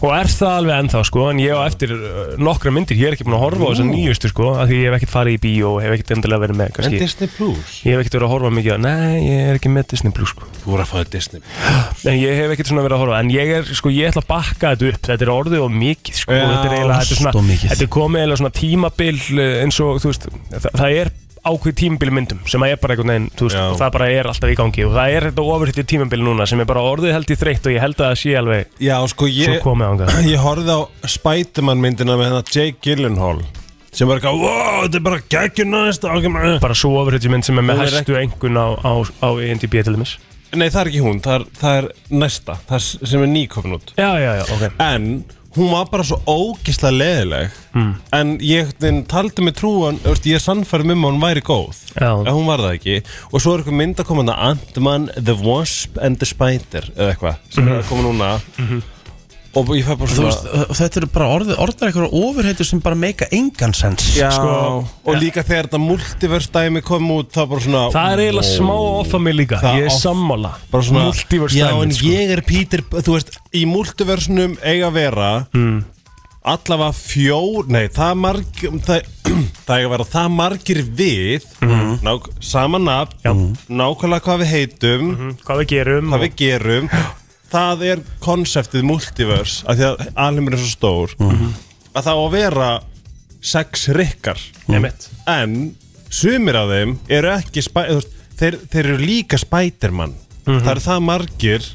Speaker 2: Og er það alveg ennþá sko, en ég á eftir uh, nokkra myndir, ég er ekki búin að horfa á þessar
Speaker 12: Nú.
Speaker 2: nýjustu sko, af því ég hef ekkert farið í bíó og hef ekkert endilega verið með
Speaker 12: En
Speaker 2: kannski
Speaker 12: Disney Plus?
Speaker 2: Ég hef ekkert verið að horfa mikið á, nei, ég er ekki með Disney Plus sko
Speaker 12: Þú voru að fá Disney
Speaker 2: En ég hef ekkert svona verið að horfa En ég er, sko, ég ætla að bakka þetta upp Þetta er orðið og mikið, sko
Speaker 12: Já,
Speaker 2: Þetta er eiginlega, þetta er
Speaker 1: allt of
Speaker 2: svona
Speaker 1: mikið.
Speaker 2: Þetta er komið eiginlega svona tímabil eh, eins og, þú veist Það, það er ákveð tímabil í myndum sem að er bara einhvern veginn, þú veist, og það bara er alltaf í gangi og það er þetta ofurhitt tímabil núna sem er bara orðið held í þreytt og ég held að það sé alveg
Speaker 12: Já, sko,
Speaker 2: Svo
Speaker 12: ég,
Speaker 2: komið ánga
Speaker 12: <clears throat> ég horfði á Spiderman myndina með hennar Jake Gyllenhaal sem bara eitthvað, wow, þetta er bara geggjun aðeins
Speaker 2: Bara svo ofurhitt mynd sem er með
Speaker 12: Hún er
Speaker 2: hæstu engun á, á, á IMDb til dæmis
Speaker 12: Nei, það er ekki hún, það er, það er næsta það er s- sem er nýkomin út
Speaker 2: Já, já, já, ok
Speaker 12: En hún var bara svo ógislega leðileg
Speaker 2: Mm.
Speaker 12: En ég þinn, taldi mig trúan þú veist, Ég er sannfærum um að hún væri góð
Speaker 2: Já.
Speaker 12: En hún var það ekki Og svo er eitthvað mynd að koma hana Ant-Man, The Wasp and the Spider Eða eitthvað Sem
Speaker 2: Mhm.
Speaker 12: er að koma núna Og ég fæ bara
Speaker 1: Þú
Speaker 12: svona
Speaker 1: veist, uh, þetta eru bara orðið Orðnar einhverjar ofur hetju sem bara meika engan sens
Speaker 12: Já, og líka þegar þetta multiverse dæmi kom út Það bara svona
Speaker 2: Það er eiginlega smá offa mig líka,
Speaker 12: Það
Speaker 2: ég er
Speaker 12: off-
Speaker 2: sammála
Speaker 12: bara svona
Speaker 2: Multiverse
Speaker 12: já
Speaker 2: dæmið,
Speaker 12: en
Speaker 2: sko.
Speaker 12: ég er Peter þú veist í multiversnum eiga að vera
Speaker 2: Hmm.
Speaker 12: allavega fjór nei það marg það, <clears throat> það eiga að vera það margir við
Speaker 2: Hmm.
Speaker 12: nák, sama nafn nákvæmlega hvað við heitum
Speaker 2: Hvað við gerum
Speaker 12: hvað við gerum það er konseptið multiverse af því að alheimur er svo stór
Speaker 2: Hmm.
Speaker 12: að það á að vera sex rikkar
Speaker 2: Einmitt.
Speaker 12: en sumir af þeim eru ekki spæ- þú veist, þeir, þeir eru líka Spiderman það eru það margir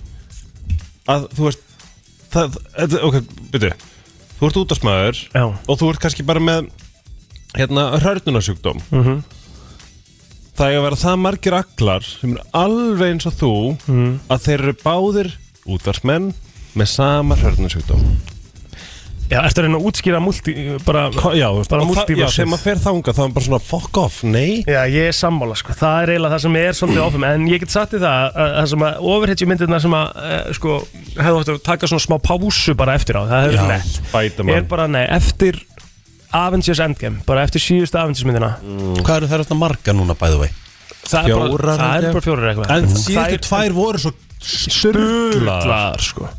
Speaker 12: að þú veist það, það, ok, byrju þú ert útasmaður
Speaker 2: Já.
Speaker 12: og þú ert kannski bara með hérna hörnunarsjúkdóm
Speaker 2: Mhm.
Speaker 12: það er að vera það margir aglar sem eru alveg eins og þú
Speaker 2: Mhm.
Speaker 12: að þeir eru báðir útvarsmenn með sama hörnunarsjúkdóm
Speaker 2: Já, eftir að reyna að útskýra multi, bara,
Speaker 12: já,
Speaker 2: bara
Speaker 12: og það- já,
Speaker 2: multiversið
Speaker 12: þegar maður fer þangað þá er bara svona fuck off, nei
Speaker 2: Já, ég er sammála, sko, það er eiginlega það sem er <clears throat> svolítið áfram, en ég get sagt í það að það sem að overhættjum myndirna sem að e, sko, hefðu átt að taka svona smá pásu bara eftir á, það hefur nett
Speaker 12: Spiderman.
Speaker 2: er bara, nei, eftir Avengers Endgame, bara eftir síðustu Avengers myndina
Speaker 1: Hvað eru þær orðnar margar núna, by the way?
Speaker 2: það er bara,
Speaker 12: Fjórar,
Speaker 2: það
Speaker 12: held ég.
Speaker 2: er bara fjórar eitthvað
Speaker 12: En
Speaker 2: Það
Speaker 12: síðustu
Speaker 2: er-
Speaker 12: tvær voru svo
Speaker 2: sturglaðar sko.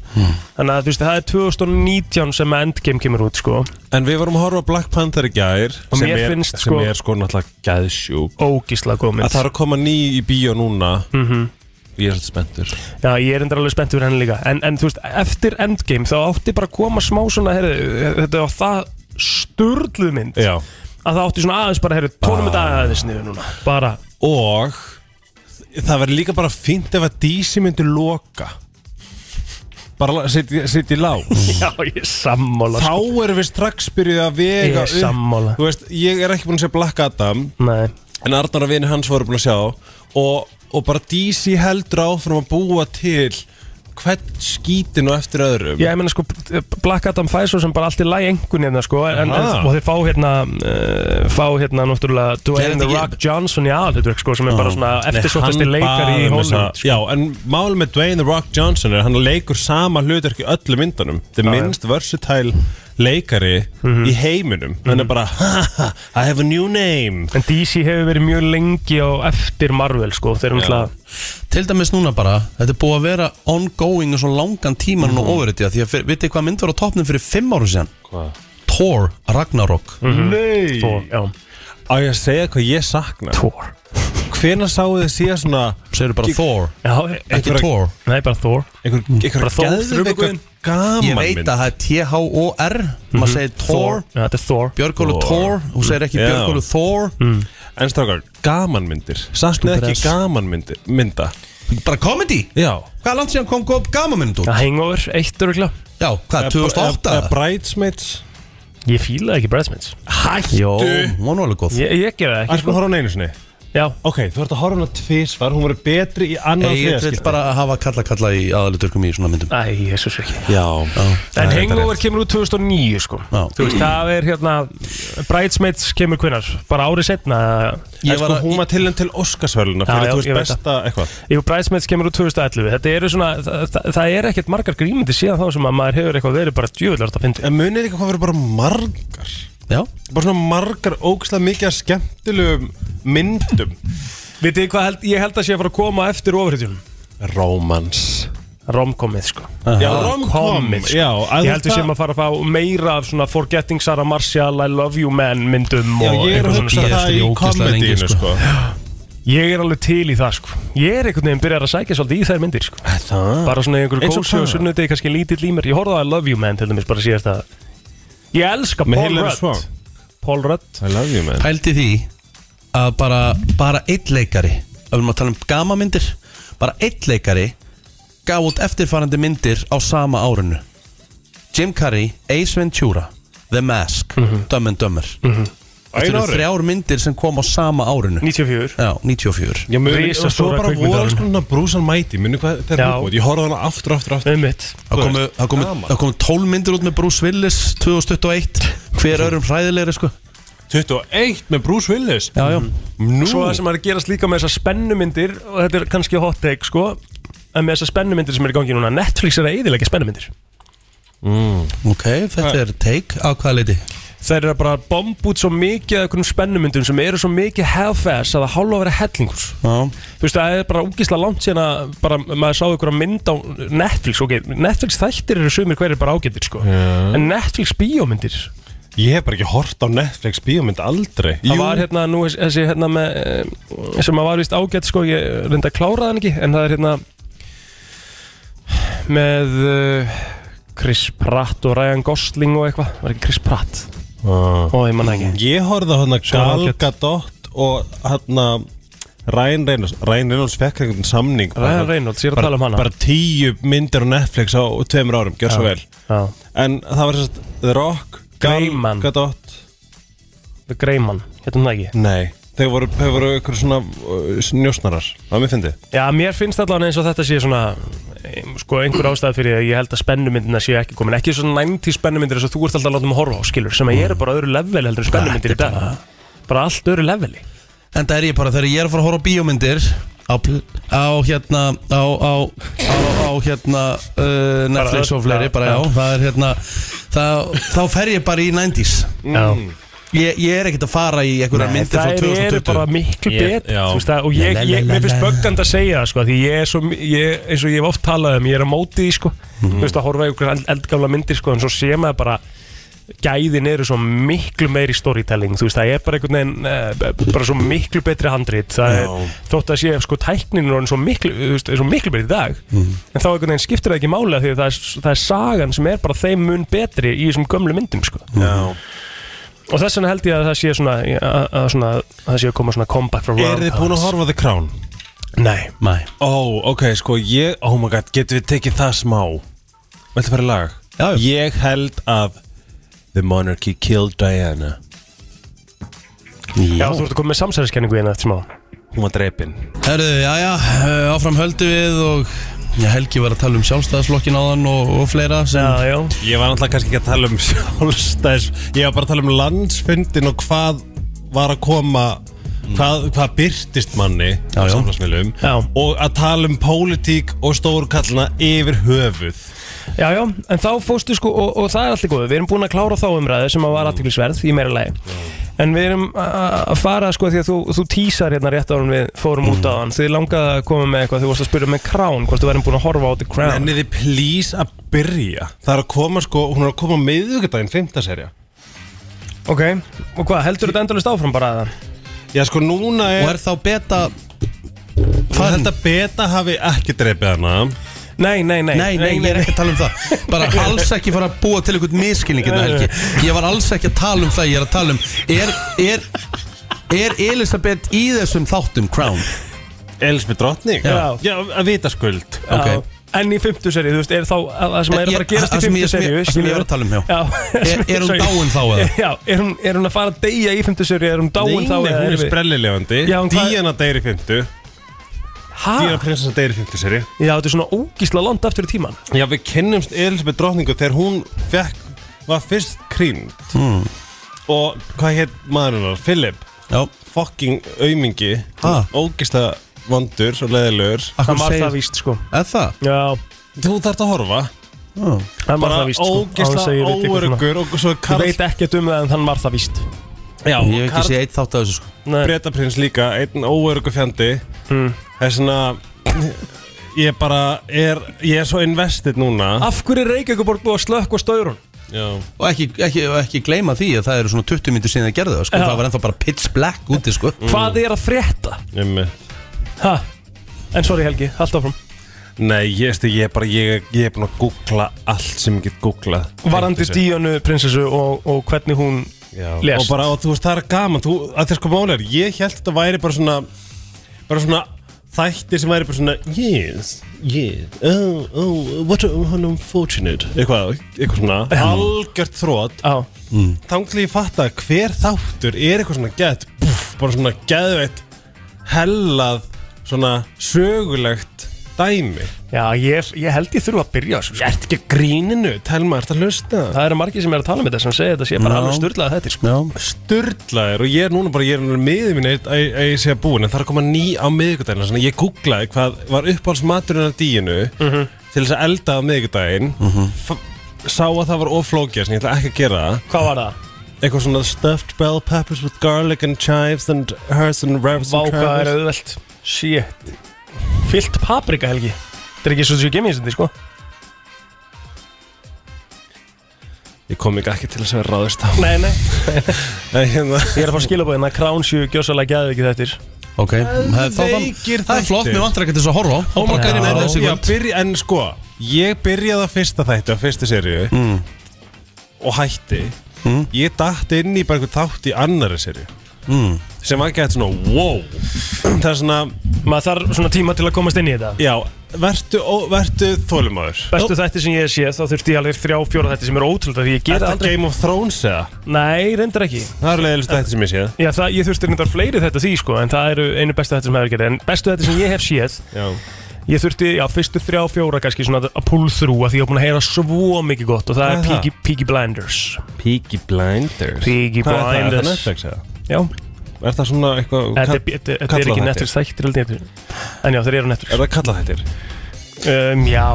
Speaker 2: þannig að þú veist það er 2019 sem Endgame kemur út sko.
Speaker 12: En við vorum að horfa á Black Panther í gær
Speaker 2: Og
Speaker 12: sem
Speaker 2: mér
Speaker 12: er,
Speaker 2: finnst,
Speaker 12: sem
Speaker 2: sko,
Speaker 12: er sko náttúrulega gæðsjúk
Speaker 2: Ógísla góð mynd.
Speaker 12: Að það er að koma ný í bíó núna
Speaker 2: Mhm.
Speaker 12: Ég er svolítið spenntur
Speaker 2: Já, ég er endur alveg spennt fyrir henni líka en, en þú veist, eftir Endgame þá átti bara að koma smá svona heyrðu, þetta var það sturgluð mynd
Speaker 12: Já.
Speaker 2: að það átti svona aðeins bara heyrðu, tónum þetta aðeins niður núna bara
Speaker 12: Og það verður líka bara fínt ef að DC myndi loka Bara sitt í lá
Speaker 2: Já, ég er sammála
Speaker 12: Mm.
Speaker 2: sko.
Speaker 12: Þá erum við strax byrjuð að vega
Speaker 2: Ég er sammála.
Speaker 12: Þú veist, ég er ekki búin að segja Black Adam
Speaker 2: Nei.
Speaker 12: En Arnar og vinir hans voru búin að sjá og, og bara DC heldur áfram að búa til hvern skítin og eftir öðrum
Speaker 2: Já, ég meina sko, Black Adam fæði svo sem bara allt í læg engun hérna sko en, en,
Speaker 12: Aha.
Speaker 2: og þeir fá hérna uh, fá hérna náttúrulega Dwayne
Speaker 12: þetta
Speaker 2: The
Speaker 12: ekki-
Speaker 2: Rock Johnson í aðalhutverk sko sem er bara svona
Speaker 12: Nei,
Speaker 2: eftirsóttasti
Speaker 12: hann
Speaker 2: leikari í
Speaker 12: bað um þessa-
Speaker 2: Hollywood sko.
Speaker 12: Já, en mál með Dwayne The Rock Johnson er að hann leikur sama hlutarki öllu myndunum
Speaker 2: Já,
Speaker 12: Þetta
Speaker 2: Mhm.
Speaker 12: er
Speaker 2: já.
Speaker 12: minnst versatile leikari í heiminum Hann
Speaker 2: Mhm.
Speaker 12: er bara, ha ha, I have a new name
Speaker 2: En DC hefur verið mjög lengi á eftir Marvel sko þeir eru náttúrulega
Speaker 1: Til dæmis núna bara, þetta er búið að vera ongoing og svo langan tíman mm -hmm. og ofurðið því að fyr- vitið hvað mynd var á toppnum fyrir fimm ára síðan?
Speaker 12: Hvað? Mm.
Speaker 1: Thor Ragnarok
Speaker 2: Mhm.
Speaker 12: Nei
Speaker 2: Thor, já
Speaker 12: Á ég að segja hvað ég sakna
Speaker 2: Thor
Speaker 12: Hvena sáu þið síðan svona
Speaker 1: Segðu bara Thor
Speaker 2: Já, e-
Speaker 1: Ekki Thor Mm.
Speaker 2: Nei, bara Thor
Speaker 12: Einhver, einhver
Speaker 2: Bara Thor, þrumuguðinn.
Speaker 12: geðveika gaman
Speaker 1: Ég veit að það er T-H-O-R Maður segir Thor
Speaker 2: Já, þetta er Thor
Speaker 1: Björgólu Thor, hún segir ekki
Speaker 12: Já.
Speaker 1: Björgólu Thor
Speaker 12: En strákar, gamanmyndir Samt
Speaker 1: Stúpid
Speaker 12: með
Speaker 1: ass.
Speaker 12: ekki gamanmyndir Mynda
Speaker 1: Bara komedi?
Speaker 12: Já
Speaker 1: Hvað er langt síðan kom góð gamanmynd út?
Speaker 2: Já, Hangover, eitt öruglega
Speaker 1: Já, hvað, 2008?
Speaker 12: Eh, eh, Bridesmaids
Speaker 2: Ég fílaði ekki Bridesmaids
Speaker 12: Hættu
Speaker 1: Jó, hún var alveg góð
Speaker 2: Ég, ég gera það ekki sko.
Speaker 12: Ættu búin að horfa á hann einu sinni
Speaker 2: Já
Speaker 12: Ok, þú ert að horfa á hana tvísvar Hún verður betri í annan
Speaker 1: Ég vil bara hafa kalla-kalla í aðaluturkum í svona myndum
Speaker 2: Æ, jésus ekki
Speaker 12: Já
Speaker 2: En Hangover kemur úr 2009 sko
Speaker 1: Já.
Speaker 2: Þú veist, það er hérna Bridesmaids kemur hvenar, bara árið setna
Speaker 12: Ég var að sko, Hún var tilhengt til
Speaker 2: Já,
Speaker 12: Óskarsvörluna
Speaker 2: já,
Speaker 12: Fyrir þú
Speaker 2: ég
Speaker 12: veist
Speaker 2: veit
Speaker 12: besta eitthvað
Speaker 2: Jú, Bridesmaids kemur úr 2011 Þetta eru svona, það, það, það er ekkert margar grímyndi síðan þá sem að maður hefur eitthvað verið bara djöfulega að fyndi
Speaker 12: En munið ekki hvað verður bara margar
Speaker 1: Já
Speaker 12: Bara svona margar ógislega mikið af skemmtilegum myndum
Speaker 2: Vitið þið hvað held, ég held að sé að fara að koma eftir ofriðjum
Speaker 12: Rómans
Speaker 2: Romkomið sko
Speaker 12: Já, rom-com
Speaker 2: Komið, sko.
Speaker 12: Já, að
Speaker 2: Ég
Speaker 12: þú
Speaker 2: heldur
Speaker 12: það-
Speaker 2: sem að fara að fá meira af svona Forgetting Sarah Marshall, I Love You Man myndum
Speaker 12: Já,
Speaker 2: og
Speaker 12: ég er
Speaker 2: eitthvað
Speaker 12: að
Speaker 2: svona
Speaker 12: hugsa um
Speaker 2: stuff.
Speaker 12: það í
Speaker 1: ógeðslega lengi,
Speaker 12: komedínu
Speaker 1: sko.
Speaker 12: sko.
Speaker 2: Ég er alveg til í það sko Ég er einhvern veginn byrjar að sækja svolítið í þær myndir sko
Speaker 12: Það
Speaker 2: Bara svona einhver
Speaker 12: Eins og
Speaker 2: kósi og
Speaker 12: hvað?
Speaker 2: sunnudegi kannski lítill í mér Ég horfði á I Love You Man til dæmis bara síðast að Ég elska
Speaker 12: Með
Speaker 2: Paul
Speaker 12: Hilary
Speaker 2: Rudd
Speaker 12: Swank.
Speaker 2: Paul Rudd
Speaker 12: I love you man
Speaker 1: Pældi því að bara, bara eitt leikari ef við maður að tala um gamamyndir bara eitt leikari gaf út eftirfarandi myndir á sama árinu Jim Carrey, Ace Ventura The Mask, Dumb and Dumber Þetta eru
Speaker 12: ári?
Speaker 1: þrjár myndir sem kom á sama árinu
Speaker 2: 94
Speaker 1: Já, 94
Speaker 12: Já, muni, og svo
Speaker 2: Risastóra
Speaker 12: bara voru alls
Speaker 2: kvikmyndaverðlaun.
Speaker 12: konar brúsan mæti Muni hvað þetta er
Speaker 2: Já.
Speaker 12: hlugbúið Ég horfði á hana aftur og aftur og aftur
Speaker 2: Um mitt
Speaker 1: Það komu, það komu,
Speaker 12: Gaman.
Speaker 1: það komu tól myndir út með Bruce Willis 2021 <laughs> Hver öðrum hræðilegri sko
Speaker 12: 21 með Bruce Willis
Speaker 1: Já, já
Speaker 12: Nú
Speaker 2: Svo það sem er að gerast líka með þessar spennumyndir Og þetta er kannski hot take sko En með þessar spennumyndir sem er í gangi núna Netflix er að eðilega spennumyndir
Speaker 1: Ok, þetta er take á hvaða leiti
Speaker 2: Þær eru að bara bomba út svo mikið af einhvern spennumyndum sem eru svo mikið half-ass að það hálfa að vera hellingur
Speaker 1: Já
Speaker 2: Þú veist, það er bara ógísla langt síðan að bara, maður sá ykkur að mynd á Netflix ok, Netflix þættir eru sumir hverjir bara ágættir sko, en Netflix bíómyndir það
Speaker 12: Ég hef bara ekki hort á Netflix bíómynd aldrei Jú,
Speaker 2: var hérna nú þessi- þessi hérna með eh, sem að var vist ágætt sko, ég reynda að klára þann ekki, en það er hérna með uh, Chris Pratt og Ryan Gosling og eitthvað, var ekki Chris Pratt og ég manna ekki
Speaker 12: Ah. Ég horfði á hana
Speaker 2: var
Speaker 12: Gal
Speaker 2: ágætt.
Speaker 12: Gadot og hana Ryan Reynolds Ryan Reynolds fekk einhvern samning bara-
Speaker 2: Ryan Reynolds, ég er að
Speaker 12: bara,
Speaker 2: tala um hana
Speaker 12: bara tíu myndir á Netflix á tveimur árum, gjör svo vel
Speaker 2: Já.
Speaker 12: En það var sérst The Rock, Gal
Speaker 2: Greyman.
Speaker 12: Gadot
Speaker 2: The Greyman, hérna það ekki
Speaker 12: Nei, þeir voru, þeir voru ykkur svona uh, njósnarar, það mér fyndi
Speaker 2: Já, mér finnst allavega eins og þetta sé svona eh, sko einhver ástæð fyrir að ég held að spennumyndina séu ekki komin, ekki svona 90 spennumyndir þess að þú ert alltaf að láta mig horfa á skilur sem að ég er bara á öðru level heldur en spennumyndir í dag bara allt öðru leveli
Speaker 1: En það er ég bara þegar ég er að fara að horfa á bíómyndir á, pl- á hérna á, á, á, á hérna uh, Netflix
Speaker 2: öll-
Speaker 1: og fleiri
Speaker 2: já,
Speaker 1: bara já,
Speaker 2: já.
Speaker 1: það er hérna það, þá fer ég bara í 90s
Speaker 2: mm.
Speaker 1: Ég, ég er ekkert að fara í einhverjar
Speaker 2: Nei,
Speaker 1: myndir frá
Speaker 2: þær
Speaker 1: 2020
Speaker 2: eru bara miklu betur
Speaker 1: Já.
Speaker 2: þú veist það, og ég,
Speaker 1: La, la,
Speaker 2: ég,
Speaker 1: la,
Speaker 2: mér finnst
Speaker 1: la.
Speaker 2: böggand að segja það, sko, því ég er svo, mi- ég, eins og ég hef oft talað um, ég er á móti því sko, þú veist að horfa í einhverja eld- eldgamla myndir sko, en svo sé maður bara gæðin eru svo miklu meiri storytelling, þú veist það er bara einhvern veginn eh, b- bara svo miklu betri handrit það er, þótt að sé sko tæknin er orðin svo miklu, þú veist, er svo miklu betri í dag en þá einhvern veginn skiptir það ekki máli af því að það er, það er sagan sem er bara þeim mun betri í þessum gömlu myndum sko.
Speaker 12: Já
Speaker 2: Og þess vegna held ég að það sé svona, að, að svona að það sé að koma svona comeback frá
Speaker 12: Er þið búin að horfa á The Crown?
Speaker 2: Nei
Speaker 1: Nei
Speaker 12: Ó, ok, sko, ég, oh my god, getum við tekið það smá Viltu fara í lag? Já, já Ég held að The Monarchy Killed Diana
Speaker 2: Já, þú ert að koma með samsæðiskenningu hérna eftir smá
Speaker 12: Hún var dreipin
Speaker 1: Herðu, já, já, eh, áfram höldu við og já, Helgi var að tala um sjálfstæðslokkin áðan og, og fleira sem...
Speaker 2: Já, já
Speaker 12: Ég var náttúrulega kannski ekki að tala um <laughs> sjálfstæðis Ég var bara að tala um landsfundin og hvað var að koma hvað, hvað byrtist manni á
Speaker 1: já.
Speaker 12: samfélagsmiðlum og að tala um pólitík og stórkallna yfir höfuð
Speaker 2: Já, já, en þá fóstu sko, og, og það er alltaf góð Við erum búin að klára þá umræðu sem að var aðtiklisverð í meira lagi En við erum a- a- að fara sko því að þú, þú tísar hérna rétt árum við fórum út á hann Þið langaði að koma með eitthvað, þú varst að spyrja um með Crown Hvort þú værum búin að horfa á The Crown
Speaker 12: Nenniði please að byrja Það er að koma sko, hún er að koma miðugdæðin 5. serja
Speaker 2: Ok, og hvað, heldur þetta endalist áfram bara að það?
Speaker 12: Já sko núna er
Speaker 1: Og er þá beta
Speaker 12: Hvað þetta beta hafi ekki dreipið hana
Speaker 2: Nei, nei, nei
Speaker 1: Nei, nei, ég er ekki að tala um það Bara alls ekki fara að búa til einhvern miskilning hérna, Helgi Ég var alls ekki að tala um það, ég er að tala um Er, er, er Elisabeth í þessum þáttum Crown?
Speaker 12: Elisabeth drottning?
Speaker 1: Já.
Speaker 12: Já, að vita skuld
Speaker 1: Ok.
Speaker 2: En í fymtu seri, þú veist, er þá að- það sem er að fara að gerast
Speaker 1: Það
Speaker 2: í
Speaker 1: sem
Speaker 2: fymtu
Speaker 1: ég-
Speaker 2: seri
Speaker 1: það sem ég var að tala um, já. Er- er hún dáin þá, eða?
Speaker 2: <laughs> Já, er hún, er hún að fara að deyja í fymtu seri, er hún dáin
Speaker 12: Nei,
Speaker 2: þá
Speaker 12: nei,
Speaker 2: eða
Speaker 12: hún er
Speaker 2: við-
Speaker 12: sprellilefandi
Speaker 2: Já, hún hvað-
Speaker 12: Díana deyri 50
Speaker 2: Ha?
Speaker 12: Díana prinsessa deyri 50 seri
Speaker 2: Já, þetta er svona ógísla langt aftur í tíman
Speaker 12: Já, við kynnumst Elisabeth drottningu þegar hún fekk, var fyrst krýnd
Speaker 1: mm.
Speaker 12: og hvað hétt maðurinn var? Philip
Speaker 1: Já.
Speaker 12: Fucking aumingi
Speaker 1: Ha?
Speaker 12: Ógista vondur og leðilegur
Speaker 1: Af hverju Hann var segir- það
Speaker 2: víst sko
Speaker 1: Er það?
Speaker 2: Já
Speaker 12: Þú þarft að horfa
Speaker 1: oh.
Speaker 2: Hann var
Speaker 12: Bara
Speaker 2: það víst sko.
Speaker 12: ógeðslega
Speaker 2: Hann segir þetta eitthvað svona.
Speaker 12: óöruggur og svo Karl-
Speaker 2: Ég veit ekkert um það en hann var það víst
Speaker 12: Já,
Speaker 1: Ég hef ekki
Speaker 12: Karl-
Speaker 1: séð eitt þátt af þessu sko
Speaker 12: Bretaprins líka, einn óörugu fjandi
Speaker 2: mm.
Speaker 12: Það er svona Ég bara er Ég er svo investið núna
Speaker 2: Af hverju er Reykjavíkuborg búið að slökk og staurun?
Speaker 12: Já.
Speaker 1: Og ekki, ekki, og ekki gleyma því að það eru svona 20 myndir síðan það gerðu það sko
Speaker 2: Já.
Speaker 1: Það var ennþá bara pitch black úti sko
Speaker 12: Mm.
Speaker 2: Hvað er að frétta?
Speaker 12: Emme.
Speaker 2: Ha? En sorry Helgi, haldt áfram
Speaker 12: Nei, ég, veistu, ég er bara Ég, ég er búin að googla allt sem ég get googlað
Speaker 2: Varandi Díönu prinsessu og, og hvernig hún
Speaker 12: Já.
Speaker 2: lest
Speaker 12: og bara, og þú veist, það er gaman þú, að þér sko máli er, ég held þetta væri bara svona bara svona þættir sem væri bara svona yes, yes, oh, oh what an unfortunate eitthvað, eitthvað svona, algjört þrótt
Speaker 2: mm.
Speaker 12: þanglið ég fatta að hver þáttur er eitthvað svona gett, pff, bara svona geðveitt hellað svona sögulegt dæmi
Speaker 2: Já, ég, ég held ég þurfa að byrja þessu sko. Ég ert ekki að gríninu, telma, ert að hlusta Það eru margir sem er að tala um þetta sem segja þetta sé bara
Speaker 12: Já.
Speaker 2: alveg styrlað þetta sko.
Speaker 12: Sturlaður og ég er núna bara, ég er núna miðið mín að að- að ég sé að búin en það er að koma ný á miðvikudaginn þannig að ég googlaði hvað var uppáhaldsmaturinn af díinu
Speaker 2: Mhm.
Speaker 12: til þess að elda á miðvikudaginn sá að það var oflókja sem ég ætla ekki að gera það
Speaker 2: Hvað var það?
Speaker 12: Eitthvað svona stuffed bell peppers with garlic and chives and herbs and revs and
Speaker 2: Váka er
Speaker 12: curves
Speaker 2: auðvelt Shit Fyllt paprika helgi Þetta er ekki svo þessu gemið þetta sko
Speaker 12: Ég kom ekki ekki til þess að vera ráðist á
Speaker 2: Nei, nei
Speaker 12: Nei, hérna
Speaker 2: Ég er að fá skilabóðin að Crown 7 gjössalega gæði ekki þettir
Speaker 1: Ok, það, það,
Speaker 12: Veikir
Speaker 1: það er flott,
Speaker 12: þættir.
Speaker 1: mér vantar ekkert þess að horfa á. Þá bara gæri með þessi
Speaker 12: Oh Já,
Speaker 1: kvöld
Speaker 12: byrja, en sko Ég byrjaði að fyrsta þættu á fyrstu seríu
Speaker 2: Mm.
Speaker 12: Og hætti Ég datt inn í bara einhvern þátt í annari seríu
Speaker 1: mm.
Speaker 12: Sem var gett svona, wow <sniffs> Það er svona
Speaker 2: Maður þarf svona tíma til að komast inn í þetta
Speaker 12: Já, vertu, ó, vertu þólumadur
Speaker 2: Bestu þætti sem ég sé, þá þurfti ég alveg þrjá, fjóra þætti sem er ótrúlega því ég
Speaker 12: Er
Speaker 2: gera
Speaker 12: það Game of Thrones eða?
Speaker 2: Nei, reyndar ekki
Speaker 12: Það er leiðilegt þætti sem ég séð
Speaker 2: Já, það, ég þurfti reyndar fleiri þetta því sko En það eru einu bestu þetta sem hefur gerði En bestu þetta sem ég hef séð
Speaker 12: Já.
Speaker 2: Ég þurfti, já, fyrstu þrjá, fjóra kannski svona að pull through að Því ég hef búin að heyra svo mikið gott Og það
Speaker 12: Hvað er
Speaker 2: er
Speaker 12: það?
Speaker 2: Peaky, Peaky Blinders
Speaker 12: Peaky Blinders
Speaker 2: Peaky
Speaker 12: Hvað er það? Er það
Speaker 2: Blinders.
Speaker 12: Netflix eða?
Speaker 2: Já
Speaker 12: Er það svona eitthvað
Speaker 2: Þetta er- þetta- þetta er
Speaker 12: kallað
Speaker 2: ekki
Speaker 12: þættir?
Speaker 2: Netflix þættir held ég. En já, þeir eru Netflix
Speaker 12: Er það kallað þættir?
Speaker 2: Um, já,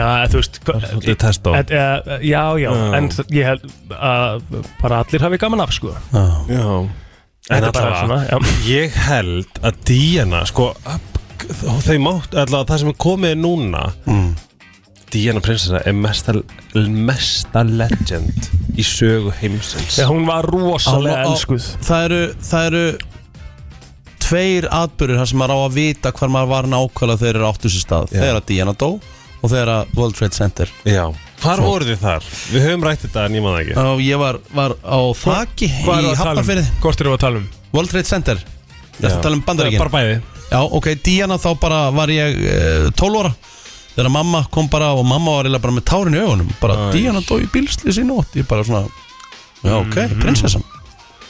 Speaker 2: já, þú veist Þetta
Speaker 12: er test á.
Speaker 2: Já, já,
Speaker 12: Já.
Speaker 2: en þ- ég held að bara allir hafi gaman af sko
Speaker 12: Já
Speaker 2: Þetta
Speaker 12: En
Speaker 2: er bara
Speaker 12: allavega, ég held að Díana sko, að- þau mátt allavega það sem er komið er núna
Speaker 1: Mm.
Speaker 12: Díana prinsessa er mesta, mesta legend í sögu heimsins
Speaker 2: Já, hún var
Speaker 1: Á-
Speaker 2: rosalega
Speaker 1: á-
Speaker 2: elskuð
Speaker 1: Það eru, það eru tveir atbyrður þar sem maður á að vita hvar maður var nákvæmlega þegar þeir eru áttu sér stað þegar að Diana dó og þegar að World Trade Center
Speaker 12: Já, Hvar voru þið þar? Við höfum rætt þetta en ég maður ekki
Speaker 1: Já, ég var, var á þaki
Speaker 12: hvað erum
Speaker 1: í
Speaker 12: við að tala um?
Speaker 1: Hafnarfirði
Speaker 2: Hvort erum við að tala um?
Speaker 1: World Trade Center Það er
Speaker 12: Já.
Speaker 1: að tala um bandaríkin
Speaker 12: Bara bæði
Speaker 1: Já, ok, Díana þá bara var ég eh, 12 ára Þegar mamma kom bara og mamma var eiginlega bara með tárin í augunum Bara
Speaker 12: Æ.
Speaker 1: Díana dó í bílslis í nótt Ég bara svona, já ok, prinsessan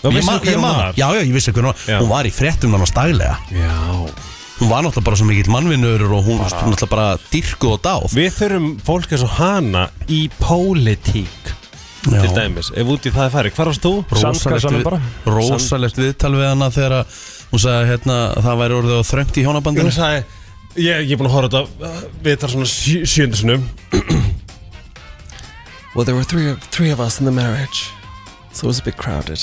Speaker 12: Já,
Speaker 1: Ég
Speaker 12: vissirðu
Speaker 1: man-
Speaker 12: Mhm. hver
Speaker 1: ég
Speaker 12: hún
Speaker 1: man-
Speaker 12: var?
Speaker 1: Já, já, ég vissi hvernig hún var Hún var í fréttum hann á staglega
Speaker 12: Já
Speaker 1: Hún var náttúrulega bara svo mikill mannvinnur og hún var náttúrulega bara dyrkuð og dáð
Speaker 12: Við þurfum fólk eins og hana í pólitík
Speaker 1: Já.
Speaker 12: Til dæmis, ef út í það er farið Hvar varst þú?
Speaker 1: Rosalegt við- Rosalegt viðtal við hana þegar að hún sagði hérna að það væri orðið og þröngt í hjónabandinu
Speaker 12: Ég sagði, ég, ég er búin að horfa á þetta uh, Við þar svona sjö- sjöndu sinum
Speaker 13: Well, there were three of, three of us in the marriage, so it was a bit crowded.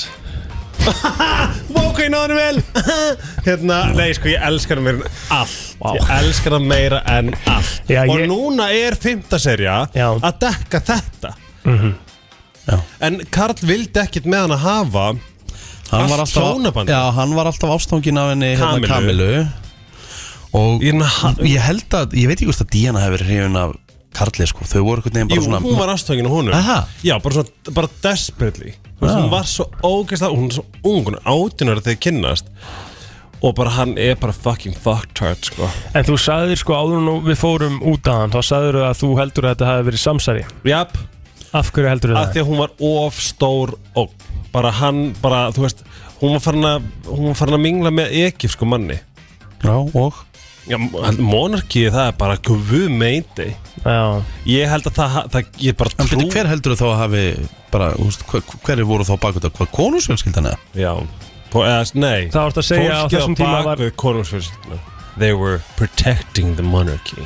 Speaker 12: Vóka, ég náði henni
Speaker 1: <laughs>
Speaker 12: vel Hérna, nei sko, ég elskar hann meira en allt Ég elskar hann meira en allt
Speaker 2: Já,
Speaker 12: Og
Speaker 2: ég-
Speaker 12: núna er fymta serja Að dekka þetta
Speaker 1: Mhm.
Speaker 12: En Karl vildi ekkit með hann að hafa
Speaker 1: hann var
Speaker 12: Allt
Speaker 1: alltaf,
Speaker 12: hjónabandi
Speaker 1: já, hann var alltaf ástangin af henni
Speaker 12: Kamilu.
Speaker 1: Kamilu, hérna, Kamilu. og ég, held að ég veit ekki hvort að Díana hefur hrifin af Karli sko, þau voru einhvern veginn
Speaker 12: Jú,
Speaker 1: bara svona
Speaker 12: hún var ástofangin á honum
Speaker 1: Aha.
Speaker 12: Já, bara svona, bara desperately Þú veist,
Speaker 1: Já.
Speaker 12: Hún var svo ógeðst að, hún er svo ung Hún er átunar þegar kynnast Og bara hann er bara fucking fucktard sko.
Speaker 2: En þú sagðir sko áður nú við fórum út að hann Þá sagðir að þú heldur að þetta hafi verið samsæri
Speaker 12: Jáp
Speaker 2: Af hverju heldur
Speaker 12: Af
Speaker 2: það?
Speaker 12: því að hún var of stór og bara hann, bara, þú veist Hún var farin að, hún var farin að mingla með ekifsku manni
Speaker 1: Já, og?
Speaker 12: Já, monarkið það er bara gufu meiti
Speaker 2: Já
Speaker 12: Ég held að það, það ég bara
Speaker 1: en betur hver heldur þú þá að hafi bara, þú veist, hver, hverju voru þá bakut að hvað konusfjölskyldan eða?
Speaker 12: Já, Pó, eða, nei
Speaker 2: Það varst að segja á þessum tíma var-
Speaker 12: Fólkið á bakvið konungsfjölskylduna They were protecting the monarchy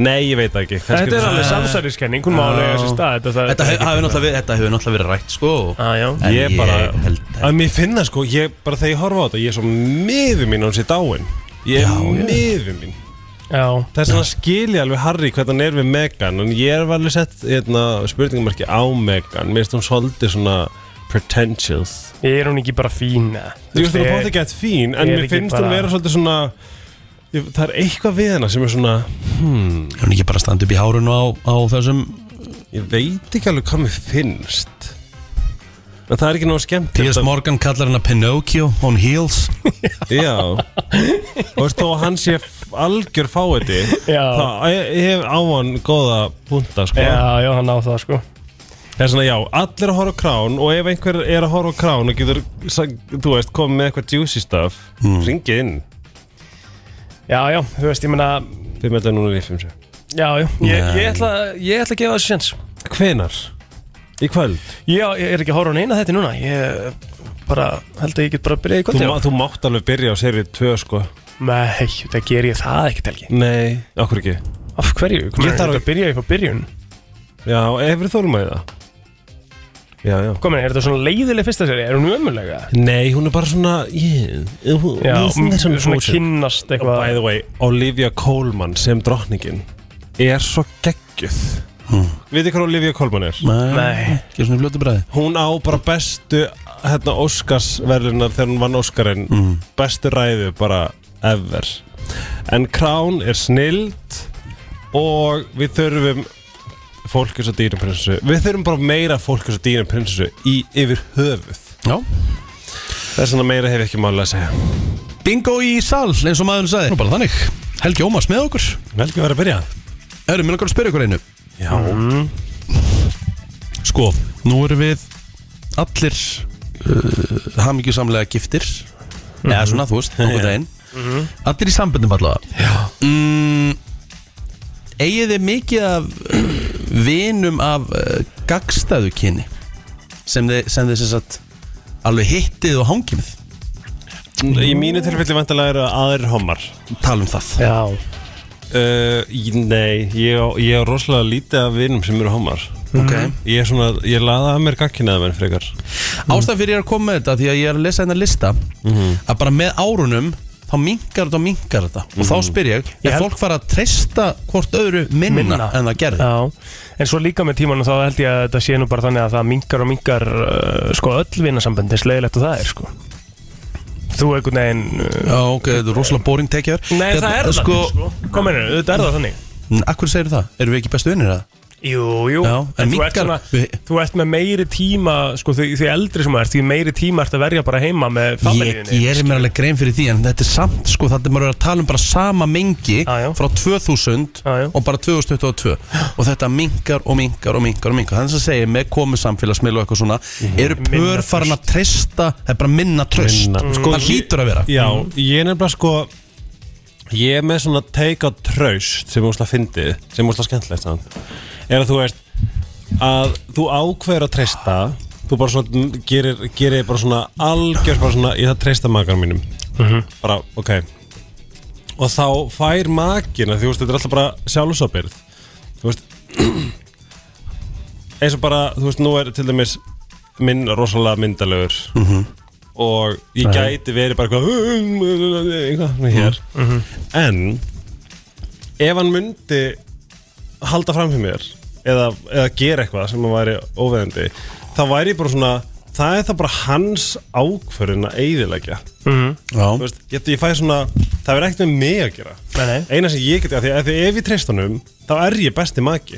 Speaker 12: Nei, ég veit það ekki kannski
Speaker 2: Þetta er alveg samsæriskenning, hún má alveg eiga sér stað, þetta- það-
Speaker 1: Þetta hefur náttúrulega verið- þetta hefur náttúrulega verið rætt sko og-
Speaker 2: en
Speaker 12: Ég bara,
Speaker 1: held-
Speaker 12: að mér finna sko ég, Bara þegar ég horfa á þetta, ég er svo miður mín á hans í dáin Ég er miður mín
Speaker 2: Já
Speaker 12: Það er svona skilja alveg Harry hvernig hann er við Megan En ég er alveg sett hérna, spurningamarki á Megan Mér finnst hún svolítið svona pretentious
Speaker 2: Ég er hún ekki bara fín eða?
Speaker 12: Þú veist, hún er bóðið gett fín En
Speaker 2: Ég er
Speaker 12: mér
Speaker 2: ekki
Speaker 12: finnst hún
Speaker 2: bara-
Speaker 12: vera svolítið svona ég, Það er eitthvað við hana sem er svona hmm,
Speaker 1: Er hún ekki bara að standa upp í hárunu á, á þessum
Speaker 12: Ég veit ekki alveg hvað mér finnst En það er ekki náðu skemmt
Speaker 1: Piers Morgan kallar hana Pinocchio on heels
Speaker 12: Já Og veist þó að hann sé algjör fáiði
Speaker 2: Já.
Speaker 12: Það ég- ég hef á hann góða punta sko
Speaker 2: Já, já, hann á það sko
Speaker 12: Það er svona já, allir að horfa á krán og ef einhver er að horfa á krán og getur, sag- þú veist, komið með eitthvað juicy stuff, mm. ringið inn
Speaker 2: Já, já, þú veist, ég meina
Speaker 12: 511 núna í 5
Speaker 2: Já, já, ég,
Speaker 12: Nei.
Speaker 2: ég, ætla, ég ætla að gefa þessu sens
Speaker 12: Hvenar? Í kvöld?
Speaker 2: Já, ég er ekki að horfa á neina þetta núna Ég bara held að ég get bara að byrja í
Speaker 12: Þú,
Speaker 2: kvöldi
Speaker 12: má, þú mátt alveg byrja á serið 2 sko
Speaker 2: Nei, það ger ég það ekkert helgi
Speaker 12: Nei, okkur ekki
Speaker 2: Af hverju? Hvað
Speaker 12: Ég
Speaker 2: meinar,
Speaker 12: þarf
Speaker 2: þetta byrja upp á byrjun
Speaker 12: Já, ef við þólum að það Já, já
Speaker 2: Hvað meina, er þetta svona leiðileg fyrsta seri? Er hún umulega?
Speaker 12: Nei, hún er bara svona yeah, hún-
Speaker 2: Já,
Speaker 12: hún er
Speaker 2: svona kynnast eitthvað.
Speaker 12: By the way, Olivia Colman sem drottningin er svo geggjuð
Speaker 1: Hmm.
Speaker 12: Vitið hvað Olivia Colman er?
Speaker 1: Nei, ekki svona fljótu bræði
Speaker 12: Hún á bara bestu hérna, Óskarsverðunar þegar hún vann Óskarinn
Speaker 1: Mm.
Speaker 12: bestu ræðu bara ever en Crown er snild og við þurfum fólkis og dýrumprinsessu við þurfum bara meira fólkis og dýrumprinsessu í yfir höfuð
Speaker 1: Já.
Speaker 12: þess vegna meira hef ég ekki máli að segja
Speaker 1: Bingo í sal, eins og maður sagði Nú bara þannig, Helgi Ómas með okkur
Speaker 12: Helgi var að byrja
Speaker 1: Erum við langar að spyrja ykkur einu
Speaker 12: Já mm.
Speaker 1: Sko, nú erum við allir uh, hamingjusamlega giftir Eða svona, þú veist, <laughs> nokkuð einn
Speaker 2: Mhm.
Speaker 1: Allir í samböndum allavega Já mm, Eigið þið mikið af uh, vinum af uh, gagstæðu kyni sem þið, sem þið sem sagt alveg hittið og hangið með
Speaker 12: í mínu tilfelli vantilega eru aðrir homar
Speaker 1: tala um það
Speaker 2: Já
Speaker 12: Uh, ég- nei, ég á, ég á rosalega lítið af vinum sem eru homar
Speaker 1: Ok.
Speaker 12: Ég er svona, ég laða að mér gagkinaði menn frekar
Speaker 2: Mm.
Speaker 1: Ástæðan fyrir ég er að koma með þetta Því að ég er að lesa hennar lista
Speaker 2: Mhm.
Speaker 1: Að bara með árunum Þá minkar þetta og minkar þetta Og þá
Speaker 2: Mhm.
Speaker 1: spyr ég
Speaker 2: Ég
Speaker 1: Er
Speaker 2: held-
Speaker 1: fólk fara að treysta hvort öðru minna, en það gerði
Speaker 2: Já, en svo líka með tímanum þá held ég að þetta sé nú bara þannig að það mingar og mingar uh, sko öll vinasambönd, eins leiðilegt og það er sko Þú einhvern veginn uh,
Speaker 1: Já, ok, þetta er rosalega boring Hérna, tekjör
Speaker 2: Nei, það er sko, það sko. Kominu, þetta er það þannig
Speaker 1: Akkur segir það? Erum við ekki bestu vinnir það?
Speaker 2: Jú, jú
Speaker 1: Já, en
Speaker 2: en þú ert,
Speaker 1: minnkar-
Speaker 2: svona, þú ert með meiri tíma sko, því, því eldri sem þú ert, því meiri tíma ert að verja bara heima með
Speaker 1: Ég
Speaker 2: familíunni
Speaker 1: gerir mér alveg grein fyrir því En þetta er samt, sko, þetta er maður að tala um bara sama mengi Frá 2000 og bara 2022 Og þetta minkar og minkar og minkar og minkar Þannig að segja með komu samfélagsmiðl og eitthvað svona Eru
Speaker 12: Mhm. Minna
Speaker 1: pör farin að treysta Það er bara minna tröst Það hlýtur að vera
Speaker 12: Já, ég er nefnilega sko Ég er með svona take á tröst sem úsla fyndið, sem úsla skemmtilegt samt, er að þú veist að þú ákveður að treysta þú bara svona mm, gerir, gerir bara svona algjör bara svona, ég það treysta makan mínum
Speaker 2: Mhm.
Speaker 12: bara, ok og þá fær makina því þú veist, þetta er alltaf bara sjálfsopirð þú veist <clears throat> eins og bara, þú veist, nú er til dæmis minn rosalega myndalegur
Speaker 1: Mhm.
Speaker 12: og ég
Speaker 1: Já.
Speaker 12: gæti verið bara eitthvað eitthvað svona hér
Speaker 1: Mhm.
Speaker 12: en ef hann myndi halda fram fyrir mér eða, eða gera eitthvað sem hann væri óveðandi þá væri ég bara svona það er það bara hans ákvörðin að eyðilegja
Speaker 2: Mhm.
Speaker 1: Já.
Speaker 12: Þú veist, ég, ég fæ svona, það er ekkert með mig að gera
Speaker 2: Nei, nei.
Speaker 12: eina sem ég geti, af því að því ef ég treyst honum þá er ég besti maki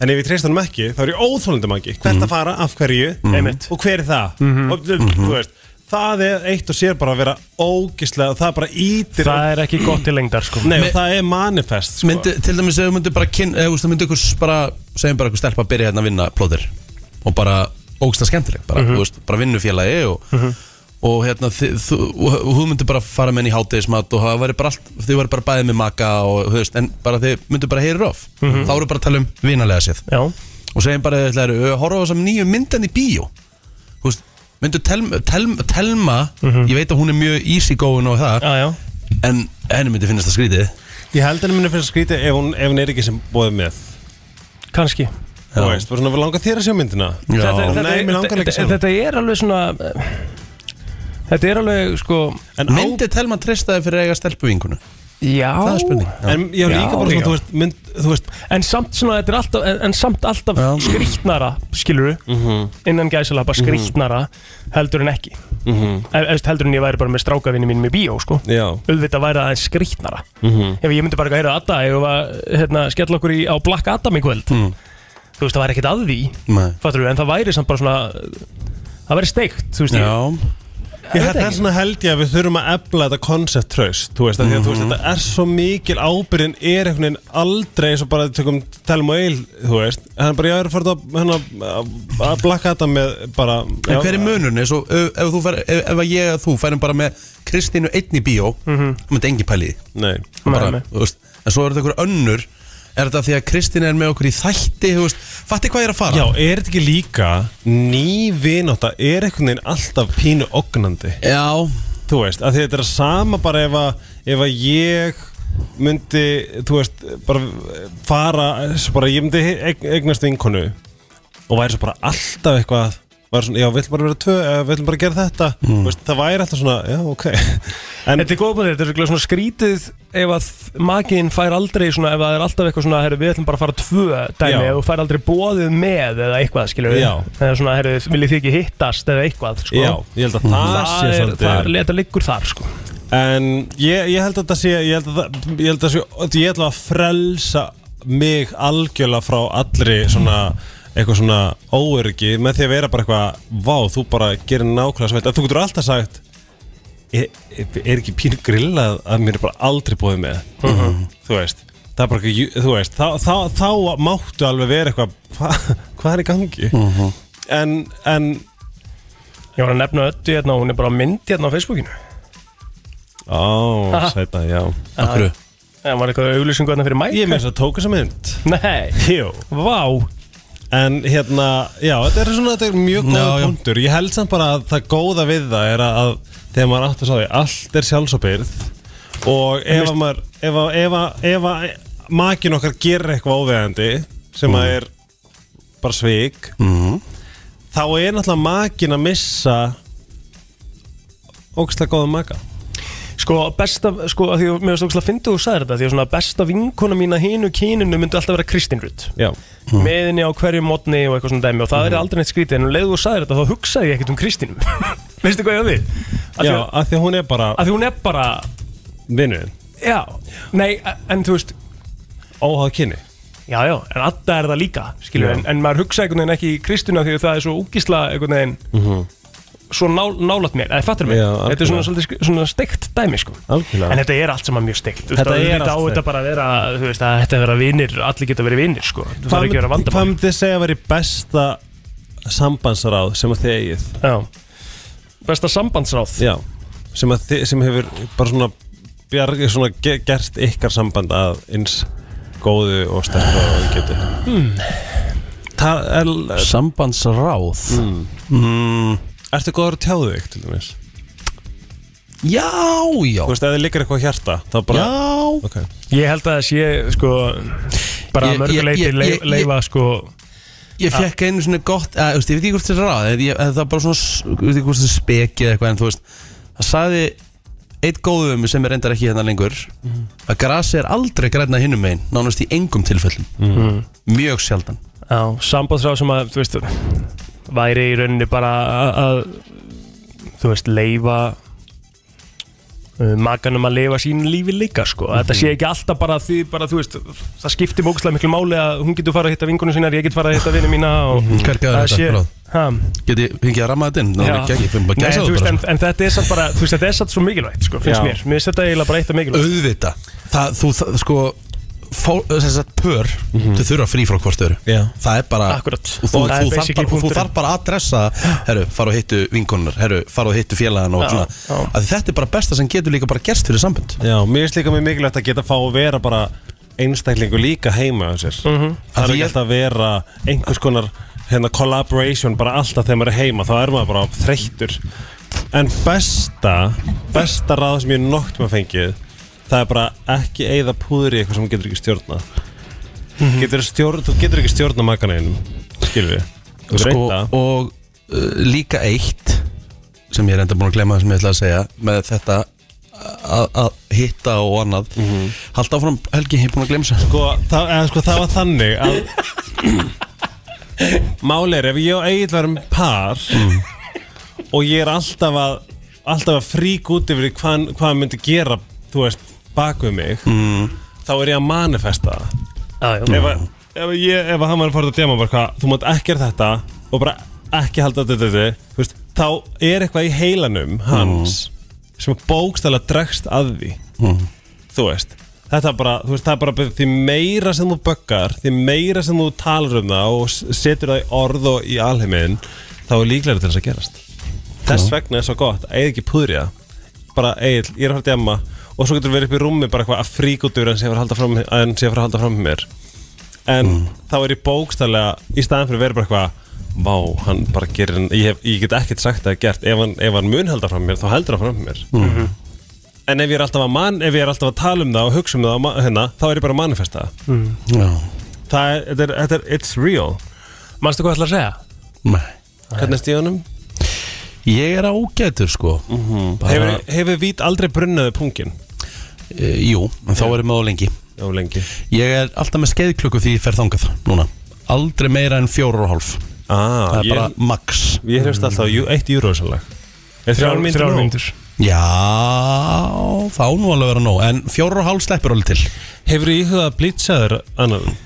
Speaker 12: en ef ég treyst honum ekki, þá er ég óþólandi maki hvert að fara, af hverju
Speaker 2: Mhm. Einmitt.
Speaker 12: og hver er það
Speaker 2: Mhm.
Speaker 12: og, þú- þú veist, það er eitt og sér bara að vera ógislega og það bara ítir
Speaker 2: Það er ekki gott til lengdar sko
Speaker 12: Nei, og það er manifest sko.
Speaker 1: myndi, Til dæmis ef þú myndir bara kyn ef þú myndir ykkur bara segjum bara ykkur stelpa að byrja hérna að vinna plóðir og bara ógsta skemmtileg bara,
Speaker 2: Mhm.
Speaker 1: þú veist, bara vinnufélagi og, og hérna þi- þú, og, og þú myndir bara fara með henni í hátegismat og það væri bara allt, þið væri bara bæðið með maka og þú veist, en bara þið myndir bara heyrir of
Speaker 2: Mhm.
Speaker 1: þá eru bara að tala um vinalega séð
Speaker 2: Já.
Speaker 1: og segjum bara þið ætlaðir að horfa á þessum nýju myndan í bíó þú veist, myndir telma, telma, telma ég veit að hún er mjög easy going og það
Speaker 2: Mhm. já, já.
Speaker 1: en henni myndi finnast það skrítið
Speaker 12: ég held henni minni fyrir að skrýti ef hún, ef hún er ekki sem bóðið með
Speaker 2: kannski
Speaker 12: þú veist, bara svona, við langar þér að sjá myndina
Speaker 2: Þetta- þetta-
Speaker 12: nei, mér langar ekki að sjá
Speaker 2: þetta- Þetta er alveg svona eh, Þetta er alveg sko
Speaker 1: Myndi Telma treysta þið fyrir að eiga stelpuvinkunu?
Speaker 2: Já
Speaker 1: Það er spurning. En já, líka bara svona, þú veist,
Speaker 12: mynd, þú veist
Speaker 2: En samt svona, þetta er alltaf En, en samt alltaf skrýtnara, skilur du Innan gæsala, bara skrýtnara Heldur en ekki
Speaker 12: Mhm.
Speaker 2: Ef- Efst heldur en ég væri bara með strákavinni mínum í bíó, sko
Speaker 12: Já.
Speaker 2: Auðvitað væri það en skrýtnara
Speaker 12: Mhm.
Speaker 2: Ef ég myndi bara heyra að það Ef ég var, hérna, skella okkur í, á Black Adam í kvöld Þú veist, það væri ekkert að því
Speaker 1: Nei.
Speaker 2: Fattur en það væri samt bara svona Það væri steikt, þú veist
Speaker 1: Já
Speaker 12: Ég held þess vegna held ég að við þurfum að efla þetta concept tröst, þú veist, mm -hmm. þú veist, þetta er svo mikil ábyrðin, er einhvern veginn aldrei eins og bara tökum telm og eil, þú veist, hann bara, ég er farið að, hann að, að blakka þetta með bara,
Speaker 1: En hver er munurinn? Svo, ef, ef, þú fer, ef, ef að ég og þú færum bara með Kristínu einn í bíó mm -hmm. Það myndi engi pæli í því.
Speaker 12: Nei,
Speaker 1: bara,
Speaker 2: Nei, nei.
Speaker 1: þú veist, En svo er þetta einhver önnur Er þetta því að Kristín er með okkur í þætti þú veist, Fatti hvað ég er að fara?
Speaker 12: Já, er þetta ekki líka ný vináta er einhvern veginn alltaf pínu ognandi
Speaker 1: Já
Speaker 12: Þú veist, að því þetta er að sama bara ef að, ef að ég myndi, þú veist, bara fara, svo bara ég myndi eign- eignast vinkonu og væri svo bara alltaf eitthvað væri svona, já, við ætlum bara að vera tvö, eh, við ætlum bara að gera þetta Þú veist, það væri alltaf svona, já, ok en,
Speaker 2: Hmm. Þetta er góð búin þetta er örugglega svona skrítið ef að makiðin fær aldrei svona ef það er alltaf eitthvað svona, herru, við ætlum bara að fara tvö dæmi
Speaker 12: Já.
Speaker 2: og fær aldrei bóðið með eða eitthvað, skilur við
Speaker 12: Já.
Speaker 2: eða svona, herru, viljið þið ekki hittast eða eitthvað, sko
Speaker 12: Já, ég held að það sé
Speaker 2: er-
Speaker 12: svolítið-
Speaker 2: það er- Þetta liggur þar, sko
Speaker 12: En ég, ég held að þetta sé Ég held að, það- ég held að, sé, ég held að frelsa mig algjörlega frá allri svona eitthvað svona óöryggi með því að vera bara eitthvað vá, þú bara gerir nákvæmlega svo veit að þú getur alltaf sagt er, er ekki pínu grillað að mér er bara aldrei búið með þú veist það er bara ekki, þú veist þá, þá, þá, máttu alveg vera eitthvað <laughs> hva, hvað er í gangi en, en
Speaker 2: Ég var að nefna öttu hérna og hún er bara á mynd hérna á Facebookinu
Speaker 12: <laughs> Ó,
Speaker 2: Haha.
Speaker 12: sæta, já
Speaker 2: Af hverju? Það var eitthvað auglýsingu hérna fyrir mæk
Speaker 12: Ég með þess að tóka þessa mynd
Speaker 2: Nei
Speaker 12: Jú
Speaker 2: Vá
Speaker 12: En hérna, já, þetta er svona, þetta er mjög góð
Speaker 2: Já, já.
Speaker 12: punktur Ég held samt bara að það góða við það er að, að þegar maður áttur sá því, allt er sjálfsopyrð og ef að maður, ef að, ef að, ef að makin okkar gerir eitthvað óvegandi sem
Speaker 2: Mm.
Speaker 12: að er bara svik
Speaker 1: Mhm.
Speaker 12: þá er náttúrulega makin að missa ógæslega góða maka
Speaker 2: Sko, besta, sko, að því að mér finnst ógæslega fyndið og sagði þetta Því að svona besta vinkona mín að hinu kyninu myndi alltaf vera Kristín Rutt
Speaker 12: Já
Speaker 2: mm. Meðinni á hverju mótni og eitthvað svona dæmi Og það
Speaker 12: Mm.
Speaker 2: er aldrei neitt skrítið En um leiðu og sagði þetta, þá hugsaði ég ekkert um Kristínum <laughs> Veistu hvað ég á því? Af því
Speaker 12: Já,
Speaker 2: að-
Speaker 12: af því að hún er bara
Speaker 2: Af því hún er bara
Speaker 12: Vinnuðin
Speaker 2: Já, nei, en þú veist
Speaker 12: Óháð kynni
Speaker 2: Já, já, en Adda er það líka, skilju
Speaker 12: Já.
Speaker 2: en, en maður hugsa einhvern veginn ekki í Kristínu af Því að það er svo úkisla einhvern veginn Svo nál, nálat mér, eða fattur mér
Speaker 12: Mhm. Já,
Speaker 2: Þetta er svona,
Speaker 12: algjörlega.
Speaker 2: svolítið sk- svona steikt dæmi, sko
Speaker 12: Algjörlega
Speaker 2: En þetta er allt saman mjög steikt Þú veist,
Speaker 12: Þetta
Speaker 2: að
Speaker 12: er
Speaker 2: auðvitað
Speaker 12: allt
Speaker 2: á þetta
Speaker 12: steikt.
Speaker 2: bara að vera, þú veist, að þetta vera vinir Allir geta verið vinir, sko Það þarf ekki að vera
Speaker 12: myndi-
Speaker 2: vandamál
Speaker 12: Hvað myndið þið segja að veri besta sambandsráð sem að þið eigið?
Speaker 2: Já, besta sambandsráð
Speaker 12: Já, sem, að þið, sem hefur bara svona, bjarg, svona ge- gert ykkar samband að eins góðu og sterkur og þið getur
Speaker 2: Hmm.
Speaker 12: er...
Speaker 1: Sambandsráð
Speaker 12: mm. Ertu góður að tjáðu þig til dæmis?
Speaker 1: Já, já
Speaker 12: Þú veist, ef þið liggur eitthvað á hjarta þá bara
Speaker 1: Já
Speaker 12: Ok.
Speaker 2: Ég held að það sé, sko
Speaker 1: Ég-
Speaker 2: Bara að mörgu
Speaker 1: ég-
Speaker 2: leiti
Speaker 1: ég- ég-
Speaker 2: leif- leifa, sko
Speaker 1: Ég fekk einu svona gott, að, veist, ég veit ekki hvort þetta er ráð ég, ég, Það er bara svona, s- ég veit ekki hvort þetta er spekið eða eitthvað En þú veist, það sagði Eitt góðu um mig sem er reyndar ekki hérna lengur Að grasi er aldrei græna hinnum megin Nánast í engum tilfellum
Speaker 2: Mhm.
Speaker 1: Mjög sjaldan
Speaker 2: Já, sambandsráð sem að, þú veist væri í rauninni bara að- að þú veist, leifa uh, makanum að leifa sín lífi líka sko. þetta
Speaker 1: Mhm.
Speaker 2: sé ekki alltaf bara því bara, þú veist, það skiptir mókslega miklu máli að hún getur farið að hitta vingunum sínar, ég get farið að hitta vinið mína og
Speaker 1: Mhm. Hver gæði
Speaker 2: það
Speaker 1: þetta?
Speaker 2: sé-
Speaker 1: Sé...
Speaker 2: Ha?
Speaker 1: Get ég fengið að ramma þetta inn? Ná,
Speaker 2: Já.
Speaker 1: ekki, ekki, finnum bara
Speaker 2: Nei,
Speaker 1: gæsa
Speaker 2: þú
Speaker 1: það
Speaker 2: veist,
Speaker 1: bara
Speaker 2: en, en þetta er samt bara þú veist, þetta er samt svo mikilvægt, sko, finnst
Speaker 1: Já.
Speaker 2: mér mér finnst þetta eiginlega bara eitt af mikilvægt
Speaker 1: Auðvita Það, þú, það, sko fó, þess að pör þau þurfa frí frá hvort öru
Speaker 12: Mhm. Já.
Speaker 1: það er bara
Speaker 2: Akkurat.
Speaker 1: og þú,
Speaker 2: Það er
Speaker 1: þú, þarf
Speaker 2: basically
Speaker 1: bara, og þú
Speaker 2: punkturinn.
Speaker 1: þarf bara að adressa herru, fara og hittu vinkonur herru, fara og hittu félagana og
Speaker 12: Já,
Speaker 1: svona
Speaker 12: já.
Speaker 1: að þetta er bara besta sem getur líka bara gerst fyrir sambund
Speaker 12: Já, mér finnst líka mjög mikilvægt að geta fá að vera bara einstaklingu líka heima á sér
Speaker 1: Mhm.
Speaker 12: Það er ekki alltaf að vera einhvers konar hérna, collaboration bara alltaf þegar maður er heima þá er maður bara þreyttur En besta, besta ráð sem ég nokt maður fengið það er bara ekki eigða púður í eitthvað sem þú getur ekki stjórnað getur stjórn, Þú getur ekki stjórnað makan einum Skilur við Þú getur
Speaker 1: sko,
Speaker 12: reynt það.
Speaker 1: og uh, líka eitt sem ég er enda búin að glemma sem ég ætla að segja með þetta að að hitta og annað mm
Speaker 12: Mhm.
Speaker 1: -hmm. halda áfram Helgi, ég er búin að glemma sér
Speaker 12: sko, það, eða, sko, það var þannig að Mál er, ef ég og Egil varum par og ég er alltaf að alltaf að frík út yfir því hvað, hann- hvað hann myndi gera, þú veist, bak við mig þá er ég að manifesta
Speaker 2: það
Speaker 12: ef, að- ef, ég, ef að hann var að fara að dema bara hvað, þú mátt ekki gera þetta og bara ekki halda þetta, þetta, þetta þú veist, þá er eitthvað í heilanum hans sem bókstæðlega dregst að því þú veist þetta er bara, þú veist, það er bara því meira sem þú böggar, því meira sem þú talar um það og s- setur það í orð og í alheiminn, þá er líklega til þess að gerast þess vegna er svo gott að eigið ekki púðrið það bara eigið, ég er að fara að djama og svo getur verið upp í rúmi bara eitthvað að fríkutur en sé að fara að halda fram, en sé að fara að halda fram með mér en þá er ég bókstælega í staðan fyrir að vera bara eitthvað Vá, hann bara gerir, ég, hef, ég get ekkert sagt að það er gert, ef hann, ef hann mun halda fram með mér þá heldur hann fram með mér En ef ég er alltaf að mann, ef ég er alltaf að tala um það og hugsa um það, og ma- hérna, þá er ég bara að manifesta það.
Speaker 1: Já.
Speaker 12: Það er, þetta er, þetta er, it's real.
Speaker 2: Manstu hvað ætlaði að segja?
Speaker 1: Nei.
Speaker 12: Hvernig er stíðunum?
Speaker 1: ég er ágætur sko mm -hmm.
Speaker 12: Hefur, hefur vít aldrei brunnaði pungin?
Speaker 1: E, jú, en þá erum við á lengi
Speaker 12: Já, lengi
Speaker 1: Ég er alltaf með skeiðklukku því ég fer þangað núna Aldrei meira en fjórar og hálf
Speaker 12: ah,
Speaker 1: Það er bara max
Speaker 12: Ég hefst alltaf á jú- eitt júrósalag. Er
Speaker 2: Þrjár-
Speaker 12: þrjár myndir
Speaker 2: þrjár
Speaker 12: nóg?
Speaker 2: mínútur.
Speaker 1: Já, þá nú alveg að vera nóg En fjórar og hálf sleppur alveg til
Speaker 12: Hefur ég íhugað að blitsa þér annan?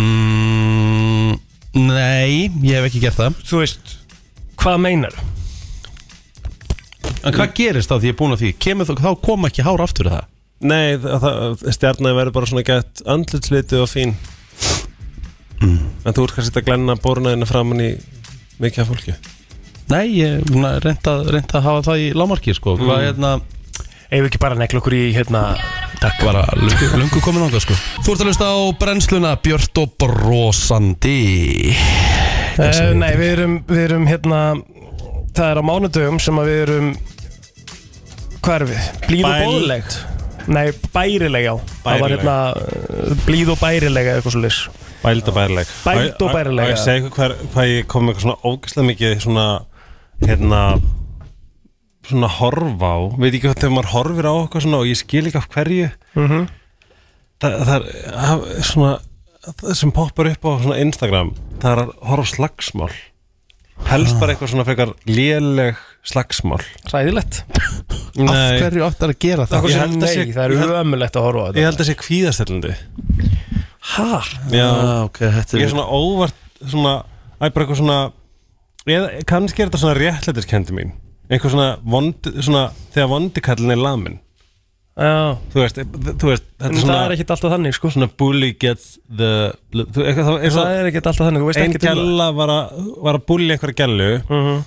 Speaker 1: mm, Nei, ég hef ekki gert það
Speaker 2: Þú veist, hvað meinar?
Speaker 1: En hvað gerist þá því ég er búin að því? Kemur, þá- þá koma ekki hár aftur í það
Speaker 12: Nei, það, það, stjarnæði verður bara svona gett andlitsliti og fín. En þú ert kannski að glenna bornaðina framann í mikið af fólki.
Speaker 1: Nei, ég reynda að hafa það í lámarki sko. Hvað
Speaker 2: Mm.
Speaker 1: hérna
Speaker 2: Ef ekki bara nekla okkur í hérna Takk
Speaker 1: Bara lungu, lungu komin ánga sko Þú ert að lusta á brennsluna Björt og brosandi Eh,
Speaker 2: Uh, nei, við erum, við erum hérna Það er á mánudögum sem að við erum Hvað erum við? Blíð og
Speaker 1: Bæld.
Speaker 2: bóðleg Nei, bærileg já Það var
Speaker 12: Bærileg.
Speaker 2: hérna uh, blíð og bærileg eða eitthvað svo lis
Speaker 12: Bæld og bærileg
Speaker 2: Bæld og bærileg,
Speaker 12: Og ég
Speaker 2: já.
Speaker 12: segi ykkur hver- hvað ég kom með eitthvað svona ógæslega mikið svona hérna svona horfa á veit ekki hvað þegar maður horfir á eitthvað svona og ég skil ekki af hverju
Speaker 2: Mhm.
Speaker 12: það, það er það er svona það sem poppar upp á svona Instagram það er að horfa á slagsmál helst bara eitthvað svona frekar léleg slagsmál
Speaker 2: Ræðilegt
Speaker 12: Nei.
Speaker 1: Af hverju áttar að gera það?
Speaker 12: Ég held að sé- ég held-
Speaker 2: ömulegt að horfa á
Speaker 12: Ég held að sé kvíðastellandi
Speaker 2: Hæ?
Speaker 12: Já,
Speaker 1: Ah, ok, þetta er-
Speaker 12: Ég er svona óvart svona, æ, bara eitthvað svona eða, kannski er þetta svona réttlætiskendi mín eitthvað svona, vond, svona þegar vondikallin er lamin
Speaker 2: Já
Speaker 12: Þú veist, e, þú veist þetta
Speaker 2: En það er ekkert alltaf þannig sko
Speaker 12: Svona bully gets the bl- þú, eitthvað, það, er
Speaker 2: Það er ekkert alltaf þannig, þú veist
Speaker 12: Ein
Speaker 2: ekkert um það.
Speaker 12: gælla var, að- var að bully einhverja gælu
Speaker 2: Mhm.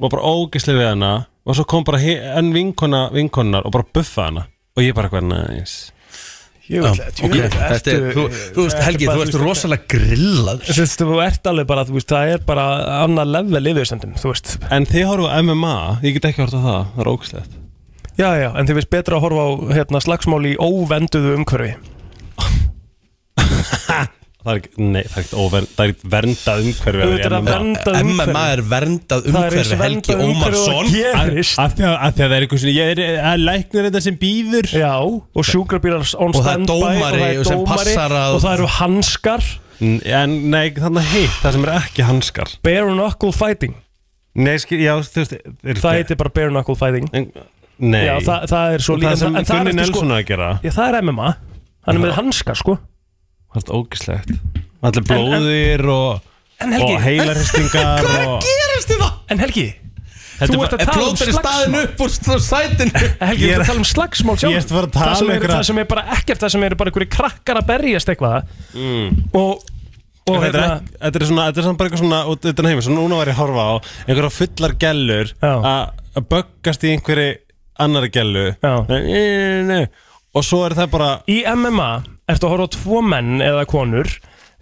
Speaker 12: og bara ógislega við hana og svo kom bara hi- enn vinkona vinkonar og bara buffa hana og ég bara eitthvað næs
Speaker 2: Jú,
Speaker 1: Ah,
Speaker 12: Já,
Speaker 2: djú,
Speaker 12: ok.
Speaker 2: ertu-
Speaker 12: Þetta er- þú- þú veist,
Speaker 2: ertu
Speaker 12: Helgi,
Speaker 2: bara,
Speaker 12: þú ert
Speaker 2: veist,
Speaker 12: rosalega grillað.
Speaker 2: Þú veist, þú ert alveg bara, þú veist, það er bara annað level yfirsendum, þú veist
Speaker 12: En þið horfum á MMA, ég get ekki horfð á það, það er ógæslegt
Speaker 2: Já, já, en þið veist betra að horfa á hérna, slagsmál í óvenduðu umhverfi
Speaker 12: Það er ekki, nei, það er ekki óver, það er ekki verndað umhverfi að
Speaker 2: Auðvitað er
Speaker 12: vera í
Speaker 2: það verndað
Speaker 12: MMA.
Speaker 2: umhverfi. MMA er
Speaker 1: verndað
Speaker 2: Það er eins umhverfi, Helgi verndað umhverfi og Ómarsson. gerist.
Speaker 12: Af af því að af því að það er eitthvað svona, ég er að læknir þetta sem býður
Speaker 2: Já, og sjúkrabílar on
Speaker 12: Og það er
Speaker 2: standby
Speaker 12: dómari sem passar að-
Speaker 2: Og það eru hanskar
Speaker 12: En nei, þannig heitt, það sem er ekki hanskar
Speaker 2: Bare knuckle fighting
Speaker 12: Nei, skil, já, þú veist er-
Speaker 2: Það heitir bara bare knuckle fighting
Speaker 12: Nei
Speaker 2: Já, það, það er svo
Speaker 12: Það sko- sem
Speaker 2: en það er
Speaker 12: Gunni
Speaker 2: eftir,
Speaker 12: Nelson að gera.
Speaker 2: Já, það er MMA Hann er með hanskar, sko
Speaker 12: Það er ógæslegt Allir blóðir og,
Speaker 2: En Helgi
Speaker 12: og heilarhystingar og
Speaker 1: gerist þið það?
Speaker 2: En Helgi
Speaker 12: Þetta
Speaker 2: Þú
Speaker 12: er
Speaker 2: ert
Speaker 12: bara-
Speaker 2: að tala um
Speaker 1: Plótur er staðin
Speaker 2: slagsmál
Speaker 1: upp úr st- sætinu
Speaker 2: Helgi, þú
Speaker 1: Ég
Speaker 2: ert
Speaker 1: er-
Speaker 2: að tala um slagsmál sjálf
Speaker 1: Ég er að fara að tala
Speaker 2: Það sem
Speaker 1: um
Speaker 2: eru-
Speaker 1: einhverja-
Speaker 2: Það sem er bara ekkert, það sem eru bara einhverju krakkar að berjast eitthvað Og, og
Speaker 12: þetta, er,
Speaker 2: hérna-
Speaker 12: ekki- þetta er svona, þetta er svona bara eitthvað svona út utan heim, svona núna var ég að horfa á einhverja fullar gellur að að böggast í einhverju annari gellu Já. og svo er það bara
Speaker 2: Í MMA ertu að horfa á tvo menn eða konur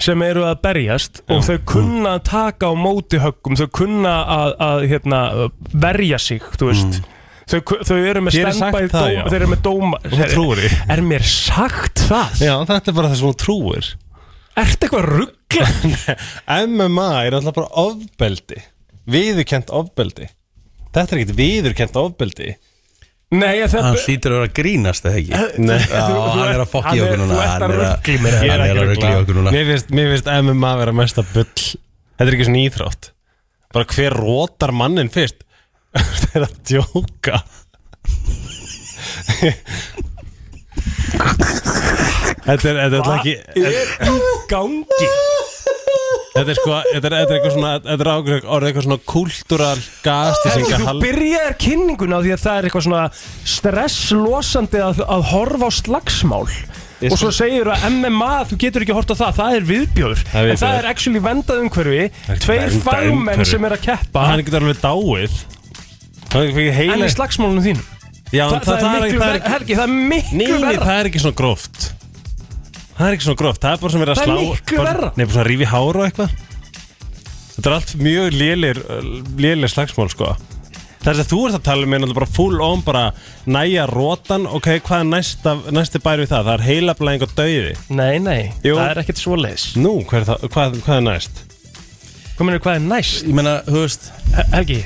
Speaker 2: sem eru að berjast og þau kunna að taka á móti höggum þau kunna að, að hérna, verja sig, þú veist Þau, þau eru með
Speaker 12: Þér er sagt
Speaker 2: standbæð
Speaker 12: það, já.
Speaker 2: Þau eru með dóma
Speaker 12: Og þú trúir því.
Speaker 2: Er mér sagt það?
Speaker 12: Já, þetta er bara það sem hún trúir <laughs>
Speaker 2: Ertu eitthvað ruggla?
Speaker 1: <laughs>
Speaker 12: MMA er alltaf bara ofbeldi viðurkent ofbeldi Þetta er ekkert viðurkent ofbeldi
Speaker 2: Nei, það
Speaker 1: Hann hlýtur að vera að grínast eða ekki
Speaker 12: Nei.
Speaker 1: Já,
Speaker 12: Þú- þú
Speaker 1: Hann er að
Speaker 12: ert-
Speaker 1: fokki
Speaker 12: hann er-
Speaker 1: okkur núna
Speaker 12: þú ert að
Speaker 1: Hann er
Speaker 12: rugla í mér. Ég er
Speaker 1: Hann
Speaker 12: ekki
Speaker 1: er að
Speaker 12: að
Speaker 1: rugla í
Speaker 12: rugla.
Speaker 1: okkur núna
Speaker 12: Mér finnst, mér finnst MMA vera mesta bull Þetta er ekki svona íþrótt Bara hver rótar mannin fyrst <laughs> Þetta er að djóka Þetta er, þetta er alltaf ekki
Speaker 2: er í gangi?
Speaker 12: Þetta er sko, þetta er, þetta er eitthvað svona Þetta er ágrið orðið eitthvað svona kultúral gastising
Speaker 2: Þú byrjaðir kynninguna á því að það er eitthvað svona stresslosandi að, að horfa á slagsmál
Speaker 12: Ég
Speaker 2: og svo
Speaker 12: skal-
Speaker 2: segir að MMA, þú getur ekki hort á það, það er viðbjóður
Speaker 12: Það er
Speaker 2: en það
Speaker 12: viðbjóður.
Speaker 2: er actually vendað umhverfi tveir
Speaker 12: verndað
Speaker 2: fagmenn
Speaker 12: umhverfi.
Speaker 2: sem er að keppa
Speaker 12: Hann getur alveg dáið Hann getur fengið heila
Speaker 2: en í slagsmálunum þín
Speaker 12: Já,
Speaker 2: það, það, er miklu verra, Helgi, það er
Speaker 12: Nei,
Speaker 2: miklu
Speaker 12: nei,
Speaker 2: verra
Speaker 12: það er ekki svona gróft Það er ekki svona gróft Það er bara svona verið að
Speaker 2: Það
Speaker 12: slá
Speaker 2: er miklu
Speaker 12: bara-
Speaker 2: verra.
Speaker 12: Nei, bara svona að rífi hár og eitthvað Þetta er allt mjög lélir Lélir slagsmál, sko Það er að þú ert að tala um er náttúrulega bara full on bara næja rótan, ok, hvað er næsta, næsti bæri við það? Það er heilablæðing og dauði
Speaker 2: Nei, nei,
Speaker 12: Jú.
Speaker 2: það er ekkert svoleiðis
Speaker 12: Nú, hvað er, það, hvað, hvað er næst?
Speaker 2: Hvað mennur, hvað er næst?
Speaker 1: Ég meina, þú veist
Speaker 2: Helgi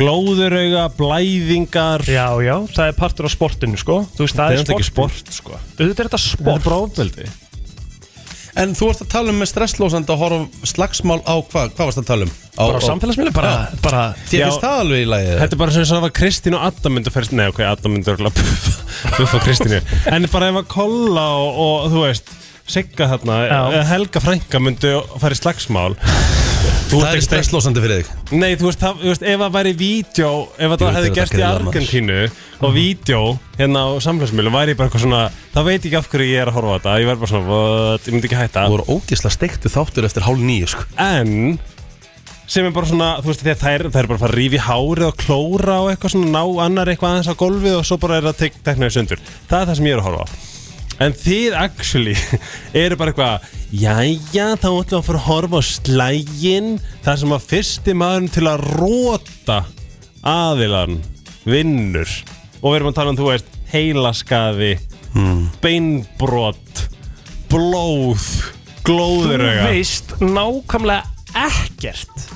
Speaker 12: Glóðurauga, blæðingar
Speaker 2: Já, já, það er partur af sportinu, sko Þú veist,
Speaker 12: Það
Speaker 2: það
Speaker 12: er
Speaker 2: er
Speaker 12: náttúrulega ekki
Speaker 2: sportinu
Speaker 12: sport, sko
Speaker 2: Auðvitað er þetta
Speaker 1: Þetta
Speaker 2: sport
Speaker 1: er bara
Speaker 12: ofbeldi
Speaker 1: En þú ert að tala um með stresslósandi að horfa á slagsmál á hvað? Hvað varst að tala um? Á,
Speaker 2: Bara á samfélagsmiðlum, bara- bara
Speaker 1: Þér finnst það alveg í lagið
Speaker 12: Þetta er bara sem það var Kristín og Adam myndu fyrst Nei, ok, Adam myndu örgulega buffa- buffa Kristínu En bara ef að Kolla og, og þú veist Sigga þarna, eða Helga Frænka myndu fara í slagsmál Það
Speaker 1: er stresslósandi fyrir þig
Speaker 12: Nei, þú veist, það, þú veist, ef það væri vídeo Ef það
Speaker 1: veit
Speaker 12: hefði
Speaker 1: þetta
Speaker 12: gerst í
Speaker 1: grilla, maður.
Speaker 12: Argentínu Og vídeo hérna á samfélagsmiðlum Væri ég bara eitthvað svona, það veit ég ekki af hverju ég er að horfa á þetta Ég verð bara svona, what, ég myndi ekki hætta
Speaker 1: Þú voru ógisla steiktu þáttur eftir hálf nýju sko.
Speaker 12: En sem er bara svona, þú veist, þegar þær, þær bara fara að rífi hárið og klóra og eitthvað svona ná annar eitthvað aðeins á gólfið og svo bara er það tek, teknaði sundur. Það er það sem ég er að horfa á. En þið actually <laughs> eru bara eitthvað, jæja, þá ætlum við að fara að horfa á slægin þar sem að fyrsti maðurinn til að róta aðilan vinnur. Og við erum að tala um, þú veist, heilaskaði
Speaker 2: Hmm.
Speaker 12: beinbrot blóð glóðurauga
Speaker 2: Þú veist nákvæmlega ekkert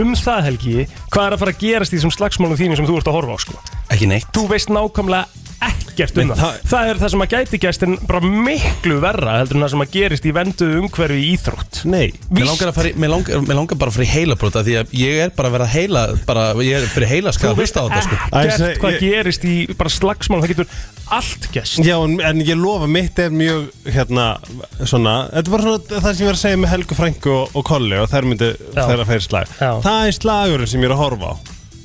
Speaker 2: um það Helgi hvað er að fara að gerast í þessum slagsmálum þínum sem þú ert að horfa á sko
Speaker 1: Ekki neitt
Speaker 2: Þú veist nákvæmlega ekkert um
Speaker 1: Nei,
Speaker 2: það. það er það sem að gæti gæst en bara miklu verra heldur en það sem að gerist í venduðu umhverfi í íþrótt
Speaker 12: Nei
Speaker 1: Mér langar, að fara, í- mig langar, mig langar bara að fara í heilabróta Því að ég er bara að vera heila bara, Ég er fyrir heila skæða að hlusta á þetta sko.
Speaker 2: Gert hvað gerist í bara slagsmálum það getur allt gæst
Speaker 12: Já, en, en ég lofa mitt er mjög hérna, svona, þetta er bara svona það sem ég var að segja með Helgu Frænku og, og Kolli og þær myndu
Speaker 2: Já.
Speaker 12: þeirra fyrir slag
Speaker 2: Já.
Speaker 12: það er slagurinn sem ég er að horfa á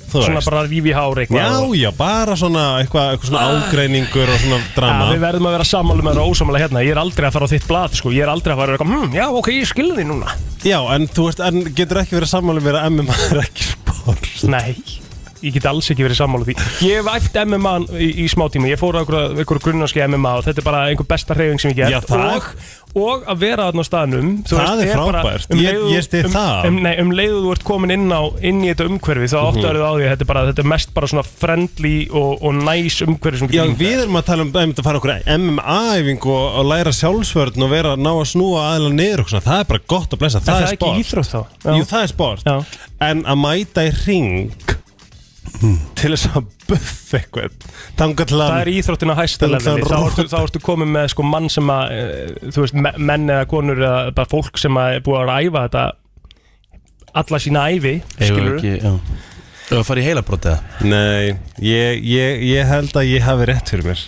Speaker 12: Þú
Speaker 2: Svona bara rífi hár eitthvað
Speaker 12: Já,
Speaker 2: og-
Speaker 12: já, bara svona eitthvað, eitthvað svona ágreiningur og svona
Speaker 2: Ja,
Speaker 12: drama
Speaker 2: við verðum að vera sammála með það ósamála hérna Ég er aldrei að fara á þitt blad sko. Ég er aldrei að fara að vera eitthvað hm, Já, ok, ég skilði því núna
Speaker 12: Já, en þú veist, en getur ekki verið sammála verið að MMA er ekki sport
Speaker 2: Nei, ég get alls ekki verið sammála því Ég hef æft MMA í, í smá tíma Ég fór á einhverja einhver grunnarski MMA og þetta er bara einhver besta hreyfing sem ég get
Speaker 12: Já, það-
Speaker 2: og, og að vera þarna á staðnum þú
Speaker 12: Það er
Speaker 2: bara-
Speaker 12: frábært.
Speaker 2: um
Speaker 12: Ég-
Speaker 2: leið og-
Speaker 12: ég styð
Speaker 2: um,
Speaker 12: það.
Speaker 2: um, Nei, um leiðu þú ert komin inn, á, inn í þetta umhverfi þá
Speaker 12: Mhm.
Speaker 2: áttu að á því að þetta er, bara, þetta er mest bara svona friendly og, og næs umhverfi sem þú
Speaker 12: Já,
Speaker 2: getur ímyndað
Speaker 12: við erum að tala um að fara okkur MMA-æfingu og, og læra sjálfsvörn og vera að ná að snúa aðeina niður og svona, það er bara gott að blessa,
Speaker 2: En
Speaker 12: það,
Speaker 2: það
Speaker 12: er
Speaker 2: er ekki
Speaker 12: sport
Speaker 2: íþrótt þá? Já.
Speaker 12: Jú, það er sport Já. En að mæta í ring til þess að buff eitthvað
Speaker 2: Það er íþróttin að hæsta leveli Þá ertu, þá ertu komið með sko mann sem að eh, þú veist, me- menn eða konur eða bara fólk sem að er búið að vera að æfa þetta alla sína ævi skilurðu.
Speaker 1: Það var að fara í heilabróta
Speaker 12: Nei, ég, ég, ég held að ég hafi rétt fyrir mér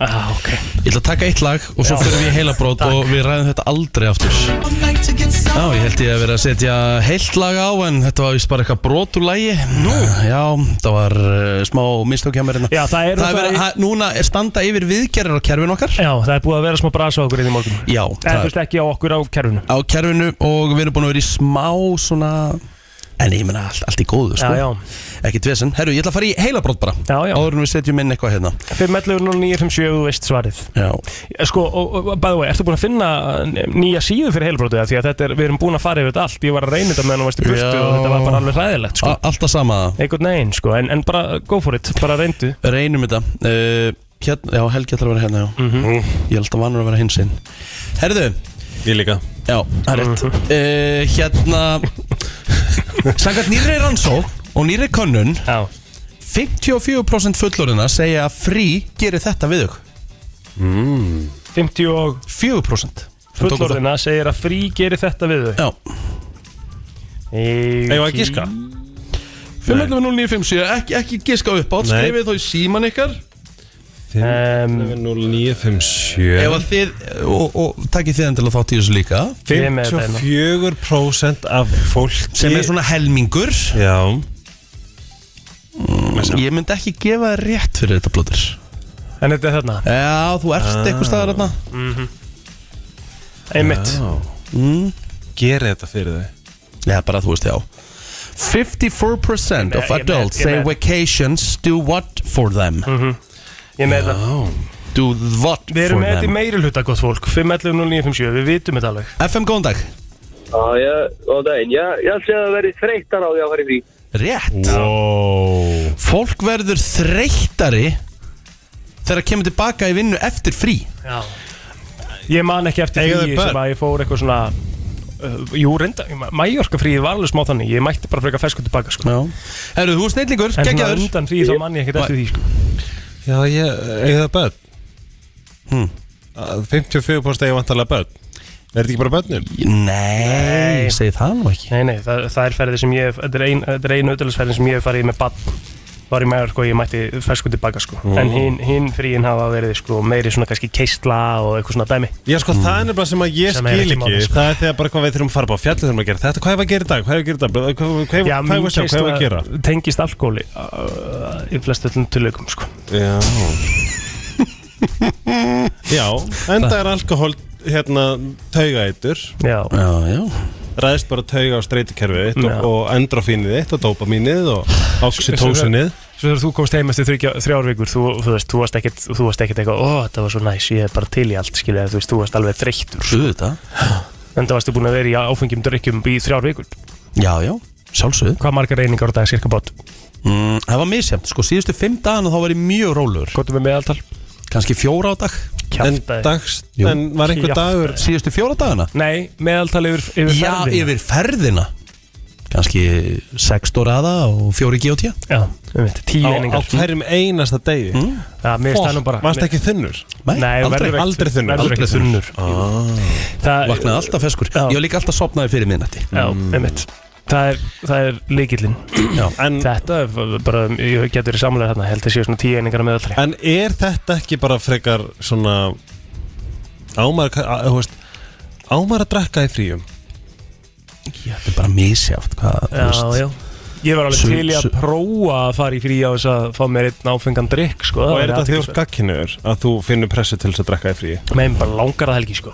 Speaker 2: ah, okay.
Speaker 1: Ég ætla að taka eitt lag og svo
Speaker 12: Já.
Speaker 1: fyrir við í heilabrót
Speaker 12: Takk.
Speaker 1: Og við ræðum þetta aldrei aftur Já, ég held ég að vera að setja heilt lag á En þetta var vist bara eitthvað brot úr lagi Nú? Já, það var uh, smá mistök hjá mér hérna
Speaker 2: Já, það er
Speaker 1: Það er verið að- Núna er standa yfir viðgerðar á kerfinu okkar
Speaker 2: Já, það er búið að vera smá brasa á okkur í því morgun
Speaker 1: Já,
Speaker 2: En þú veist ekki á okkur á kerfinu
Speaker 1: á kerfinu og við erum búin að vera í smá svona en ég meina allt, allt í góðu sko
Speaker 2: Já, já.
Speaker 1: ekkit vesen, herru ég ætla að fara í heilabrót bara
Speaker 2: já, já.
Speaker 1: áður en við setjum inn eitthvað hérna
Speaker 2: 5.11.957, þú veist svarið
Speaker 1: Já.
Speaker 2: Sko, og, og by the way, ertu búin að finna eh, nýja síðu fyrir heilbrótið Því að þetta er, við erum búin að fara yfir þetta allt Ég var að reyna þetta meðan þú varst í burtu og þetta var bara alveg hræðilegt sko.
Speaker 1: Alltaf sama
Speaker 2: Einhvern veginn, sko, en, en bara go for it, bara reyndu
Speaker 1: reynum þetta uh, hérna, já Helgi ætlar að vera hérna já.
Speaker 2: Mhm.
Speaker 1: ég er alltaf vanur að vera hinsinn herru
Speaker 12: Ég líka
Speaker 1: já, það er rétt
Speaker 2: Mhm.
Speaker 1: uh, <laughs> hérna sangat nýri rannsók og nýri könnun
Speaker 2: já.
Speaker 1: 54% fullorðina segja að frí gerir þetta við þau
Speaker 12: mm.
Speaker 2: 54% Fullorðina segir að frí gerir þetta við þau
Speaker 1: Já
Speaker 2: Eða
Speaker 1: Eigum við að giska? 512957, ekki, ekki giska upp átt,
Speaker 12: Nei.
Speaker 1: skrifið þá í síman ykkar
Speaker 12: Ehm, 5957
Speaker 1: Ef að þið, og, og takkið þið endilega þátt í þessu líka
Speaker 12: hérna.
Speaker 2: hérna.
Speaker 12: 54% af fólki
Speaker 1: Sem er svona helmingur
Speaker 12: Já
Speaker 1: Ég myndi ekki gefa þér rétt fyrir þetta blóður hérna.
Speaker 2: En þetta er þarna
Speaker 1: Já, þú ert
Speaker 12: Ah.
Speaker 1: eitthvað staðar þarna
Speaker 2: Mhm. Einmitt
Speaker 12: Já. Gerið þetta fyrir þau
Speaker 1: Já, bara þú veist, já 54%
Speaker 2: Ég
Speaker 1: of
Speaker 2: með- ég með-
Speaker 1: adults
Speaker 2: ég
Speaker 1: say
Speaker 2: með-
Speaker 1: vacations do what for them
Speaker 2: Ég með það
Speaker 1: Do what
Speaker 2: Við erum
Speaker 1: for
Speaker 2: með þetta í
Speaker 1: them
Speaker 2: meiri hluta gott fólk 5.11.0957, við vitum þetta alveg
Speaker 1: FM, góðan dag
Speaker 11: Já, já, góðan daginn. Já, ég held að það verið þreyttar á því að fara í frí.
Speaker 1: Rétt wow. Fólk verður þreyttari Þegar kemur tilbaka í vinnu eftir frí
Speaker 2: Já Ég man ekki eftir
Speaker 1: Eiga
Speaker 2: fríi
Speaker 1: þau börn?
Speaker 2: sem að ég fór eitthvað svona uh, Jú, reynda, Mallorca fríið var alveg smá þannig Ég mætti bara frekar fesku tilbaka sko.
Speaker 1: Herru, þú er snillingur,
Speaker 2: En svona
Speaker 1: geggjaður.
Speaker 2: undan fríið þá man ég ekkert eftir því sko.
Speaker 12: Já, ég, eigið það börn hmm. 54% eigið vantarlega börn Er þetta ekki bara börnum?
Speaker 1: Nei, segi það nú ekki
Speaker 2: Nei, nei, það, það er ferðið sem ég hef- Þetta er ein, þetta er ein auðvitaðsferðin sem ég hef farið í með bann Var í Mallorca og ég mætti fesku tilbaka sko.
Speaker 12: Mm.
Speaker 2: En hinn hin fríin hafa verið sko, meiri svona kannski keistla og eitthvað svona dæmi
Speaker 12: Já, sko, það er nefnilega sem að ég
Speaker 2: Mm. Sem er
Speaker 12: skil
Speaker 2: ekki
Speaker 12: ekki
Speaker 2: málið, sko.
Speaker 12: Það er þegar bara hvað við þurfum að fara bara á fjallið þurfum að gera þetta Hvað er að gera í dag? Hvað er að gera í dag? Hvað er hvað- hvað-
Speaker 2: Já,
Speaker 12: hvað
Speaker 2: mín
Speaker 12: er að sjá? Hvað er að gera?
Speaker 2: keistla tengist alkohóli uh, í flestu öllum tilökum sko. <laughs>
Speaker 12: Já Já, enda er alkohól hérna taugaeitur
Speaker 2: Já,
Speaker 1: já, já.
Speaker 12: Ræðist bara tauga á streitikerfið þitt
Speaker 2: Já.
Speaker 12: og, og endorfínið þitt og dopamínið og oxytósinið
Speaker 2: Svo þegar þú komst heim eftir þrjá, þrjár vikur þú, þú veist, þú varst ekkert, þú varst ekkert eitthvað ó, þetta var svo næs, ég er bara til í allt skilja, þú veist, þú varst alveg þreyttur
Speaker 1: Þú veit það
Speaker 2: En það varstu búin að vera í áfengjum drikkjum í þrjár vikur
Speaker 1: Já, já, sjálfsögðu
Speaker 2: Hvað margar reyningar á dag, cirka bát?
Speaker 1: Mm, það var misjæmt, sko, síðustu fimm dagana þá var ég mjög rólegur
Speaker 2: Kvotum við meðaltal
Speaker 1: kannski fjóra á dag
Speaker 2: Kjaftaði.
Speaker 1: Jú.
Speaker 12: en var einhver dagur-
Speaker 1: síðustu fjóra dagana
Speaker 2: nei, meðaltal yfir, yfir
Speaker 1: já,
Speaker 2: ferðina.
Speaker 1: yfir ferðina kannski 6 doraða og 4 GOT
Speaker 2: já, um veit, 10
Speaker 12: Á-
Speaker 2: einingar
Speaker 12: á hverjum einasta degi mm.
Speaker 2: Já, mér finnst það nú bara-
Speaker 12: Varst ekki þunnur?
Speaker 2: Nei, Nei, aldrei. verður ekki-
Speaker 12: aldrei þunnur Ah.
Speaker 2: verður ekki þunnur. Það-
Speaker 1: vaknaði alltaf feskur ég var líka alltaf sopnaði fyrir minnati
Speaker 2: Já, einmitt Það er, það er líkillinn
Speaker 12: Mm.
Speaker 2: Þetta er bara, ég getur verið samlega þarna Held að séu svona tíu einingar með allri
Speaker 12: En er þetta ekki bara frekar svona Ámar, þú veist Ámar að drekka í fríum
Speaker 1: þetta er bara misjátt hvað, þú
Speaker 2: Já,
Speaker 1: veist.
Speaker 2: já Ég var alveg
Speaker 1: Sum-
Speaker 2: til í að
Speaker 1: sum-
Speaker 2: prófa að fara í frí á þess að fá mér einn áfengan drikk sko.
Speaker 12: Og
Speaker 2: Það
Speaker 12: er
Speaker 2: væri
Speaker 12: þetta því úr
Speaker 2: athyglisvert.
Speaker 12: gagkinnur að þú finnur pressu til þess að drekka í fríi?
Speaker 2: Meðan bara langar að helgi sko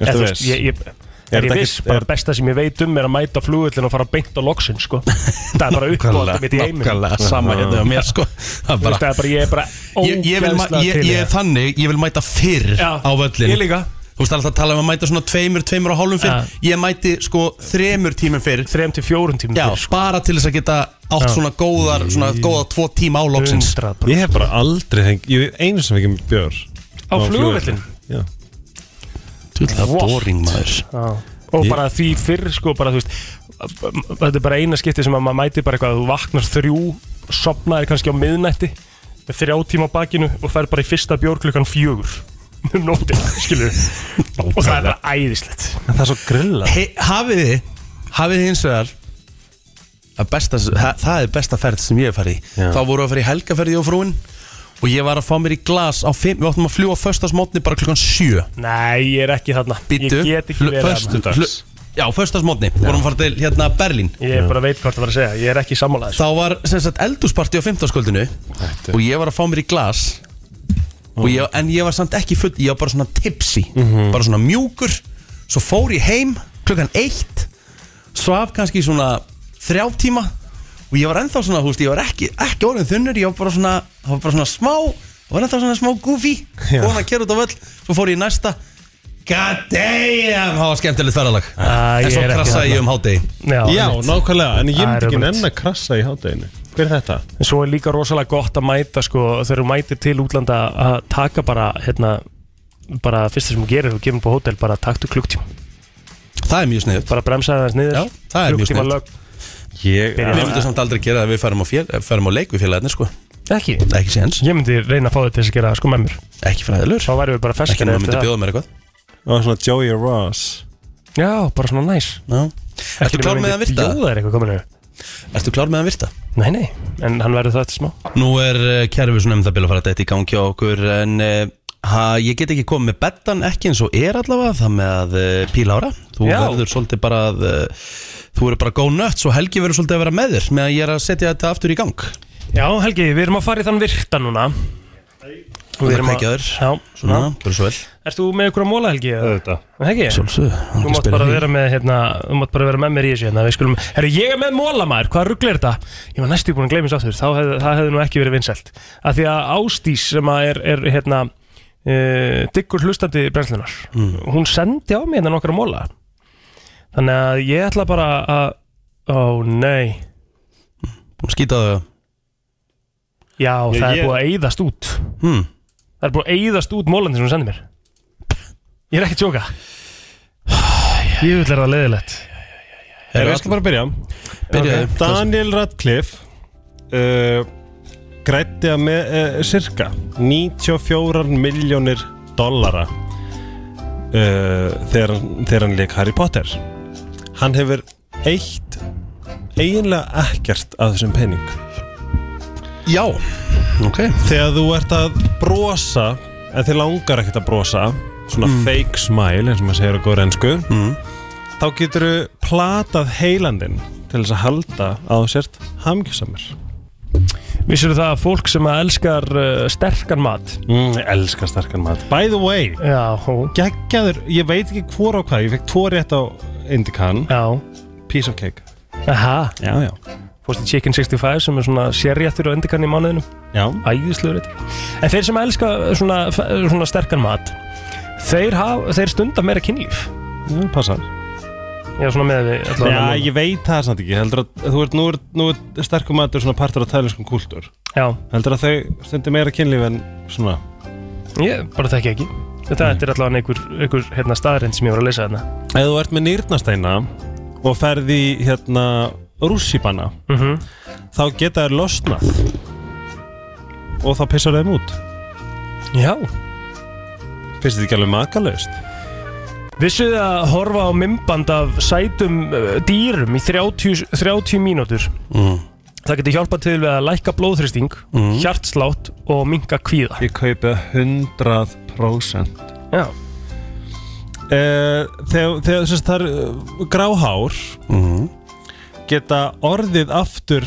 Speaker 12: Ertu
Speaker 2: Eða, þú
Speaker 12: viss?
Speaker 2: veist, Ég, ég,
Speaker 12: Er
Speaker 2: er ég
Speaker 12: þetta
Speaker 2: viss,
Speaker 12: ekki-
Speaker 2: bara
Speaker 12: er-
Speaker 2: besta sem ég veit um er að mæta flugullin og fara beint á loksin sko Það er bara
Speaker 1: Nákvæmlega,
Speaker 2: uppbóðið mitt í heiminum
Speaker 1: nákvæmlega,
Speaker 2: sko.
Speaker 1: sama hérna hjá mér, sko. Það er bara-
Speaker 2: Þú veist, Það er bara, ég er bara
Speaker 1: ég, ég, vil, ma-
Speaker 2: ógeðslega
Speaker 1: ég,
Speaker 2: til í
Speaker 1: ég er
Speaker 2: það.
Speaker 1: þannig, ég vil mæta fyrr
Speaker 2: Já,
Speaker 1: á völlin
Speaker 2: ég líka.
Speaker 1: Þú veist alltaf að tala um að mæta svona tveimur, tveimur og hálfum fyrr Ég mæti sko þremur tímum fyrr
Speaker 2: Þrem til fjórum tímum sko.
Speaker 1: Já, bara til þess að geta átt
Speaker 12: Já.
Speaker 1: svona góðar, svona góða tvo tíma á loksins
Speaker 12: Ég hef bara aldrei hengt, ég hef einu sem fengið mér bjór
Speaker 2: Á flugvöllinn?
Speaker 12: Já
Speaker 1: Þú vil það boring maður
Speaker 2: Já. Og bara því fyrr sko bara þú veist Þetta er bara eina skipti sem að maður mæti bara eitthvað Þú vaknar þrjú, sopnaðir kannski á miðnætti Með þrjá tíma á bakinu Og fer bara í fyrsta bjór klukkan fjögur Um nóttina, skilur Og það er bara æðislegt
Speaker 12: En það er svo grilla
Speaker 1: He, Hafið þið, hafið þið hins vegar að besta, það, það er besta ferð sem ég hef farið í Þá voru að fara í helgaferði og frúin Og ég var að fá mér í glas á fimm Við áttum að fljúa föstasmótni bara klukkan sjö
Speaker 2: Nei, ég er ekki þarna
Speaker 1: Bíddu,
Speaker 2: Ég get ekki verið
Speaker 1: föstudags. Já, föstasmótni, vorum að fara til hérna Berlín
Speaker 2: Ég bara veit hvað það var að segja, ég er ekki sammálaður
Speaker 1: Þá var sem sagt eldúsparti á 15 skuldinu Og ég var að fá mér í glas og ég, En ég var samt ekki full Ég var bara svona tipsy
Speaker 2: Mhm.
Speaker 1: Bara svona mjúkur Svo fór ég heim klukkan eitt Svaf kannski svona þrjá tíma Og ég var ennþá svona, þú veist, ég var ekki, ekki orðin þunnur Ég var bara svona, það var bara svona smá Það var ennþá svona smá goofy Góðan að kera út á völl Svo fór ég í næsta God damn, það var skemmtilegt ferðalag
Speaker 2: Ah,
Speaker 1: En
Speaker 2: ég
Speaker 1: svo
Speaker 2: er ekki
Speaker 1: krassaði
Speaker 2: þarna.
Speaker 1: ég um hádegi
Speaker 2: Já,
Speaker 12: Já,
Speaker 2: einmitt.
Speaker 12: nákvæmlega, en
Speaker 2: Það
Speaker 12: ég myndi
Speaker 2: er
Speaker 12: ekki
Speaker 2: ömurlegt.
Speaker 12: nenn að krassa í hátæginu Hver er þetta?
Speaker 2: En svo er líka rosalega gott að mæta sko, þegar þú mætir til útlanda að taka bara, hérna, bara fyrsta sem þú gerir, þú kemur upp á hótel, bara taktu klukktíma.
Speaker 1: Það er mjög sniðut.
Speaker 2: Bara bremsaði þess niður. Já,
Speaker 1: það er mjög sniðugt.
Speaker 12: Ég
Speaker 1: Við myndum samt aldrei gera það að við færum á, fél, eh, færum á leik við félagarnir sko
Speaker 2: Ekki?
Speaker 1: Ekki séns.
Speaker 2: Ég myndi reyna að fá þetta til þess að gera það sko með mér.
Speaker 1: Ekki fræðilur.
Speaker 2: Þá væri við bara ferskir
Speaker 1: Ekki nema myndi bjóða mér eitthvað
Speaker 12: Og svona Joey Ross
Speaker 2: Já, bara svona næs.
Speaker 1: Já. Ertu klár með að virta?
Speaker 2: Jóða er eitthvað kominu.
Speaker 1: Ertu klár með að virta?
Speaker 2: Nei, nei, en hann verður það til smá.
Speaker 1: Nú er uh, kerfið svona um það byrja að fara þetta í gangi á okkur en uh, ha, ég get ekki komið með bettan ekki eins og er allavega það með að uh, píla ára þú
Speaker 2: Já.
Speaker 1: verður svolítið bara að uh, þú verður bara góð nött og Helgi verður svolítið að vera með þér með að ég er að setja þetta aftur í gang
Speaker 2: Já, Helgi, við erum að fara í þann virta núna. Og
Speaker 1: Við erum
Speaker 2: Við erum að-
Speaker 1: kveikjaður Mm.
Speaker 2: Já.
Speaker 1: Svona, bara svo vel
Speaker 2: Erst þú með ykkur að móla, Helgi? Auðvitað. Helgi?
Speaker 1: Sjálfsögðu, hann
Speaker 2: Þú
Speaker 1: ekki
Speaker 2: mátt
Speaker 1: spila
Speaker 2: bara
Speaker 1: því.
Speaker 2: vera með, hérna, þú mátt bara vera með mér í þessu hérna, við skulum, herru, ég er með móla maður, hvað ruggl er þetta? Ég var næstu búin að gleymis aftur, þá hef, það hefði nú ekki verið vinsælt. Af því að Ástís sem að er, er hérna, uh, diggur hlustandi brennslunar,
Speaker 1: Mm.
Speaker 2: hún sendi á mig hérna nokkra móla. Þannig að ég ætla bara að, ó nei,
Speaker 1: og skýta þau
Speaker 2: já,
Speaker 1: Ég-
Speaker 2: það
Speaker 1: ég-
Speaker 2: er búið að eyðast út.
Speaker 1: hmm.
Speaker 2: Það er búið að eyðast út mólandi sem hún sendi mér. Ég er ekki að tjóka. Ég vil er það leiðilegt.
Speaker 12: Ég ætla bara að byrja
Speaker 2: Byrjaðu.
Speaker 12: Ok. Daniel Radcliffe uh, grætti að með uh, cirka 94 miljónir dollara uh, þegar, hann- þegar hann leik Harry Potter Hann hefur eitt eiginlega ekkert af þessum penning
Speaker 1: Já, ok
Speaker 12: Þegar þú ert að brosa en þið langar ekkert að brosa svona
Speaker 1: Mm.
Speaker 12: fake smile eins og maður segir á góður ennsku
Speaker 1: mm.
Speaker 12: þá getur þú platað heilandin til þess að halda á sért hamgjusamur
Speaker 2: Vissir það að fólk sem að elskar uh, sterkan mat
Speaker 12: mm, Elskar sterkan mat By the way
Speaker 2: Já, hó
Speaker 12: Geggjaður, ég veit ekki hvor á hvað Ég fekk tvo rétt á Indikan
Speaker 2: Já
Speaker 12: Piece of cake
Speaker 2: Aha
Speaker 12: Já, já
Speaker 2: Fórstu Chicken 65 sem er svona sérjættur og endikann í mánuðinu
Speaker 12: Já
Speaker 2: Æðislegur þetta En þeir sem elska uh, svona, svona sterkan mat Þeir, haf, þeir stunda meira kynlíf
Speaker 12: Já, passar
Speaker 2: Já, svona með við allavega
Speaker 12: Já,
Speaker 2: núna.
Speaker 12: ég veit það samt ekki Heldur að þú ert, nú er, nú er sterkum matur svona partur af tælinskum kúltúr
Speaker 2: Já
Speaker 12: Heldur að þau stundir meira kynlíf en svona
Speaker 2: Ég bara þekki ekki Þetta þetta er allavega einhver, einhver hérna, staðrind sem ég var að lesa þarna
Speaker 12: Ef þú ert með nýrnasteina og ferði hérna rússipanna
Speaker 2: Mhm.
Speaker 12: þá geta þær losnað og þá pissar þeim út
Speaker 2: Já
Speaker 12: Finnst þetta ekki alveg makalaust?
Speaker 2: Vissuð þið að horfa á mymband af sætum uh, dýrum í 30, 30 mínútur
Speaker 12: Mm.
Speaker 2: Það getur hjálpað til við að lækka blóðþristing,
Speaker 12: Mm.
Speaker 2: hjartslátt og minka kvíða
Speaker 12: Ég kaupi 100%
Speaker 2: Já
Speaker 12: Eh, Þegar, þegar þess að það er eh, gráhár Mhm. geta orðið aftur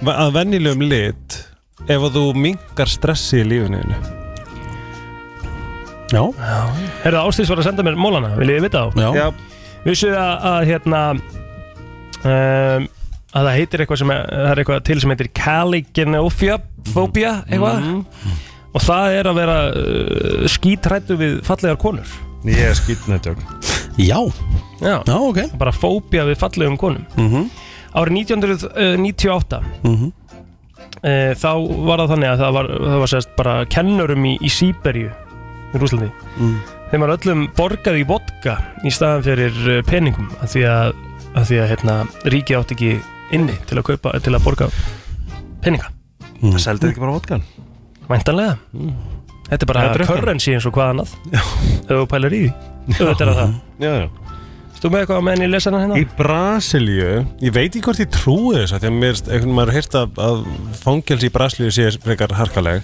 Speaker 12: ve- að venjulegum lit ef að þú mingar stressi í lífinu þínu.
Speaker 1: Já
Speaker 2: Er það ástýrs var að senda mér mólana, viljið þið vita á?
Speaker 12: Mm.
Speaker 1: Já. Já.
Speaker 2: Vissuð þið að, að hérna um, að það heitir eitthvað sem er, það er eitthvað til sem heitir Caligenophobia eitthvað
Speaker 12: Mm.
Speaker 2: og það er að vera uh, skítrættu við fallegar konur
Speaker 12: Ég er skýtnættjók
Speaker 1: Já
Speaker 2: Já,
Speaker 1: Já ok
Speaker 2: Bara fóbia við fallegum konum
Speaker 1: Mhm.
Speaker 2: Árið eh, 1998
Speaker 1: Mhm.
Speaker 2: e, þá var það þannig að það var, það var sérst bara kennurum í, í Sýberju í Rúslandi
Speaker 1: Mm.
Speaker 2: þeim var öllum borgað í vodka í staðan fyrir eh, peningum af því að, að, því að hérna, ríki átt ekki inni til að, kaupa, til að borga peninga
Speaker 1: mm.
Speaker 12: Það seldi ekki bara vodkan
Speaker 2: Væntanlega Þetta er
Speaker 12: Eða
Speaker 2: bara
Speaker 12: drukkan.
Speaker 2: currency eins og hvað annað ef þú pælar í því Þetta er að
Speaker 1: Mhm.
Speaker 2: það
Speaker 12: Já, já
Speaker 2: Þú með eitthvað á meðan ég lesa hana hérna?
Speaker 12: Í Brasilíu, ég veit ekki hvort ég trúi þess að því að mér, einhvern maður hýrt að, að fangels í Brasilíu sé frekar harkaleg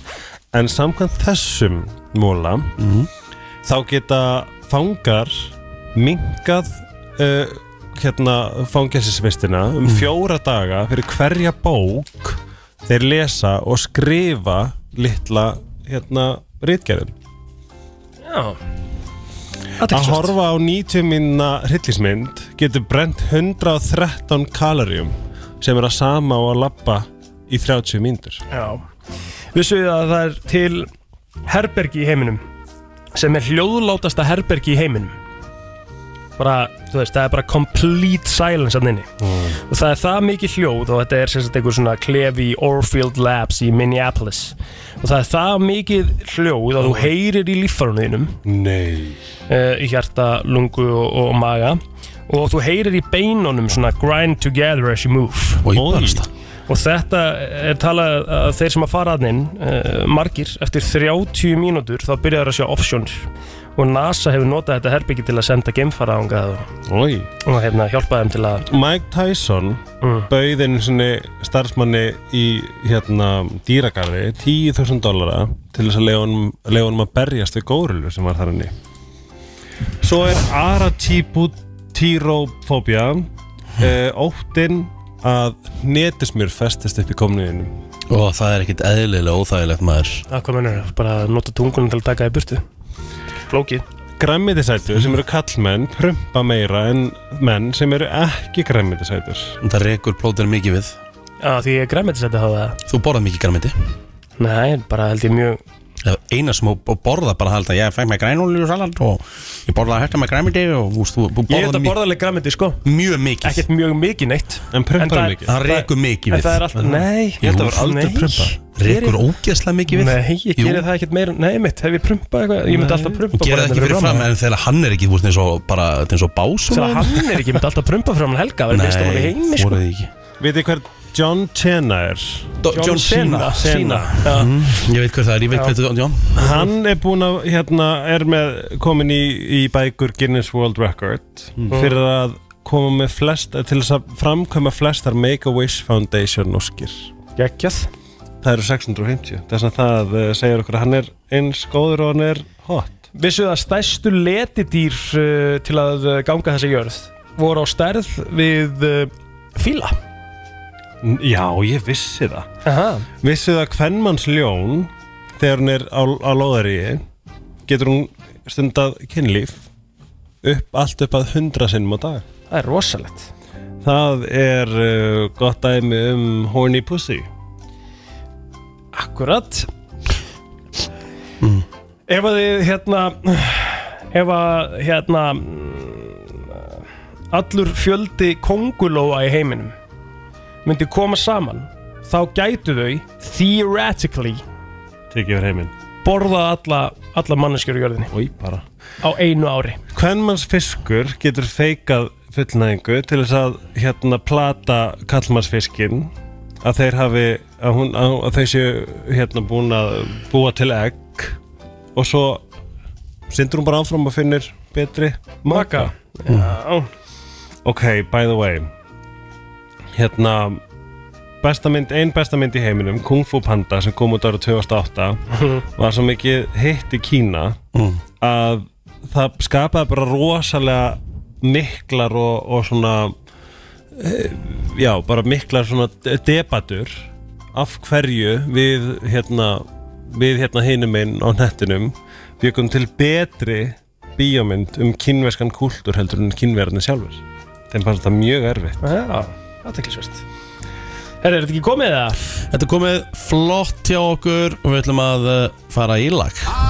Speaker 12: en samkvæmt þessum móla þá geta fangar minkað uh, hérna fangelsisvistina um fjóra daga fyrir hverja bók þeir lesa og skrifa litla hérna rítgerðum Að horfa á 90 minna hryllismynd getur brent 113 kaloríum sem er að sama á að lappa í 30 mínútur.
Speaker 2: Já Vissu þið að það er til herbergi í heiminum sem er hljóðlátasta herbergi í heiminum bara, þú veist, það er bara complete silence að nynni og það er það mikið hljóð og þetta er sérstaklega einhver svona klefi í Orfield Labs í Minneapolis og það er það mikið hljóð að þú heyrir í líffarunum þínum
Speaker 12: Nei
Speaker 2: uh, í hjarta, lungu og, og maga og þú heyrir í beinunum svona grind together as you move
Speaker 1: og,
Speaker 2: og þetta er talað að þeir sem að fara aðnin uh, margir, eftir 30 mínútur þá byrjar að sjá options og NASA hefur notað þetta herbyggi til að senda geimfara ángað
Speaker 12: og,
Speaker 2: og hérna, hjálpa þeim til að
Speaker 12: Mike Tyson mm. bauð einu sinni starfsmanni í hérna dýragarði 10.000 dollara til þess að leiða honum, leiða honum að berjast við górilu sem var þar henni. Svo er aratiputyrofóbia uh, óttinn að netismur festist upp í komniðinu.
Speaker 1: Og það er ekkit eðlilega óþægilegt maður
Speaker 2: að hvað mennur, bara að nota tungunum til að taka í burtu flókið
Speaker 12: Græmmitisætur sem eru kallmenn prumpa meira en menn sem eru ekki græmmitisætur.
Speaker 1: Það rekur plótinu mikið við.
Speaker 2: Já, því ég græmmetis þetta hafa það
Speaker 1: Þú borðað mikið græmiti
Speaker 2: Nei, bara held ég mjög
Speaker 1: Eina sem þú borða bara held að ég fæk með grænúlíu salat og ég borðaði hægt með græmiti og þú veist, þú
Speaker 2: Ég hef
Speaker 1: borðaði
Speaker 2: þetta borðarlega græmiti sko
Speaker 1: Mjög mikið
Speaker 2: Ekkert mjög mikið neitt
Speaker 12: En
Speaker 2: En það er- mikið.
Speaker 1: Það rekur mikið
Speaker 2: En
Speaker 1: við
Speaker 2: það er alltaf, nei
Speaker 1: Ég held að það var aldrei prumpa Rekur ógeðslega mikið við
Speaker 2: Nei, ég
Speaker 1: Jú.
Speaker 2: gerir það ekkert meira Nei, mitt, hef ég prumpað eitthvað Ég myndi alltaf prumpa
Speaker 1: Og gera það ekki
Speaker 2: bara hérna
Speaker 1: fyrir
Speaker 2: framan.
Speaker 1: fram En þegar hann er ekki, þú veist, eins og bara, þetta er eins og bás
Speaker 2: Þegar hann er ekki, ég myndi alltaf prumpa fram hann helga Það er besta mann í heimi sko
Speaker 1: voruð ekki
Speaker 12: Vitið hver John Cena er?
Speaker 1: Do- John John Cena. Cena. Cena. Mm, Ég veit hvað það er, ég veit
Speaker 12: Já.
Speaker 1: hvað þetta er John.
Speaker 12: Hann er búinn að, hérna, er með, komin í, í bækur Guinness World Record fyrir að koma með flest, til þess að framkvæma flestar Make-A-Wish Foundation óskir.
Speaker 2: Gekkjað.
Speaker 12: Það eru 650. Þess að það eh, segir okkur að hann er eins góður og hann er hot.
Speaker 2: Vissu það stærstu letidýr uh, til að uh, ganga þessa jörð voru á stærð við uh, fíla
Speaker 12: N- Já, ég vissi það.
Speaker 2: Aha.
Speaker 12: Vissi það hvernmanns ljón, þegar hún er á, á lóðaríi, getur hún stundað kynlíf upp, allt upp að 100 sinnum á dag.
Speaker 2: Það er rosalegt.
Speaker 12: Það er uh, gott dæmi um horny pussy
Speaker 2: Akkurat Ef að þið hérna Ef að hérna mm, Allur fjöldi kongulóa í heiminum Myndi koma saman Þá gætu þau Theoretically
Speaker 12: Tekið fyrir heiminn
Speaker 14: borða alla, alla manneskjur í jörðinni
Speaker 12: Í bara
Speaker 14: á einu ári
Speaker 12: Hvernmanns fiskur getur feikað fullnæðingu til þess að hérna plata kallmannsfiskin að þeir hafi að, hún, að, að þau séu hérna búin að búa til egg og svo sindur hún bara áfram og finnir betri maka
Speaker 14: Já.
Speaker 12: Ok, by the way hérna besta mynd, ein besta mynd í heiminum Kung Fu Panda sem kom út ára 2008
Speaker 14: Mhm.
Speaker 12: var svo mikið hitt í Kína að það skapaði bara rosalega miklar og, og svona eh, já, bara miklar svona de- debatur af hverju við hérna við hérna hinum einn á nettinum byggum til betri bíómynd um kínverskan kúltúr heldur en kínverðinni sjálfur þeim fannst það mjög erfitt
Speaker 14: Já, aðteklisvert Herra, er þetta ekki komið það?
Speaker 1: Þetta er komið flott hjá okkur og við ætlum að uh, fara í lag